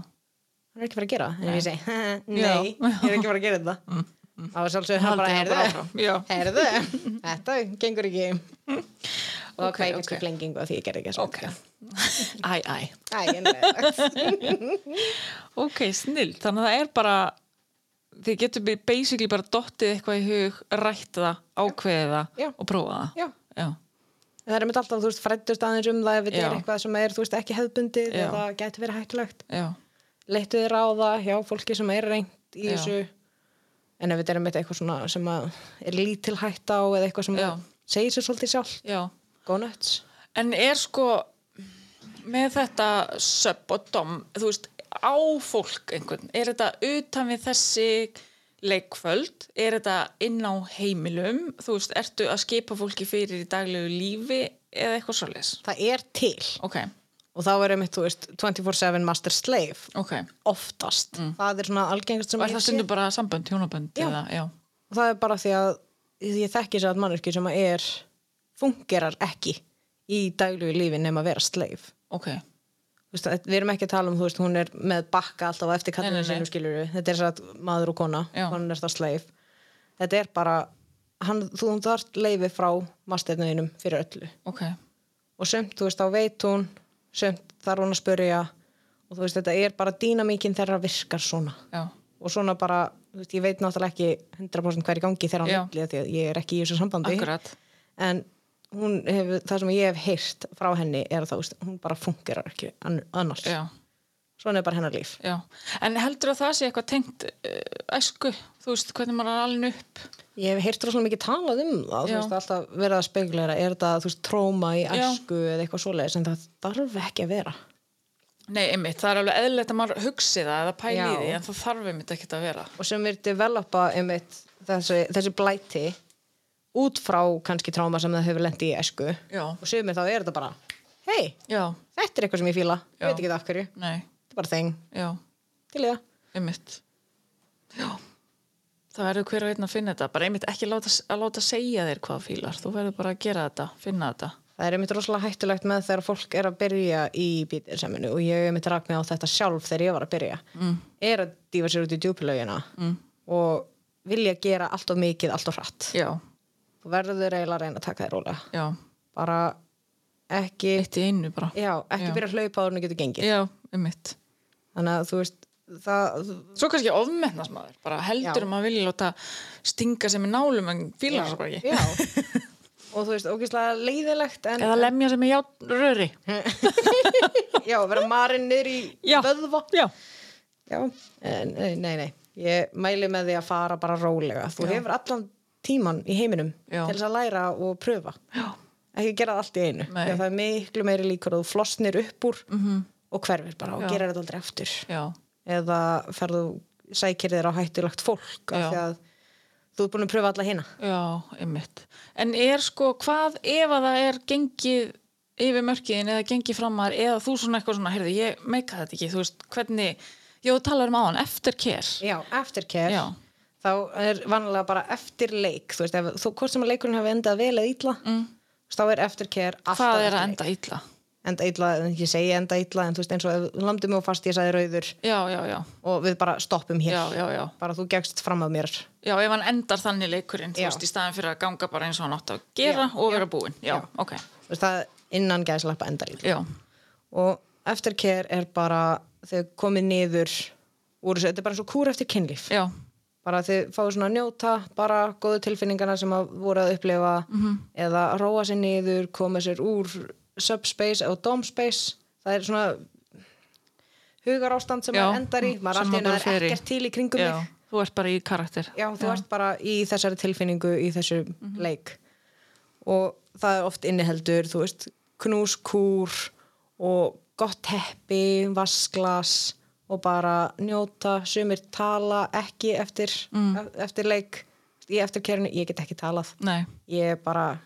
Speaker 3: hann er ekki að fara að gera það, en ef ég segi
Speaker 2: Já.
Speaker 3: nei, ég er ekki að fara að gera þetta þá er sjálfsög hann
Speaker 2: Haldið hann
Speaker 3: bara,
Speaker 2: bara
Speaker 3: heyrðu,
Speaker 2: áfram, já.
Speaker 3: heyrðu þetta gengur ekki og
Speaker 2: Ok,
Speaker 3: hvað ég kannski
Speaker 2: ok.
Speaker 3: flengingu að því ég gerði ekki svona.
Speaker 2: ok. Æ, æ.
Speaker 3: Æ, en leiðilegt.
Speaker 2: Ok, snill, þannig að það er bara þið getur bi- basically bara dottið eitthvað í hug, rætt það ákveðið það
Speaker 3: Já.
Speaker 2: og prófað það
Speaker 3: Já.
Speaker 2: Já,
Speaker 3: það er einmitt alltaf, þú veist, frættust aðeins um það ef þetta
Speaker 2: Já.
Speaker 3: er eitthvað sem er, þú veist, ekki hefðbundið
Speaker 2: Já.
Speaker 3: eða gæti verið hættulegt
Speaker 2: já,
Speaker 3: leittu þér á það hjá fólki sem er reynd í
Speaker 2: Já.
Speaker 3: þessu en ef þetta er einmitt eitthvað svona sem að er lítil hætt á eða eitthvað sem
Speaker 2: Já.
Speaker 3: að segir sér svolítið sjálf
Speaker 2: já
Speaker 3: go nuts
Speaker 2: En er sko með þetta söp og dom þú veist, á fólk einhvern er þetta utan við þessi leikvöld, er þetta inn á heimilum, þú veist, ertu að skipa fólki fyrir í daglegu lífi eða eitthvað svoleiðis?
Speaker 3: það er til
Speaker 2: Ok,
Speaker 3: og þá er einmitt, þú veist, 24-7 master slave
Speaker 2: ok
Speaker 3: oftast það er svona algengast sem
Speaker 2: Mm. Og er það
Speaker 3: ég
Speaker 2: stundum bara sambönd, hjónabönd
Speaker 3: Já.
Speaker 2: eða, já,
Speaker 3: og það er bara því að ég þekki sér að mannurki sem að er fungerar ekki í daglegu lífi nema að vera slave
Speaker 2: ok
Speaker 3: Þú veist, að- við erum ekki að tala um, þú veist, hún er með bakka alltaf á eftir
Speaker 2: Nei,
Speaker 3: kallinu
Speaker 2: nei, nei.
Speaker 3: sínum skilur þetta er satt maður og kona,
Speaker 2: Já.
Speaker 3: konan er það sleif þetta er bara hann, þú hún þarft leifi frá masternuðinum fyrir öllu
Speaker 2: Ok,
Speaker 3: og sumt, þú veist, þá veit hún sumt þarf hún að spyrja og þú veist, þetta er bara dýnamíkin þeirra virkar svona
Speaker 2: já,
Speaker 3: og svona bara, þú veist, ég veit náttúrulega ekki 100% hver í gangi þeirra
Speaker 2: Já.
Speaker 3: hann milli af því að ég er ekki í þessu sambandi
Speaker 2: akkurat
Speaker 3: en hún hefur, það sem ég hef heyrt frá henni er að það, þú veist, hún bara fungerar ekki ann- annars
Speaker 2: já,
Speaker 3: svona er bara hennar líf
Speaker 2: já. En heldur að það sé eitthvað tengt uh, æsku, þú veist, hvernig maður er alveg upp
Speaker 3: Ég hef heyrt rosalega mikið talað um það, þú
Speaker 2: Já.
Speaker 3: veist, alltaf verið að spekulera, er þetta, þú veist, tróma í æsku eða eitthvað svoleiðis, en það þarf ekki að vera.
Speaker 2: Nei, einmitt, það er alveg eðlilegt að maður hugsi það eða pæli í
Speaker 3: Já.
Speaker 2: því, en það þarf einmitt ekkert að vera
Speaker 3: Og sem er developa, einmitt, þessi, þessi blæti út frá kannski tróma sem það hefur lent í æsku
Speaker 2: Já,
Speaker 3: og sumir þá er þetta bara, hei,
Speaker 2: já,
Speaker 3: þetta er eitthvað sem ég fíla,
Speaker 2: Já.
Speaker 3: ég veit ekki það af hverju,
Speaker 2: nei,
Speaker 3: þetta er bara þeng,
Speaker 2: já,
Speaker 3: til í það.
Speaker 2: einmitt Já, það verður hver að veitna að finna þetta bara einmitt ekki láta, að láta segja þér hvað þú fílar, þú verður bara að gera þetta finna þetta,
Speaker 3: Það er einmitt rosalega hættulegt með þegar fólk er að byrja í bítilseminu og ég hef einmitt rak mig á þetta sjálf þegar ég var að byrja mm. er að dífa sér út í djúpilaugina mm. og vilja gera allt of mikið, allt of hratt
Speaker 2: já,
Speaker 3: þú verður eiginlega að reyna að taka þér rólega
Speaker 2: já
Speaker 3: bara ekki
Speaker 2: Eitt í einu bara,
Speaker 3: já, ekki
Speaker 2: Já.
Speaker 3: byrja að hlaupa áður en þú getur gengið
Speaker 2: já, einmitt
Speaker 3: þannig að þú veist það,
Speaker 2: Svo kannski ofmennast maður, bara heldur
Speaker 3: Já.
Speaker 2: um að maður vilja láta stinga sem er nálum en fílar það bara ekki.
Speaker 3: já og þú veist, ógeðslega leiðilegt en,
Speaker 2: Eða lemja sem er játn röri.
Speaker 3: já, vera marinn niður í
Speaker 2: Já.
Speaker 3: vöðva
Speaker 2: Já.
Speaker 3: Já, eh, nei, nei, nei. Ég mæli með því að fara bara rólega. Þú hefur allan tíman í heiminum
Speaker 2: Já.
Speaker 3: til þess að læra og pröfa. Já. Ekki gera það allt í einu.
Speaker 2: Nei. Mhm.
Speaker 3: Já, það er miklu meiri líkur að þú flosnir upp úr -hmm. og hverfir bara og
Speaker 2: Já.
Speaker 3: gerir þetta aldrei aftur.
Speaker 2: Já,
Speaker 3: Eða ferðu sækir þér á hættulegt fólk af
Speaker 2: Já.
Speaker 3: því að þú er búin að pröfa alla hina.
Speaker 2: já, einmitt. En er sko, hvað ef að það er gengið yfir mörkiðin eða gengið framar eða þú svona eitthvað svona, heyrðu, ég meika þetta ekki, þú veist, hvernig, já, þú talar um áðan, eftir kér.
Speaker 3: Já, eftirkær.
Speaker 2: Já.
Speaker 3: þá er vanlega bara eftir leik þú veist, ef, þú, hvort sem að leikurinn hefur endað vel eða illa mm. þá er eftirker alltaf
Speaker 2: það er
Speaker 3: eftir
Speaker 2: að
Speaker 3: leik.
Speaker 2: enda illa
Speaker 3: enda illa, ég segi enda illa en þú veist eins og ef landum og fast ég sagði rauður
Speaker 2: já, já, já,
Speaker 3: og við bara stoppum hér
Speaker 2: já, já, já
Speaker 3: bara þú gegst fram að mér
Speaker 2: Já, ef hann endar þannig leikurinn, þú
Speaker 3: Já.
Speaker 2: veist, í staðin fyrir að ganga bara eins og hann átt að gera
Speaker 3: Já,
Speaker 2: og
Speaker 3: já.
Speaker 2: vera búinn. Já,
Speaker 3: Já.
Speaker 2: ok.
Speaker 3: þú veist það innan gæðslappa enda illa
Speaker 2: Já,
Speaker 3: og eftirker er bara þau komið niður úr þessu, þetta er bara svo kúr eftir kynlíf
Speaker 2: já,
Speaker 3: bara þið fáið svona að njóta bara góðu tilfinningarna sem að voru að upplifa
Speaker 2: Mhm.
Speaker 3: -hmm. eða róa sér niður koma sér úr subspace og domspace, það er svona hugar ástand sem
Speaker 2: Já,
Speaker 3: maður endar í, maður
Speaker 2: sem
Speaker 3: allt í
Speaker 2: maður
Speaker 3: einu
Speaker 2: bara
Speaker 3: er
Speaker 2: fer í.
Speaker 3: ekkert til í kringum
Speaker 2: já.
Speaker 3: mig
Speaker 2: Þú ert bara í karakter.
Speaker 3: já, þú ert bara í þessari tilfinningu í þessu
Speaker 2: Mhm.
Speaker 3: leik og það er oft inniheldur þú veist, knúskúr og gott heppi vasklas og bara njóta, sumir tala ekki eftir,
Speaker 2: Mm.
Speaker 3: e, eftir leik í eftirkerinu, ég get ekki talað
Speaker 2: Nei,
Speaker 3: ég bara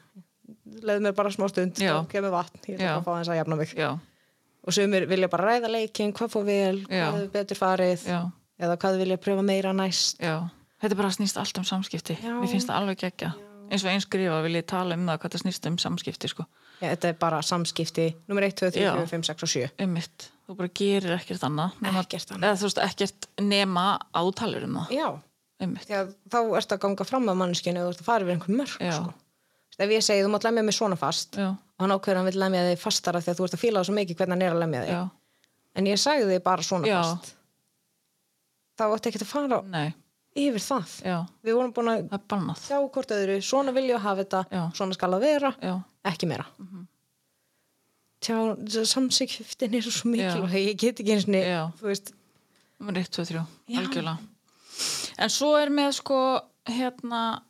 Speaker 3: leið mér bara smá stund,
Speaker 2: Já.
Speaker 3: þá kemur vatn ég
Speaker 2: Já.
Speaker 3: ætla að fá þess að jafna mig
Speaker 2: já,
Speaker 3: og sumir vilja bara ræða leikinn, hvað fór vel
Speaker 2: Já.
Speaker 3: hvað hefur betur farið
Speaker 2: já,
Speaker 3: eða hvað vilja pröfa meira næst
Speaker 2: já. Þetta bara snýst allt um samskipti.
Speaker 3: Já.
Speaker 2: Mér finnst það alveg geggja. Eins og eins skrifa vil ég tala um það hvað það snýst um samskipti, sko.
Speaker 3: Já, þetta er bara samskipti nummer 1, 2, 3,
Speaker 2: Já.
Speaker 3: 4, 5, 6 og 7
Speaker 2: Um mitt. Þú bara gerir ekkert annað. nema-
Speaker 3: Ekkert annað.
Speaker 2: Eða þú veist, ekkert nema átalur um það.
Speaker 3: Já,
Speaker 2: Um mitt.
Speaker 3: því að þá ertu að ganga fram að manneskinu og þú ert að fara yfir einhver mörg
Speaker 2: Já.
Speaker 3: sko. Þú veist, Ef ég segi þú mátt lemja mig svona fast
Speaker 2: Já,
Speaker 3: og hann ákveður að hann vil lemja þig fastara því að þú ert að fíla það svo mikið hvernig hann er að lemja þig
Speaker 2: já,
Speaker 3: en ég sagði þig bara svona
Speaker 2: Já.
Speaker 3: fast þá ætti ekki að fara
Speaker 2: nei,
Speaker 3: yfir það
Speaker 2: já.
Speaker 3: Við vorum búin að
Speaker 2: Það er bannað.
Speaker 3: sjá hvort öðru svona vil ég hafa þetta,
Speaker 2: Já.
Speaker 3: svona skal að vera
Speaker 2: Já, Mhm.
Speaker 3: ekki meira mm -hmm. Tjá, samsikftin er svo mikil ég get ekki eins
Speaker 2: Já.
Speaker 3: og þú veist
Speaker 2: Númer 1, 2, 3,
Speaker 3: Já.
Speaker 2: algjörlega. En svo er með sko, hérna,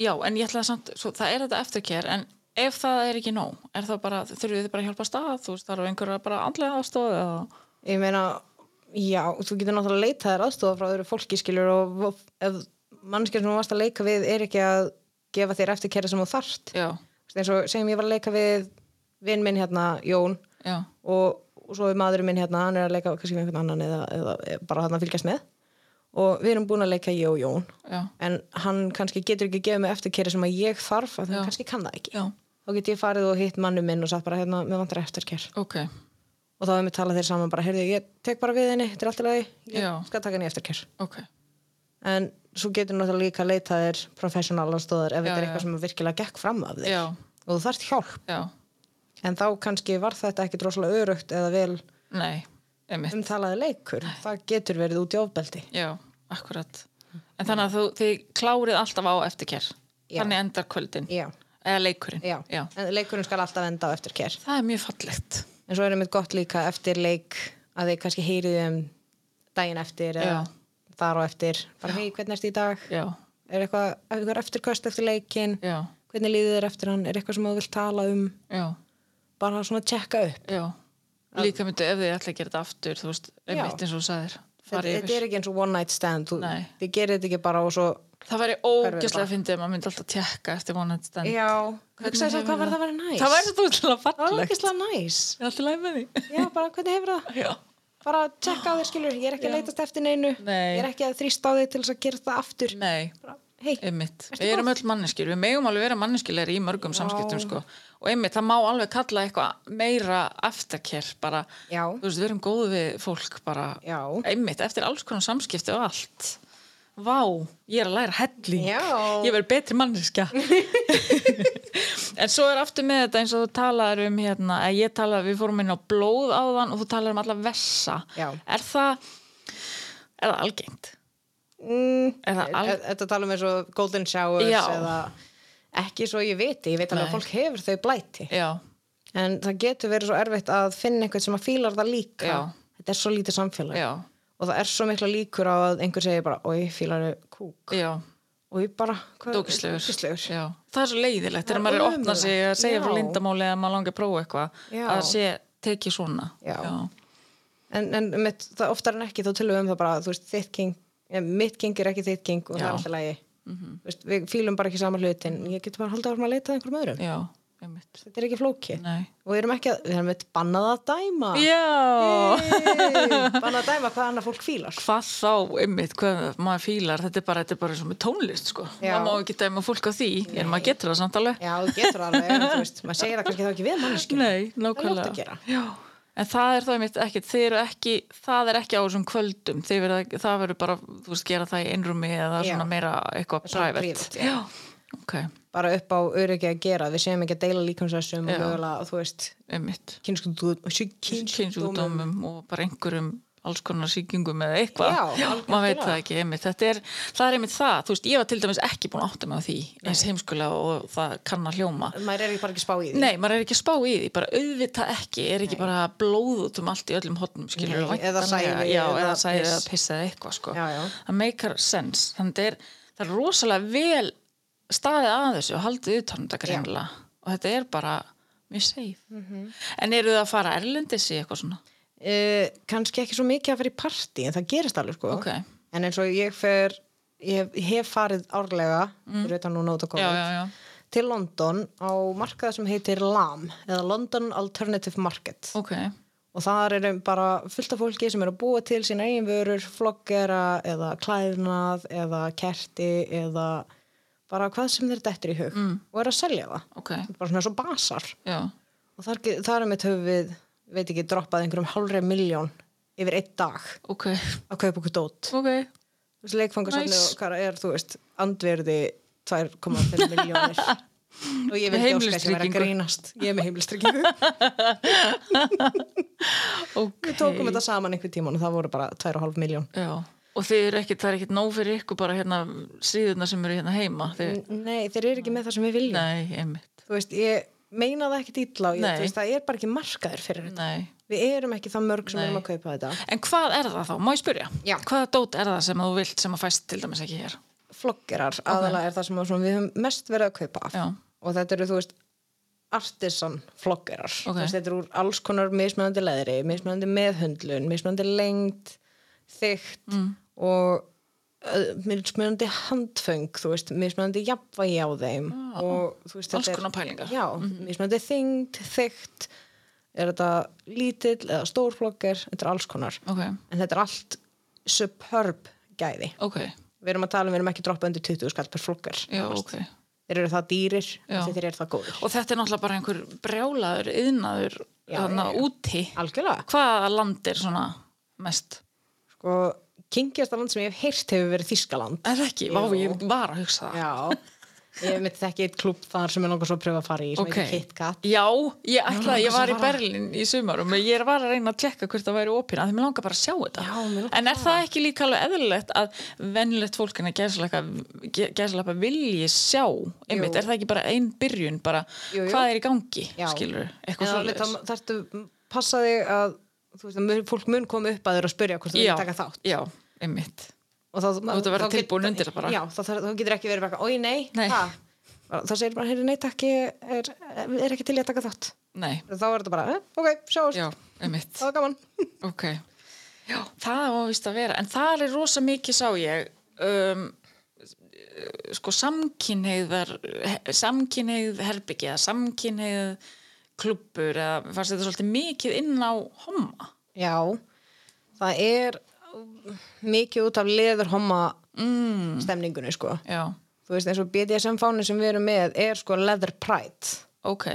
Speaker 2: já, en ég ætla að samt, svo, það er þetta eftirkér, en ef það er ekki nóg, er það bara, þurfið þið bara að hjálpa stað, þú veist, þarf einhverja bara andlega aðstoð eða,
Speaker 3: Ég meina, já, þú getur náttúrulega að leita þér aðstofa frá öðru fólki skilur og og ef mannskjör sem þú varst að leika við er ekki að gefa þér eftirkerra sem þú þarft.
Speaker 2: já,
Speaker 3: Þú veist, eins og segjum ég var að leika við vinn minn hérna, Jón
Speaker 2: já,
Speaker 3: og, og svo er maðurinn minn hérna, hann er að leika kannski við einhvern annan eða, eða bara þarna að fylgjast með og við erum búin að leika ég og Jón
Speaker 2: já,
Speaker 3: en hann kannski getur ekki gefið mig eftirkerra sem að ég þarf að
Speaker 2: Já.
Speaker 3: hann kannski kann það ekki.
Speaker 2: já,
Speaker 3: Þá get ég farið og hitt mannum minn og sagt bara hérna, mér vantar eftirkerra
Speaker 2: ok,
Speaker 3: og þá hefum við talað þeir saman bara, heyrðu, ég tek bara við henni, þetta er allt í lagi, ég
Speaker 2: Já.
Speaker 3: skal taka henni eftir kjör.
Speaker 2: ok,
Speaker 3: En svo getur náttúrulega líka að leita þér professional aðstóðar ef
Speaker 2: Já,
Speaker 3: þetta er
Speaker 2: já.
Speaker 3: eitthvað sem virkilega gekk fram af þér
Speaker 2: já,
Speaker 3: og þú þarft hjálp.
Speaker 2: já,
Speaker 3: En þá kannski var þetta ekki droslega örugt eða vel
Speaker 2: nei, einmitt,
Speaker 3: umtalaði leikur. Það getur verið út í ofbeldi.
Speaker 2: já, akkurat. En þannig að þú, þið klárið alltaf á eftirkér,
Speaker 3: Já.
Speaker 2: þannig endar kvöldin,
Speaker 3: Já,
Speaker 2: eða leikurinn,
Speaker 3: já.
Speaker 2: já.
Speaker 3: En leikurinn skal alltaf enda á eftir kjör.
Speaker 2: Það er mjög fallegt,
Speaker 3: En svo er einmitt gott líka eftir leik að þið kannski heyriðu um daginn eftir eða
Speaker 2: Já.
Speaker 3: þar og eftir. Bara, hei, hvernig ertu í dag?
Speaker 2: já,
Speaker 3: Er eitthvað, eitthvað eftirköst eftir leikin?
Speaker 2: já,
Speaker 3: hvernig líður þér eftir hann, er eitthvað sem þú vilt tala um
Speaker 2: já.
Speaker 3: bara svona að tjekka upp
Speaker 2: Já, líka myndu ef þið ætla að gera þetta aftur, þú veist, einmitt eins og þú sagðir,
Speaker 3: þetta,
Speaker 2: fara
Speaker 3: þetta
Speaker 2: yfir.
Speaker 3: er ekki eins og one night stand þú,
Speaker 2: Nei.
Speaker 3: þið gerir þetta ekki bara og svo
Speaker 2: Það væri
Speaker 3: Hverfið
Speaker 2: ógæslega
Speaker 3: bara.
Speaker 2: að fyndið að maður myndi alltaf tjekka eftir vonandi stend.
Speaker 3: já, hugsaði svo
Speaker 2: hefur
Speaker 3: hvað var
Speaker 2: það-
Speaker 3: það að vera næs
Speaker 2: Það væri svo útlæðilega
Speaker 3: það var
Speaker 2: fallegt.
Speaker 3: ekki slá næs
Speaker 2: Ég er alltaf læg með því.
Speaker 3: já, bara hvernig hefur það
Speaker 2: Já.
Speaker 3: bara að tjekka á þér skilur, ég er ekki að leitast eftir neinu
Speaker 2: Nei.
Speaker 3: ég er ekki að þrýsta á þig til þess að gera það aftur
Speaker 2: Nei,
Speaker 3: bara, hei,
Speaker 2: einmitt.
Speaker 3: Ertu
Speaker 2: Við erum
Speaker 3: góð?
Speaker 2: öll manneskir, við megum alveg vera manneskilegri í mörgum samskiptum, sko. Og einmitt, það má alveg kalla eitthvað meira aftakir, bara,
Speaker 3: Já.
Speaker 2: þú veist, við erum góð við fólk, bara,
Speaker 3: Já.
Speaker 2: einmitt, eftir alls konar samskipti og allt. Vá, ég er að læra helling.
Speaker 3: Já.
Speaker 2: Ég verð betri manneskja. En svo er aftur með þetta eins og þú talar um hérna, að ég tala, við fórum inn á blóð áðan og þú talar um alla vessa.
Speaker 3: Já.
Speaker 2: Er það, er það algengt?
Speaker 3: mm,
Speaker 2: Er það al-
Speaker 3: e- þetta tala um eins og golden showers
Speaker 2: Já.
Speaker 3: eða ekki svo ég viti, ég veit alveg
Speaker 2: Nei.
Speaker 3: að fólk hefur þau blæti
Speaker 2: Já,
Speaker 3: en það getur verið svo erfitt að finna einhvern sem að fílar það líka
Speaker 2: Já.
Speaker 3: þetta er svo lítið samfélag
Speaker 2: já,
Speaker 3: og það er svo mikla líkur á að einhver segir bara oi, fílar þau kúk
Speaker 2: já,
Speaker 3: og ég bara, hvað
Speaker 2: dókislegur.
Speaker 3: ógeðslegur.
Speaker 2: Já, það er svo leiðilegt þegar
Speaker 3: Það er
Speaker 2: maður er að opna
Speaker 3: ömurlegt.
Speaker 2: sig að segja frá
Speaker 3: Já.
Speaker 2: lindamáli eða maður langi að prófa eitthvað,
Speaker 3: Já.
Speaker 2: að það sé tekið svona.
Speaker 3: Já.
Speaker 2: já,
Speaker 3: en, en mitt, það oftar en ekki þá tölum við um það bara þú veist, þitt king, eh, mitt king er ekki þitt king og það
Speaker 2: Já. Mhm.
Speaker 3: er alltaf lægi mm -hmm. veist, við fílum bara ekki sama hlutin ég getur bara að halda áfram að leita að einhverjum öðrum
Speaker 2: já, einmitt.
Speaker 3: þetta er ekki flóki
Speaker 2: Nei.
Speaker 3: og við erum ekki að, við erum eitt bannað að dæma
Speaker 2: Já,
Speaker 3: Ah. Yay! bannað að dæma hvað annað fólk fílar
Speaker 2: hvað þá einmitt, hvað maður fílar, þetta er bara, þetta er bara eins og með tónlist, sko.
Speaker 3: Já.
Speaker 2: Maður má ekki dæma fólk á því, en maður getur það samt alveg.
Speaker 3: já, þú getur það alveg, en þú veist, maður segir það kannski þá ekki við manneskjum
Speaker 2: Nei, nákvæmlega.
Speaker 3: ljótt að gera.
Speaker 2: Já, en það er það mitt ekkert, þið eru ekki, það er ekki á þessum kvöldum, þið verða, það verður bara, þú veist, gera það í einrumi eða
Speaker 3: Já.
Speaker 2: svona meira eitthvað
Speaker 3: Svona
Speaker 2: private.
Speaker 3: private, já.
Speaker 2: já. ok,
Speaker 3: bara upp á öryggi að gera, við segjum ekki að deila
Speaker 2: Já.
Speaker 3: líkamsessum og mögulega, þú veist
Speaker 2: einmitt.
Speaker 3: kynskutum
Speaker 2: Kynsjúkdómum og bara einhverjum alls konar sýkingum eða eitthvað
Speaker 3: Já,
Speaker 2: maður veit
Speaker 3: algjörlega.
Speaker 2: það ekki, einmitt, þetta er það er einmitt það, þú veist, ég var til dæmis ekki búin að átta mig á því, eins heimskulega og það kann að hljóma
Speaker 3: maður er ekki bara ekki að spá í því
Speaker 2: Nei, maður er ekki að spá í því, bara auðvita ekki, er ekki bara blóð út um allt í öllum hotnum, skilur
Speaker 3: Nei, eða sæði
Speaker 2: já, eða,
Speaker 3: eða
Speaker 2: sæði
Speaker 3: piss.
Speaker 2: eða pissa eða eitthvað, sko.
Speaker 3: Já, já.
Speaker 2: Það meikar sense, þannig það er, það er rosalega vel staðið að þessu og haldið utanum þetta greinlega og þetta er bara mjög safe.
Speaker 3: Mhm.
Speaker 2: En eru það að fara erlendis í eitthvað svona?
Speaker 3: uh, kannski ekki svo mikið að fara í partí en það gerist alveg sko
Speaker 2: Ok.
Speaker 3: en eins og ég fer ég hef, ég hef farið árlega fyrir utan núna út að
Speaker 2: Mm. Já,
Speaker 3: koma
Speaker 2: já, já.
Speaker 3: til London á markað sem heitir LAM eða London Alternative Market
Speaker 2: Ok,
Speaker 3: og þar eru bara fullt af fólki sem eru að búa til sína eigin vörur, floggera eða klæðnað eða kerti eða bara hvað sem þeir dettur í
Speaker 2: Mm.
Speaker 3: hug og eru að selja það
Speaker 2: ok,
Speaker 3: bara svona svo basar
Speaker 2: já,
Speaker 3: og þar, ge- þar er mitt höfum við, veit ekki, droppað einhverjum hálfri miljón yfir einn dag
Speaker 2: ok,
Speaker 3: að kaupa okkur dót
Speaker 2: ok,
Speaker 3: Þú veist, leikfangasafni
Speaker 2: Nice.
Speaker 3: og hvað er, þú veist, andverði 2,5 miljónir og ég vildi óska sem vera
Speaker 2: heimilistryggingu.
Speaker 3: að grínast ég er með heimilstryggingu við
Speaker 2: ok.
Speaker 3: tókum þetta saman einhver tíman og það voru bara 2,5 miljón
Speaker 2: Já, og þið eru ekkert, það er ekkert nóg fyrir ykkur bara hérna síðurna sem eru hérna heima þið,
Speaker 3: nei, þeir eru ekki með það sem við viljum
Speaker 2: Nei, einmitt
Speaker 3: þú veist, ég meina það ekkit illa og ég,
Speaker 2: Nei.
Speaker 3: þú veist, það er bara ekki markaður fyrir þetta
Speaker 2: Nei.
Speaker 3: við erum ekki það mörg sem
Speaker 2: Nei.
Speaker 3: erum að kaupa þetta
Speaker 2: En hvað er það þá? Má ég spyrja?
Speaker 3: Já.
Speaker 2: Hvaða dót er það sem þú vilt sem að fæst til dæmis ekki hér?
Speaker 3: floggerar aðalega er það sem að svona, við höfum mest verið að kaupa af
Speaker 2: Já.
Speaker 3: og þetta eru þú veist artisan floggerar
Speaker 2: Ok.
Speaker 3: okay. þetta eru úr alls konar mismunandi leðri mismunandi meðhundlun, mismunandi lengt þygt
Speaker 2: Mm.
Speaker 3: og uh, mismunandi handföng þú veist, mismunandi jafnvægi á þeim og þú veist
Speaker 2: Ah, Alls
Speaker 3: þetta er-
Speaker 2: konar pælingar. Mhm.
Speaker 3: já, mismunandi þyngd, þygt er þetta lítill eða stór flogger, þetta er alls konar
Speaker 2: Ok,
Speaker 3: en þetta er allt superb gæði
Speaker 2: ok,
Speaker 3: við erum að tala um, við erum ekki droppað undir 20 skall per flokkar
Speaker 2: já, ok
Speaker 3: þeir eru það dýrir,
Speaker 2: Já.
Speaker 3: þeir eru það góðir
Speaker 2: Og þetta er náttúrulega bara einhver brjálaður yðnaður
Speaker 3: Já,
Speaker 2: þarna
Speaker 3: já, já.
Speaker 2: úti
Speaker 3: algjörlega,
Speaker 2: Hvaða land er svona mest?
Speaker 3: sko, kingjasta land sem ég hef heyrt hefur verið Þískaland
Speaker 2: Er það ekki? Vá, ég var að hugsa það
Speaker 3: já, ég mitt þekki eitt klúb þar sem ég langar svo að pröfa að fara í sem
Speaker 2: Ok.
Speaker 3: okay. heitir KitKat
Speaker 2: Já, ég ætlaði,
Speaker 3: langar
Speaker 2: ég var
Speaker 3: svo
Speaker 2: í
Speaker 3: að fara.
Speaker 2: Berlín í sumarum og ég var að reyna að tjekka hvort það væri opina því mér langar bara að sjá þetta
Speaker 3: Já, mig langar
Speaker 2: en er það ekki líka alveg eðlilegt að venjulegt fólk en að gæslepa vilji sjá einmitt,
Speaker 3: Jú.
Speaker 2: er það ekki bara ein byrjun bara
Speaker 3: Jú, jú.
Speaker 2: hvað er í gangi,
Speaker 3: Já.
Speaker 2: skilur
Speaker 3: en
Speaker 2: eitthvað
Speaker 3: alveg
Speaker 2: svoleiðis.
Speaker 3: þá þarftu passa þig að þú veist að mun- fólk mun koma upp að þér og spyrja hvort þú
Speaker 2: Já,
Speaker 3: vil taka þátt
Speaker 2: já, einmitt
Speaker 3: og þá, þú
Speaker 2: ert að vera tilbúin undir það bara.
Speaker 3: já, þá, þarf- þú getur ekki verið bara, oi nei,
Speaker 2: Nei.
Speaker 3: ha." þá segir bara, heyri nei takk ég er, er ekki til í að taka þátt
Speaker 2: Nei,
Speaker 3: þá er þetta bara, "Eh, ok, sjáumst,
Speaker 2: já, einmitt
Speaker 3: það var gaman
Speaker 2: Ok, já, það var vist að vera en það er rosa mikið sá ég um, sko samkynheiðar samkynheið herbyggi eða samkynheið klubbur eða mér fannst þetta svolítið mikið inn á homma
Speaker 3: Já, það er mikið út af leðurhomma mm. stemningunni sko.
Speaker 2: Já,
Speaker 3: Þú veist eins og BDSM fáni sem við erum með er sko leather pride
Speaker 2: ok,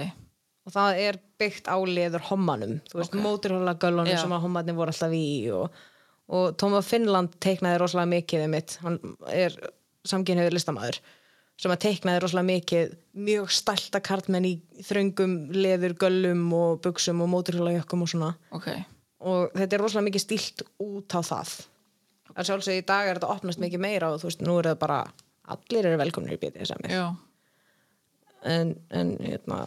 Speaker 3: og það er byggt á leðurhommanum. Þú veist okay.
Speaker 2: Já.
Speaker 3: sem að hommarnir voru alltaf í og, og Tóma Finnland teiknaði rosalega mikið við mitt. Hann er samkynhauður listamaður sem að teiknaði rosalega mikið mjög stælta kartmenn í þröngum leður göllum og buksum og móturhjólajökkum og svona
Speaker 2: ok
Speaker 3: og þetta er rosalega mikið stílt út á það en sjálfsög í dag er þetta opnast mikið meira og þú veist, nú er það bara allir eru velkomnir í BDSM
Speaker 2: Já.
Speaker 3: en, en hérna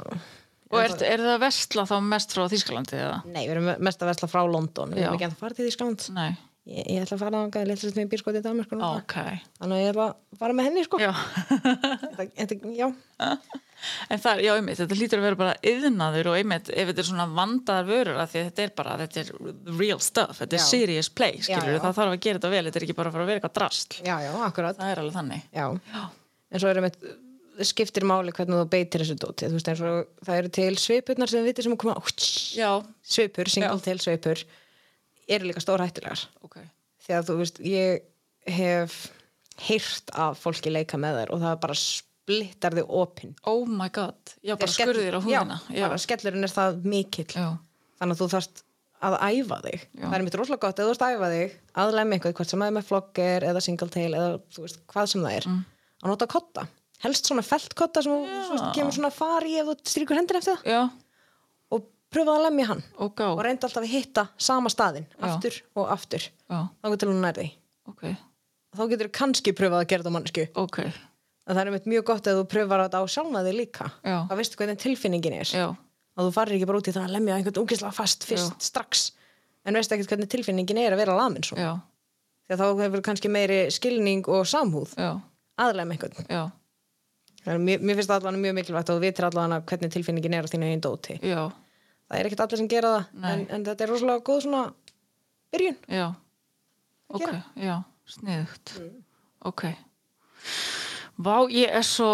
Speaker 2: Og er, er það versla þá mest frá Þýskalandi eða?
Speaker 3: nei, við erum mest að vesla frá London við
Speaker 2: Já.
Speaker 3: erum ekki að fara til Ísland
Speaker 2: Nei,
Speaker 3: ég, ég ætla að fara að gæða litla sem ég býr sko til Danmark núna.
Speaker 2: ok
Speaker 3: þannig að ég ætla að fara með henni sko
Speaker 2: Já,
Speaker 3: þetta, þetta, já,
Speaker 2: en það er, já, einmitt, þetta lítur að vera bara yðnaður og einmitt ef þetta er svona vandaðar vörur af því að þetta er bara, þetta er the real stuff, þetta er
Speaker 3: Já.
Speaker 2: serious play, skilur
Speaker 3: já.
Speaker 2: það þarf að gera þetta vel, þetta er ekki bara að fara að vera eitthvað drasl,
Speaker 3: já, já, akkurat
Speaker 2: það er alveg þannig.
Speaker 3: já.
Speaker 2: Já,
Speaker 3: en svo erum við skiptir máli hvernig þú beitir þessu dóti þú veist eins og það eru til svipurnar sem við sem að koma á
Speaker 2: Já,
Speaker 3: svipur, single
Speaker 2: Já.
Speaker 3: tail svipur eru líka stórhættulegar
Speaker 2: ok.
Speaker 3: því að þú veist, ég hef heyrt af fólki leika með þær og það bara splittar þau opinn
Speaker 2: Oh my god. Já, bara
Speaker 3: Skell-
Speaker 2: skurðir á húðina.
Speaker 3: já, bara skellurinn er það mikill
Speaker 2: já.
Speaker 3: þannig að þú þarft að æfa þig
Speaker 2: Já.
Speaker 3: það er mitt rosalega gott, ef þú ert að æfa þig að lemja eitthvað, hvort sem það er með flogger eða single tail eða þú veist, hvað sem það er
Speaker 2: Mm.
Speaker 3: að nota kotta, helst svona feltkotta sem þú þú veist, kemur svona far í ef þú stríkur hendur eftir það
Speaker 2: já,
Speaker 3: og pröfaði að lemja hann
Speaker 2: og gá.
Speaker 3: og reynda alltaf að hitta sama staðin
Speaker 2: Já.
Speaker 3: aftur og aftur,
Speaker 2: Já,
Speaker 3: þá getur hún nærði
Speaker 2: ok,
Speaker 3: þá getur þú kannski pröfað að gera það á mannsku
Speaker 2: ok.
Speaker 3: að það er mitt mjög gott að þú pröfar þetta á sjálfa þig líka
Speaker 2: Já.
Speaker 3: að veistu hvernig tilfinningin er
Speaker 2: Já,
Speaker 3: að þú farir ekki bara út í það að lemja einhvern ungislega fast fyrst strax en veist ekkert hvernig tilfinningin er að vera lamin svo
Speaker 2: já,
Speaker 3: því að þá hefur kannski meiri skilning og samhúð
Speaker 2: já,
Speaker 3: aðlega einhvern
Speaker 2: já,
Speaker 3: Þannig að mér, mér finnst það allan mjög mikilvægt að þú vitir allan hvernig tilfinningin er á þínu einn dóti
Speaker 2: já,
Speaker 3: það er ekkert allir sem gera það
Speaker 2: Nei.
Speaker 3: en, en þetta er rosalega góð svona byrjun
Speaker 2: já. Ok,
Speaker 3: Gera. Mm.
Speaker 2: já, sniðugt. Ok. Vá, ég er svo,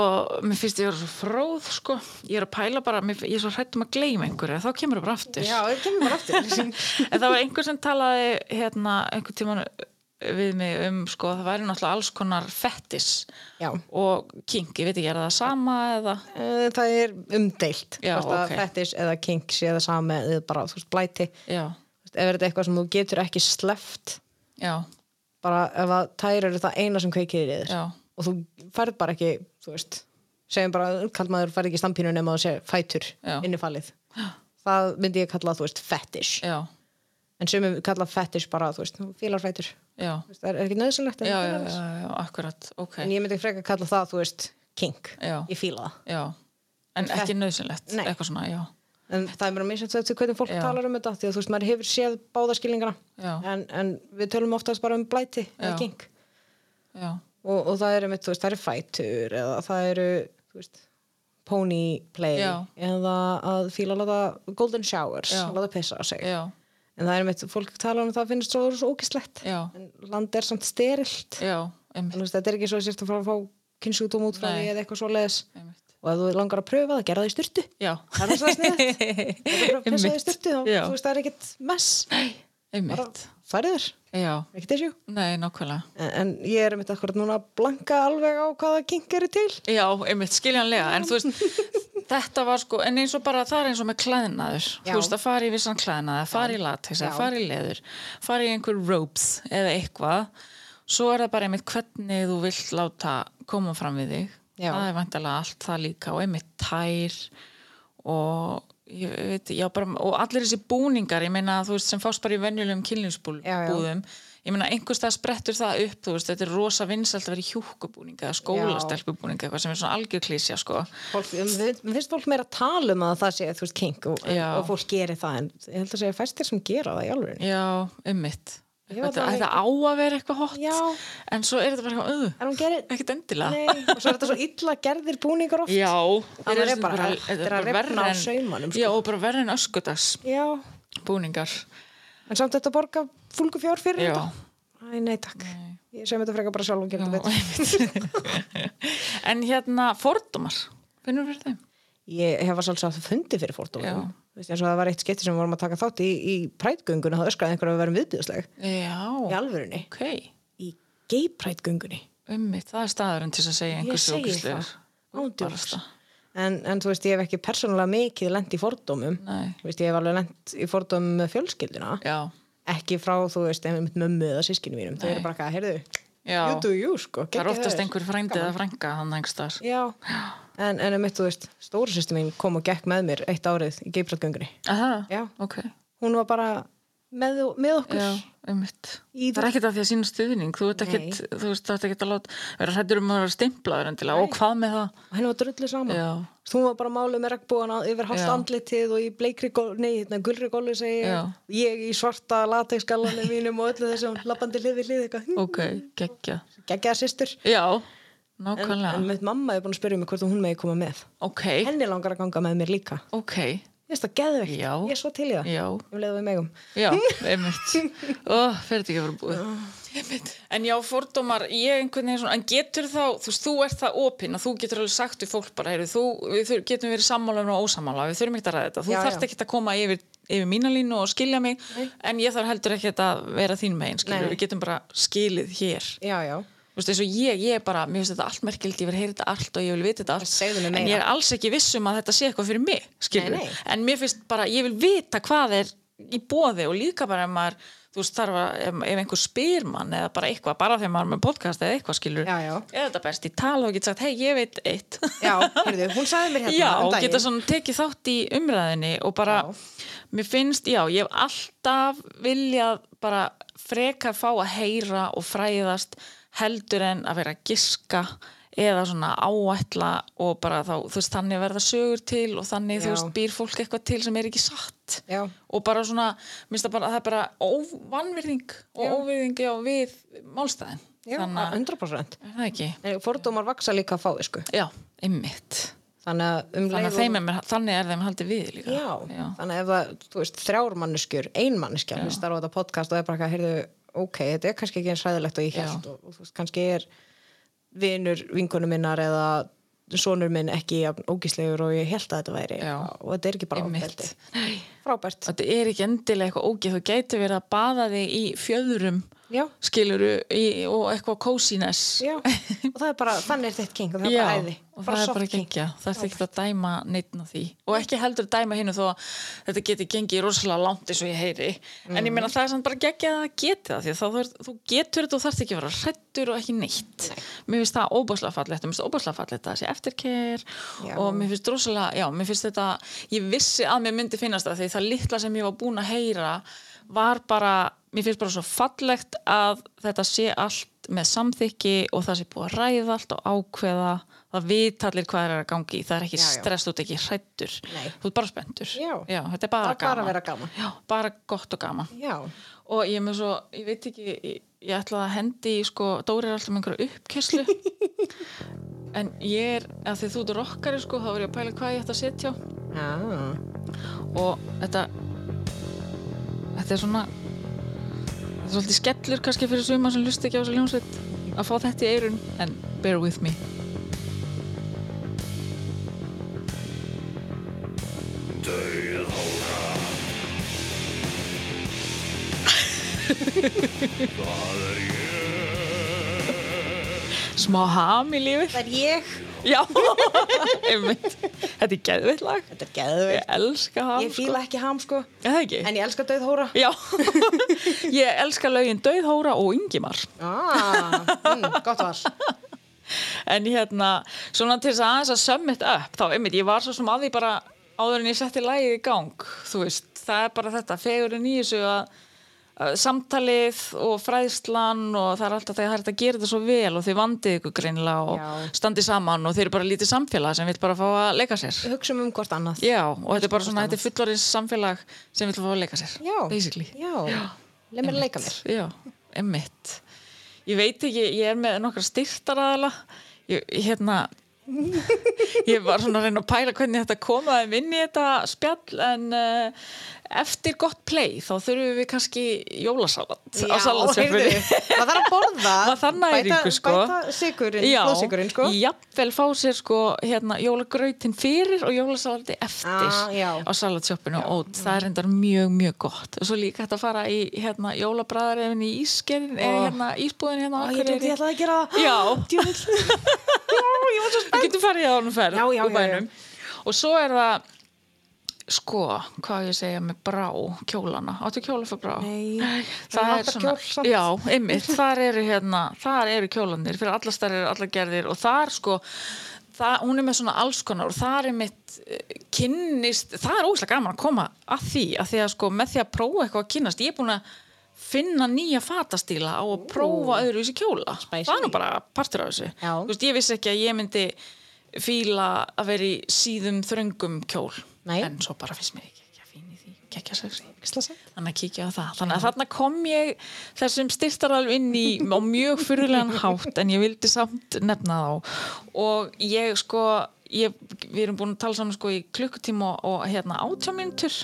Speaker 2: mér finnst ég er svo fróð, sko. Ég er að pæla bara, mér, ég er svo hrætt um að gleyma einhverju, þá kemur það bara aftur.
Speaker 3: Já, það kemur bara aftur
Speaker 2: en það var einhver sem talaði hérna einhvern tíman við mig um sko að það væri náttúrulega alls konar fettis
Speaker 3: Já,
Speaker 2: og kink, ég veit ekki, er það sama eða
Speaker 3: Eh, það er umdeilt
Speaker 2: Já,
Speaker 3: hvort að
Speaker 2: ok.
Speaker 3: fettis eða kinks eða sami eða bara, þú veist, blæti
Speaker 2: já,
Speaker 3: Þú veist, ef þetta er eitthvað sem þú getur ekki sleft
Speaker 2: já,
Speaker 3: bara ef að tær eru það eina sem kveikir í þér
Speaker 2: já,
Speaker 3: og þú færð bara ekki þú veist, segjum bara kallt maður færð ekki stampínu nema þú sé fætur
Speaker 2: Já.
Speaker 3: innifalið, það myndi ég kalla þú veist fetish,
Speaker 2: já,
Speaker 3: en sumum kalla fetish bara þú veist, fílarfætur
Speaker 2: já
Speaker 3: Þú veist, það er ekki nöðsynlegt
Speaker 2: já,
Speaker 3: en,
Speaker 2: já,
Speaker 3: fílar
Speaker 2: já,
Speaker 3: þess.
Speaker 2: já, akkurat, ok
Speaker 3: en ég myndi frekar kalla það þú veist kink,
Speaker 2: Já.
Speaker 3: ég fíla það
Speaker 2: já, en ekki nöðsynlegt
Speaker 3: Nei.
Speaker 2: eitthvað svona, já,
Speaker 3: en það er mér að misjast þetta hvernig fólk
Speaker 2: Já.
Speaker 3: talar um þetta því að þú veist, maður hefur séð báða skilningana
Speaker 2: Já.
Speaker 3: en, en við tölum oftast bara um blæti eða
Speaker 2: Já.
Speaker 3: kink
Speaker 2: já,
Speaker 3: og, og það eru mitt, þú veist, það eru fætur eða það eru, þú veist pony play
Speaker 2: Já.
Speaker 3: eða að fíla að láta golden showers
Speaker 2: Já.
Speaker 3: að láta pissa á sig
Speaker 2: já,
Speaker 3: en það eru mitt, fólk tala um að það finnst svo, svo ókislegt
Speaker 2: já,
Speaker 3: en land er samt sterilt
Speaker 2: já,
Speaker 3: En
Speaker 2: einmitt,
Speaker 3: þú veist, þetta er ekki svo að sérst að fara að fá kynnsugdóm út frá
Speaker 2: Nei.
Speaker 3: því eða eitthvað svo leðis
Speaker 2: einmitt.
Speaker 3: og ef þú langar að pröfa það, gera það í styrtu
Speaker 2: já,
Speaker 3: það er rosalega sniðugt. Þú getur bara að pissa það í
Speaker 2: Einmitt.
Speaker 3: styrtu þá,
Speaker 2: Já.
Speaker 3: þú veist, það er ekkit mess bara
Speaker 2: einmitt,
Speaker 3: farið þér,
Speaker 2: já,
Speaker 3: ekkit þessu
Speaker 2: nei, nákvæmlega
Speaker 3: en, en ég er mitt akkurat núna að blanka alveg á hvaða kink eru til
Speaker 2: Já, einmitt skiljanlega, en þú veist, þetta var sko, en eins og bara það er eins og með klæðinaður,
Speaker 3: Já.
Speaker 2: þú veist að fara í vissan klæðinaður, fara í latex,
Speaker 3: Já.
Speaker 2: að fara í leður, fara í einhver ropes eða eitthvað, svo er það bara einmitt hvernig þú vilt láta koma fram við þig,
Speaker 3: Já.
Speaker 2: það er vantilega allt það líka og einmitt tær og ég veit, já bara, og allir þessi búningar, ég meina þú veist sem fást bara í venjulegum
Speaker 3: Já, já.
Speaker 2: kynlífsbúðum, ég meina einhvers stað sprettur það upp, þú veist, þetta er rosa vinsælt að vera í hjúkubúninga eða skólastel stelpubúning eitthvað sem er svona algjör klísja sko.
Speaker 3: fólk, um, við- mér finnst fólk meira að tala um að það sé þú veist kink og, en,
Speaker 2: Já.
Speaker 3: og fólk gerir það en ég held að segja fæstir sem gera það í alveg
Speaker 2: Já, ummitt.
Speaker 3: Ég var
Speaker 2: Þetta,
Speaker 3: bara-
Speaker 2: þetta á að vera eitthvað hot
Speaker 3: Já.
Speaker 2: en svo er þetta bara eitthvað uh,
Speaker 3: en hún gerir,
Speaker 2: ekkert endilega.
Speaker 3: nei og svo er þetta svo illa gerðir búningar oft
Speaker 2: Já,
Speaker 3: Annars
Speaker 2: þeir eru
Speaker 3: er bara- þetta er að rifna á
Speaker 2: verra en-
Speaker 3: saumanum, sko.
Speaker 2: Já, og bara verðin öskudags
Speaker 3: Já.
Speaker 2: búningar.
Speaker 3: en samt þetta borga fólku fjár fyrir
Speaker 2: Já,
Speaker 3: þetta Æ, nei takk, ég sem þetta frekar bara sjálf og
Speaker 2: já
Speaker 3: gerir þetta betur
Speaker 2: einmitt. en hérna, fordómar, finnur við þeim?
Speaker 3: ég hef að sjálfsagt fundið fyrir fórtumum
Speaker 2: Já.
Speaker 3: Þú veist, eins og það var eitt skipti sem við vorum að taka þátt í, í prætgöngunni, það öskraði einhverju að vera viðbjöðsleg í
Speaker 2: Já,
Speaker 3: alvörunni,
Speaker 2: ok,
Speaker 3: í geiprætgöngunni
Speaker 2: ummitt, það er staðurinn til þess að segja
Speaker 3: ég
Speaker 2: einhversu
Speaker 3: segi það, ándjóks
Speaker 2: Barasta.
Speaker 3: en, en þú veist, ég hef ekki persónulega mikið lent í fordómum
Speaker 2: Nei,
Speaker 3: Þú veist, ég hef alveg lent í fordómum með fjölskylduna
Speaker 2: já,
Speaker 3: ekki frá, þú veist, einmitt mömmu eða sískinu mínum þau eru bara ekki að, heyrðu,
Speaker 2: já.
Speaker 3: you do you,
Speaker 2: Það
Speaker 3: sko
Speaker 2: er
Speaker 3: geggjað
Speaker 2: oftast
Speaker 3: þér.
Speaker 2: einhver frændi eða frænga hann engstar.
Speaker 3: Já, en, en einmitt, þú veist, stóra sýstu mín kom og gekk með mér eitt árið í geiprætgöngunni
Speaker 2: Aha,
Speaker 3: Já.
Speaker 2: ok.
Speaker 3: hún var bara með, með okkur
Speaker 2: Já, einmitt.
Speaker 3: Í-
Speaker 2: Það er ekkert að því að sína stuðning. Þú ert ekkert, þú veist, það ert ekkert að láta, vera hrættur um að vera stimplaður endilega. Og hvað með það?
Speaker 3: og henni var drullu saman
Speaker 2: Já,
Speaker 3: Þú veist, hún var bara málið með regnbúana yfir hálft
Speaker 2: Já.
Speaker 3: andlitið og í bleikri gól, nei, hérna, gulri gólu segi
Speaker 2: Já.
Speaker 3: ég, ég í svarta latexgallanum mínum og öllu þessum lappandi hlið við hlið eitthvað,
Speaker 2: ok, geggja.
Speaker 3: geggjaða systur
Speaker 2: Já,
Speaker 3: en,
Speaker 2: nákvæmlega.
Speaker 3: en mitt mamma er búin að spyrja mig hvort að hún megi koma með
Speaker 2: ok,
Speaker 3: henni langar að ganga með mér líka
Speaker 2: ok,
Speaker 3: finnst það geðveikt,
Speaker 2: Já.
Speaker 3: ég er svo til í það
Speaker 2: Já,
Speaker 3: um leiðum við megum
Speaker 2: já, einmitt Ó, fer þetta ekki að vera búið einmitt. En já, fordómar, ég einhvern veginn svona En getur þá, þú veist, þú ert það opinn að þú getur alveg sagt við fólk bara heyru, þú, Við þur, getum verið sammála og ósammála Við þurfum ekki að ræða þetta, þú
Speaker 3: Já,
Speaker 2: þarft
Speaker 3: já.
Speaker 2: ekki að koma yfir, yfir mína línu og skilja mig En ég þarf heldur ekki að vera þín megin skilur,
Speaker 3: Nei, nei.
Speaker 2: Við getum bara skilið hér
Speaker 3: já, já,
Speaker 2: Þú veist, eins og ég, ég er bara, mér finnst þetta allt merkilegt, ég vil heyra þetta allt og ég vil vita þetta allt
Speaker 3: Segðu mér
Speaker 2: en
Speaker 3: meira.
Speaker 2: ég er alls ekki viss um að þetta sé eitthvað fyrir mig skilur,
Speaker 3: Nei, nei.
Speaker 2: en mér finnst bara, ég vil vita hvað er í bóði og líka bara ef maður, þú veist, þarf að ef, ef einhver spyr mann eða bara eitthvað, bara þegar maður er með podcast eða eitthvað skilur
Speaker 3: já, já,
Speaker 2: eða þetta berst í tala og geta sagt, hei, ég veit eitt
Speaker 3: já heyrðu, hún sagði mér hérna
Speaker 2: Já,
Speaker 3: um
Speaker 2: og
Speaker 3: daginn.
Speaker 2: geta svona tekið þátt í umræðinni og bara, mér finnst, já, ég hef alltaf viljað bara frekar fá að heyra og fræðast heldur en að vera að giska eða svona áætla og bara þá, þú veist, þannig verða sögur til og þannig, þú
Speaker 3: Já.
Speaker 2: veist, býr fólk eitthvað til sem er ekki satt
Speaker 3: já,
Speaker 2: og bara svona, minnst það bara, það er bara óvanvirðing og óvirðingi á við málstæðin,
Speaker 3: já,
Speaker 2: þannig að,
Speaker 3: 100%
Speaker 2: er það ekki?
Speaker 3: En fordómar vaksa líka að fá, sko
Speaker 2: Já, einmitt.
Speaker 3: þannig að um
Speaker 2: Þannig að
Speaker 3: leið og-
Speaker 2: þeim er, mér- þannig er þeim haldið við líka.
Speaker 3: Já, þannig að ef það, þú veist, þrjár manneskjur, ein manneskja hlustar á þetta podcast og er bara eitthvað, heyrðu, ok, þetta er kannski ekki eins ræðilegt og ég held og, og þú veist, kannski er vinur vinkunum minnar eða sonur minn ekki jafn ógíslegur og ég held að þetta væri
Speaker 2: Já.
Speaker 3: og þetta er ekki bara
Speaker 2: Einmitt.
Speaker 3: ofbeldi. Frábært.
Speaker 2: Þetta er ekki endilega eitthvað ógeð, þú gæti verið að baða þig í fjöðurum,
Speaker 3: Já,
Speaker 2: skiluru, í, og eitthvað coziness.
Speaker 3: já, og það er bara, þannig er þitt king og það er
Speaker 2: Já,
Speaker 3: bara æði.
Speaker 2: og það er bara
Speaker 3: soft king.
Speaker 2: gengja, það er ekki að dæma neittn á því og ekki heldur dæma hinn þó að þetta geti gengið rosalega langt eins og ég heyri en
Speaker 3: Mm.
Speaker 2: ég meina það er samt bara geggja að það geti það því að þá þú, þú getur þetta og þarft ekki að vera hrættur og ekki neitt mér finnst það óbáslega fallegt, mér finnst óbáslega fallegt að það sé eftirker
Speaker 3: Já.
Speaker 2: og mér finnst rosalega, já, mér finnst þetta ég vissi að mér myndi finnast það því það litla sem ég var búin að heyra var bara, mér finnst bara svo fallegt að þetta sé allt með samþykki og það sé búið að ræða allt og ákveða það vita allir hvað er að gangi í, það er ekki
Speaker 3: Já, já.
Speaker 2: stress, þú ert ekki hrættur
Speaker 3: Nei.
Speaker 2: þú ert bara spenntur
Speaker 3: Já.
Speaker 2: þetta er bara
Speaker 3: Það er bara
Speaker 2: gaman,
Speaker 3: að vera gaman.
Speaker 2: Já, bara gott og gaman
Speaker 3: Já,
Speaker 2: og ég er með svo, ég veit ekki ég, ég ætla að hendi, í, sko, Dóri er alltaf með einhverja uppkesslu en ég er, að því þú ert rokkari sko, þá er ég að pæla hvað ég ætti að setja á.
Speaker 3: já,
Speaker 2: og þetta þetta er svona þetta er svolítið skellur kannski fyrir suma sem lust ekki á þessa ljónsveit að fá þetta í eirun en bear with me smá ham í lífið
Speaker 3: það er ég,
Speaker 2: já, einmitt þetta er geðveitt lag
Speaker 3: þetta er geðveikt.
Speaker 2: ég elska ham
Speaker 3: Ég fíla ekki ham, sko,
Speaker 2: sko. Eða ekki?
Speaker 3: en ég elska döðhóra.
Speaker 2: Já, ég elska lögin Dauðhóra og Ingimar
Speaker 3: Ah, mm, gott val.
Speaker 2: en hérna, svona til þess að aðeins að summit up, þá einmitt, ég var svo sem að því bara áður en ég setti lagið í gang þú veist, það er bara þetta fegurinn í þessu að, að samtalið og fræðslan og það er alltaf þegar það er hægt að gera þetta svo vel og þið vandið ykkur greinlega og
Speaker 3: Já.
Speaker 2: standið saman og þeir eru bara lítið samfélag sem vil bara fá að leika sér
Speaker 3: Hugsum um hvort annað.
Speaker 2: Já, og þetta er bara svona, þetta er fullorins samfélag sem vil fá að leika sér,
Speaker 3: Já.
Speaker 2: basically
Speaker 3: Já, leið mér að leika mér.
Speaker 2: Já, emmitt. Ég veit ekki, ég er með nokkra styrtaraðala. Ég, hérna, ég var svona að reyna að pæla hvernig þetta komaði minn í þetta spjall en uh, eftir gott play þá þurfum við kannski jólasalat á salatsjöfunni.
Speaker 3: maður þarf að borða
Speaker 2: Maður þarf næringu,
Speaker 3: bæta,
Speaker 2: sko.
Speaker 3: bæta sigurinn, blóðsigurinn sko.
Speaker 2: jafnvel fá sér sko hérna, jólagrautin fyrir og jólasalati eftir
Speaker 3: Ah, já.
Speaker 2: á salatsjöppinu og ót. það er reyndar mjög, mjög gott og svo líka hægt að fara í hérna, jólabræðarefin í ískerin eða
Speaker 3: Ó.
Speaker 2: hérna, ísbúðin hérna á
Speaker 3: Oh. Ó, ég veit, ég
Speaker 2: Akureyri.
Speaker 3: ætlaði að gera það
Speaker 2: Já.
Speaker 3: Djöfull. já, ég var svo
Speaker 2: Við getum farið á honum ferð
Speaker 3: Já, já,
Speaker 2: úr
Speaker 3: já,
Speaker 2: bænum. og svo er það sko, hvað á ég að segja með brá kjólana, áttu kjóla fyrir brá
Speaker 3: Nei, það
Speaker 2: það
Speaker 3: er
Speaker 2: er
Speaker 3: alltaf
Speaker 2: svona
Speaker 3: kjól samt.
Speaker 2: já, einmitt, þar eru hérna þar eru kjólanir, fyrir allar stærðir, allar gerðir og þar sko það, hún er með svona alls konar og þar er mitt kynnist, það er óslega gaman að koma að því, að því að sko með því að prófa eitthvað að kynnast, ég er búin að finna nýja fatastíla á að prófa öðru í þessi kjóla, það er nú bara partur af þessu,
Speaker 3: Já.
Speaker 2: þú veist, ég vissi ekki að ég myndi fíla að vera í síðum þröngum kjól
Speaker 3: Nei.
Speaker 2: en svo bara finnst mér ekki ekki að fín í því ekki að segja
Speaker 3: skjól
Speaker 2: þannig að kíkja á það þannig að þarna kom ég þessum styrtaralv inn í á mjög fyrirlegan hátt en ég vildi samt nefna þá og ég sko ég, við erum búin að tala saman sko í klukkutíma og, og hérna átjámyndur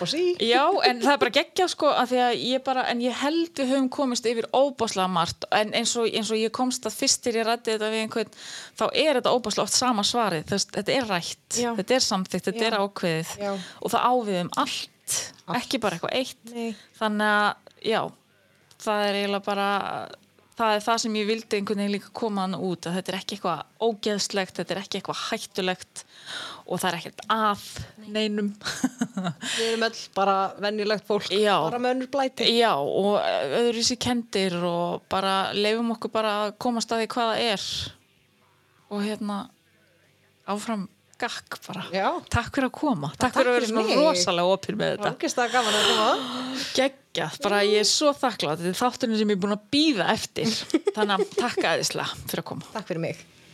Speaker 3: og sí
Speaker 2: já, en það er bara geggja sko að því að ég bara, en ég held við höfum komist yfir óbáslega margt en eins og, eins og ég komst að fyrst til ég rætti þetta við einhvern, þá er þetta óbáslega oft sama svarið, þess, þetta er rætt
Speaker 3: Já.
Speaker 2: þetta er samþygt, þetta
Speaker 3: Já.
Speaker 2: er ákveðið
Speaker 3: Já.
Speaker 2: og það áviðum allt,
Speaker 3: Allt.
Speaker 2: ekki bara eitthvað eitt
Speaker 3: Nei.
Speaker 2: þannig að, já það er eiginlega bara það er það sem ég vildi einhvern veginn líka koma hann út að þetta er ekki eitthvað ógeðslegt þetta er ekki eitthvað hættulegt og það er ekkert að neinum
Speaker 3: við erum öll bara venjulegt fólk
Speaker 2: Já.
Speaker 3: bara með önnur blæti
Speaker 2: já og eh, öðruvísi kendir og bara leifum okkur bara að komast að því hvað það er og hérna áfram gakk bara
Speaker 3: Já.
Speaker 2: takk fyrir að koma, takk,
Speaker 3: takk
Speaker 2: fyrir að vera
Speaker 3: fyrir
Speaker 2: svona
Speaker 3: mig.
Speaker 2: rosalega opinn með þetta
Speaker 3: Ógeðslega gaman að koma
Speaker 2: geggjað, bara ég er svo þakklátt þetta er þátturinn sem ég er búin að býða eftir þannig að takk aðeinslega fyrir að koma
Speaker 3: takk fyrir mig